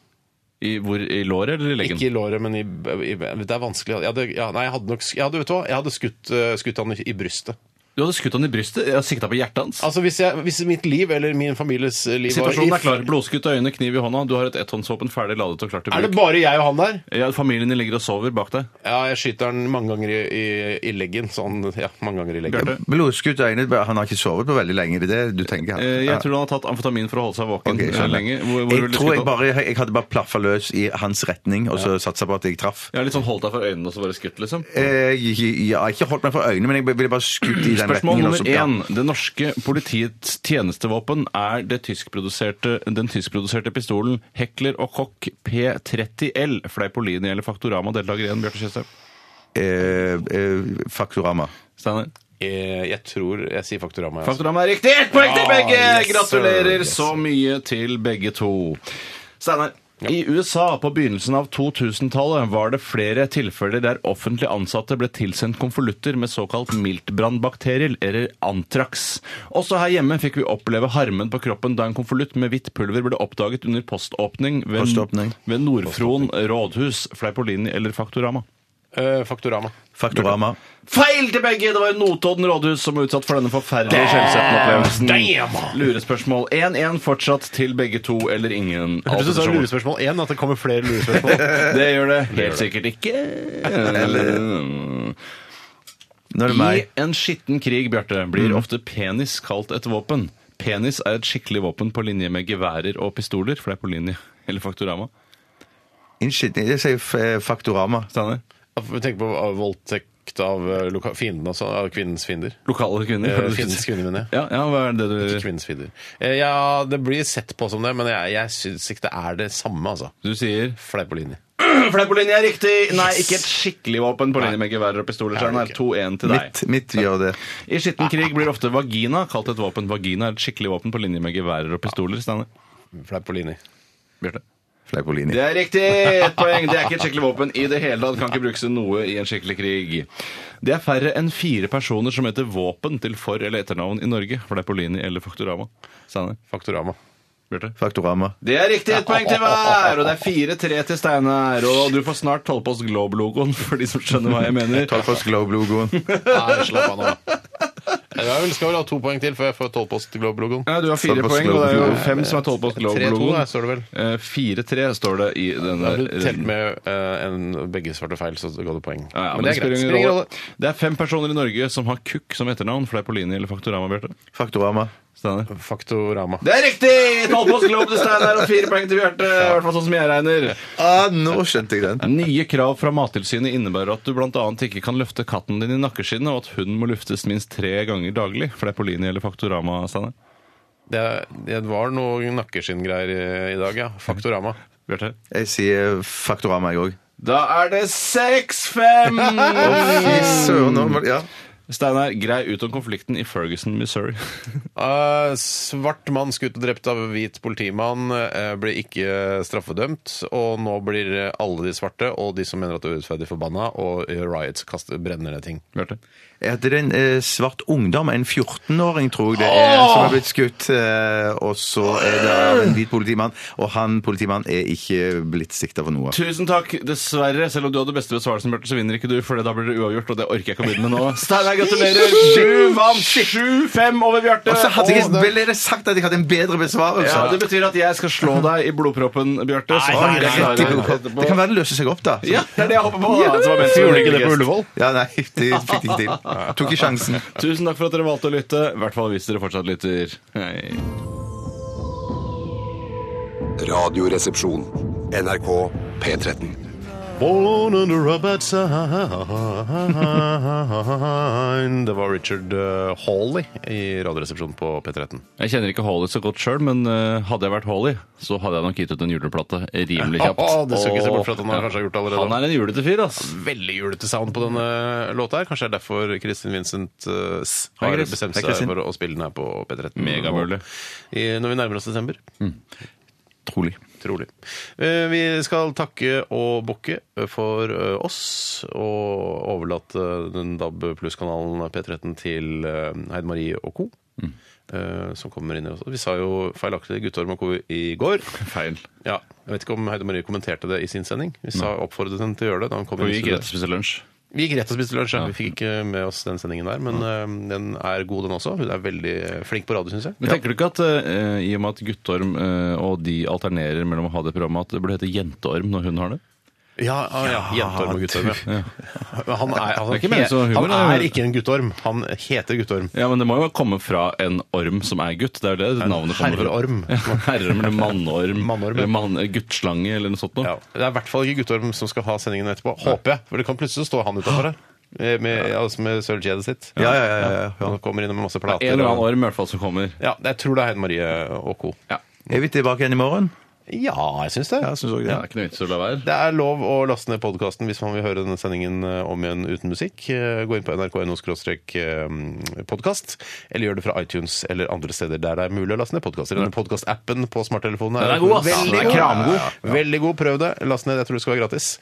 S9: I, hvor, I låret eller i leggen?
S7: Ikke i låret, men i, i Det er vanskelig. Jeg hadde, ja, nei, jeg hadde nok jeg hadde, Vet du hva? Jeg hadde skutt, eh, skutt han i, i brystet.
S9: Du hadde skutt han i brystet, jeg hadde sikta på hjertet hans.
S7: Altså, hvis, jeg, hvis mitt liv eller min families eh, liv var
S9: Situasjonen
S7: i-
S9: er klar. Blodskutte øyne, kniv i hånda, du har et etthåndsvåpen ferdig ladet og klart til
S7: Er det
S9: bruk.
S7: bare jeg og han der?
S9: Ja, familien din ligger og sover bak deg.
S7: Ja, jeg skyter han mange ganger i, i, i leggen. Sånn, ja, mange ganger i leggen.
S9: Bjarte?
S8: Blodskutt øyne Han har ikke sovet på veldig lenge, det er det du tenker? her?
S9: Eh, Jeg
S8: Ja.
S9: tror han har tatt amfetamin for å holde seg våken
S8: Ok,
S9: eh,
S8: skjønner.
S9: lenge. Hvor, hvor
S8: Jeg
S9: ville du
S8: tror
S9: skutt
S8: jeg
S9: han?
S8: bare jeg, jeg hadde bare plaffa løs i hans retning, og så satsa på at jeg traff.
S9: Jeg har litt sånn holdt deg for øynene og så bare skutt, liksom.
S8: Eh, Jeg har ikke holdt meg for øynene, men jeg ville bare skutt i den
S9: Spørsmål
S8: retningen. og
S9: nummer
S8: så- ja.
S9: én. Det norske politiets tjenestevåpen er det tyskproduserte, den tyskproduserte pistolen Hekler og Kokk P30L. Fleipolini eller Faktorama deltaker igjen, Bjarte Tjøstheim.
S8: Eh, eh, Faktorama.
S9: Steinar.
S7: Jeg, Eh, jeg tror Jeg sier Faktorama. jeg, Altså.
S9: Faktorama er riktig! Ett poeng til
S7: Ja,
S9: begge!
S7: yes, sir.
S9: Gratulerer
S7: Yes,
S9: så mye til begge to. Steinar. I USA på begynnelsen av 2000-tallet var det flere tilfeller der offentlig ansatte ble tilsendt konvolutter med såkalt miltbrannbakterier, eller antrax. Også her hjemme fikk vi oppleve harmen på kroppen da en konvolutt med hvitt pulver ble oppdaget under poståpning ved,
S8: Poståpning.
S9: ved Nordfron rådhus, Fleipolini eller Faktorama.
S7: Eh, Faktorama.
S8: Faktorama.
S9: Feil til begge! Det var Notodden rådhus som var utsatt for denne forferdelige skjellsettende opplevelsen. Lurespørsmål 1-1 fortsatt til begge to eller ingen.
S7: Hørtes ut som
S9: alternasjoner.
S7: lurespørsmål én, at det kommer flere [laughs] lurespørsmål.
S9: [laughs] Det gjør det helt sikkert ikke.
S8: Nå er det
S9: I
S8: meg.
S9: en skitten krig, Bjarte, blir ofte penis kalt et våpen. Penis er et skikkelig våpen på linje med geværer og pistoler, for det er på linje. Eller Faktorama.
S8: Unnskyld, jeg sier f- eh, Faktorama.
S9: Steinar?
S7: Jeg tenker på eh, voldtekt av eh, loka fienden også. Av kvinnens fiender.
S9: Lokale kvinner.
S7: Eh, Fiendens kvinner, mener jeg.
S9: Ja, ja, hva er det du
S7: Ikke kvinnens fiender. Eh, ja, det blir sett på som det, men jeg, jeg syns ikke det er det samme, altså.
S9: Du sier
S7: Fleipolini.
S9: Fleipolini er riktig! Nei, ikke et skikkelig våpen på linje med geværer og pistoler. Så den er
S7: ok.
S9: 2-1 til deg.
S8: Mitt, mitt gjør det.
S9: I skitten krig blir ofte vagina kalt et våpen. Vagina er et skikkelig våpen på linje med geværer og pistoler. Steinar.
S7: Fleipolini.
S9: Bjarte.
S8: Fleipolini.
S9: Det er riktig! Et poeng. Det er ikke et skikkelig våpen i det hele tatt. Kan ikke brukes til noe i en skikkelig krig. Det er færre enn fire personer som heter våpen til for- eller etternavn i Norge. For det er Polini eller Faktorama. Steinar.
S7: Faktorama.
S9: Bjarte.
S8: Faktorama.
S9: Det er riktig! Et poeng til hver! Og det er 4-3 til Steinar. Og du får snart tolv på oss Globe-logoen for de som skjønner hva jeg mener.
S8: Tolvfoss Globe-logoen.
S7: [laughs] Nei, slapp av nå. Jeg vil, skal vel ha to poeng til før jeg får tolv post til Globe-logoen.
S9: Ja, du har fire
S8: Tolv på oss
S9: poeng, og det er jo
S8: Globe-logoen.
S9: fem som er tolv på oss
S7: 3-2
S9: Globe-logoen.
S7: der, står det vel.
S9: Eh, 4-3 står det i den
S7: Da
S9: der.
S7: har du telt med eh, en, begge svarte feil, så ga du poeng.
S9: Ja, ja,
S7: men, det er
S9: spiller
S7: greit.
S9: ingen
S7: Spiller ingen
S9: rolle.
S7: rolle.
S9: Det er fem personer i Norge som har Kukk som etternavn. Fleipolini eller Faktorama, Bjarte?
S8: Faktorama.
S9: Steinar.
S7: Faktorama.
S9: Det er riktig! Tolv på oss Globe til Steinar og fire poeng til Bjarte. I hvert fall sånn som jeg regner.
S8: Ah, nå skjønte jeg den.
S9: Nye krav fra Mattilsynet innebærer at du bl.a. ikke kan løfte katten din i nakkeskinnet, og at hunden må luftes minst tre ganger daglig. Fleipolini eller Faktorama, Steinar?
S7: Det, det var noe nakkeskinngreier i, i dag, ja. Faktorama.
S9: Bjarte?
S8: Jeg sier Faktorama, jeg òg.
S9: Da er det 6-5!
S8: Søren òg. Ja.
S9: Steinar, grei ut om konflikten i Ferguson, Missouri. [laughs]
S7: Eh, svart mann skutt og drept av hvit politimann eh, ble ikke straffedømt. Og nå blir alle de svarte og de som mener at det er urettferdig, forbanna, og gjør riots kaster, brenner ned ting.
S9: Bjarte?
S8: Jeg hadde en eh, svart ungdom, en 14-åring tror jeg det er, som er blitt skutt. Eh, og så er det av en hvit politimann, og han politimannen er ikke blitt sikta for noe.
S9: Tusen takk. Dessverre, selv om du hadde beste besvarelsen, Bjarte, så vinner ikke du, for da blir det uavgjort, og det orker jeg ikke å begynne med nå. Steinar, gratulerer! Du vant 7-5 over Bjarte.
S8: Og så hadde jeg,
S9: Og det-
S8: vel er det sagt at jeg hadde en bedre besvarelse.
S9: ja, det betyr at jeg skal slå deg i blodproppen, Bjarte. så-
S8: Oi,
S9: Nei, nei, nei,
S8: rett
S9: nei,
S8: i
S9: nei,
S8: blodproppen. det kan
S9: etterpå.
S8: være det løser seg opp, da.
S9: Ja, det er det jeg håper på. da. Det var ment
S7: Så
S9: som
S7: gjorde de ikke det på
S9: gest.
S7: Ullevål?
S8: Ja, nei, det fikk jeg ikke til. Tok ikke sjansen.
S9: Tusen takk for at dere valgte å lytte, i hvert fall hvis dere fortsatt lytter. Hei.
S1: Radioresepsjon. NRK P13.
S7: Born under a bad sign. Det var Richard eh, Hawley i Radioresepsjonen på P13.
S9: Jeg kjenner ikke Holly så godt sjøl, men eh, hadde jeg vært Holly, så hadde jeg nok gitt ut en juleplate rimelig
S7: [laughs]
S9: kjapt.
S7: Å, Ah, det skal ikke se
S9: Å,
S7: bort fra at han har kanskje gjort allerede.
S9: Han er en julete fyr, ass.
S7: Veldig julete sound på denne låta her. Kanskje det er derfor Kristin Vincent eh, s-
S9: Hei,
S7: har
S9: Chris.
S7: bestemt
S9: Hei,
S7: seg
S9: Kristin.
S7: for å spille den her på P13.
S9: Megabølle.
S7: I- Når vi nærmer oss desember.
S9: Trolig.
S7: Trolig. Eh, Vi skal takke og bukke for eh, oss, og overlate den DAB pluss-kanalen P13 til eh, Heid Marie og co.
S9: Mm.
S7: eh, Som kommer inn i oss. Vi sa jo feilaktig Guttorm og co. i går.
S9: Feil.
S7: Ja, jeg vet ikke om Heide Marie kommenterte det i sin sending. Vi sa oppfordret henne til å gjøre det. da hun kom
S9: Og
S7: inn i
S9: vi gikk
S7: studio.
S9: rett og spiste lunsj.
S7: Vi gikk rett og spiste lunsj. ja. Vi fikk ikke med oss den sendingen der, men eh, den er god, den også. Hun er veldig eh, flink på radio, syns jeg.
S9: Men tenker du ikke at eh, i og med at Guttorm eh, og de alternerer mellom å ha det programmet, at det burde hete Jenteorm når hun har det?
S7: Ja, ja, ja. Jenteorm og guttorm,
S9: [laughs]
S7: ja. Men Han er, han,
S9: Det er ikke meningen som humor,
S7: han er
S9: det er-
S7: ikke en guttorm. Han heter guttorm.
S9: Ja, men det må jo komme fra en orm som er gutt. Det er jo det navnet kommer fra.
S7: herreorm.
S9: [laughs] Ja, herreorm eller mannorm.
S7: Mannorm, ja.
S9: eller mann, guttslange eller noe sånt noe.
S7: Ja. Det er i hvert fall ikke guttorm som skal ha sendingen etterpå, håper jeg. For det kan plutselig stå han utafor her, eh, med, altså med sølvkjedet sitt.
S8: Ja, ja, ja, ja, ja.
S7: Han kommer inn med masse
S9: En
S7: plater.
S9: eller annen
S7: og-
S9: orm i hvert fall som kommer.
S7: Ja, jeg tror det er Heide Marie og co.
S9: Ja.
S8: Er vi tilbake igjen i morgen?
S7: Ja, jeg syns det.
S8: Ja, jeg synes også
S9: Det
S8: det.
S9: er ikke noe vits i å la være.
S7: Det er lov å laste ned podkasten hvis man vil høre denne sendingen eh, om igjen uten musikk. Eh, Gå inn på nrk.no-podkast, eh, eller gjør det fra iTunes eller andre steder der det er mulig å laste ned podkaster. Denne podkastappen på smarttelefonen
S9: Den er god, ass.
S7: veldig
S9: Den er
S7: god.
S9: kramgod.
S7: Ja, ja, ja. Veldig god. Prøv det. Last ned. Jeg tror det skal være gratis.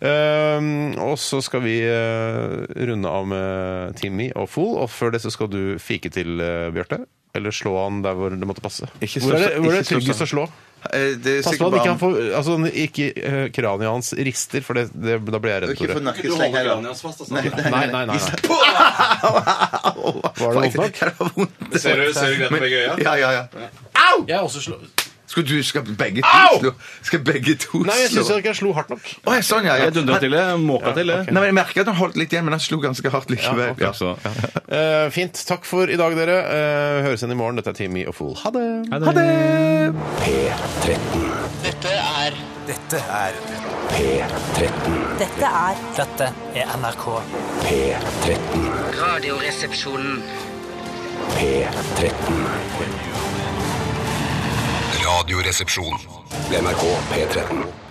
S7: Ehm, og så skal vi eh, runde av med Timmy og Fool, og før det så skal du fike til eh, Bjarte. Eller slå han der hvor det måtte passe.
S8: Ikke
S7: hvor er det,
S8: slå-
S7: hvor er det
S8: ikke slå-
S7: tryggest å slå?
S8: Eh, Det er
S7: Pass på at ikke,
S8: bare-
S7: han får, altså, ikke eh, kraniet hans rister, for det, det, da blir jeg redd,
S8: Ikke
S7: Tore.
S8: for nakkesleng heller. Nei, [laughs] nei,
S7: Nei,
S8: [laughs]
S7: nei, nei. nei. det
S8: Var
S7: vondt nok?
S8: Det var vondt.
S9: Ser du- ser du greit på begge øya?
S8: Ja, ja, ja.
S7: Jeg er også slå...
S8: Skal du skal begge
S7: Au!
S8: to slå? Skal begge to
S7: Nei, jeg syns
S8: slå?
S7: ikke jeg slo hardt nok.
S8: Å, ja, sånn, ja. ja.
S9: Jeg dundra
S8: Han-
S9: til det. Måka til det.
S8: Nei, men Jeg merker at han holdt litt igjen, men han slo ganske hardt likevel. Ja,
S9: Takk skal du ha.
S7: Eh, fint. Takk for i dag, dere. Eh, høres igjen i morgen. Dette er Timmy og Fool. Ha det!
S8: Ha det!
S2: Dette er
S6: Dette er P13.
S5: Dette er
S10: Dette er NRK.
S6: P13.
S2: Radioresepsjonen.
S6: P13. Radioresepsjon. NRK P13.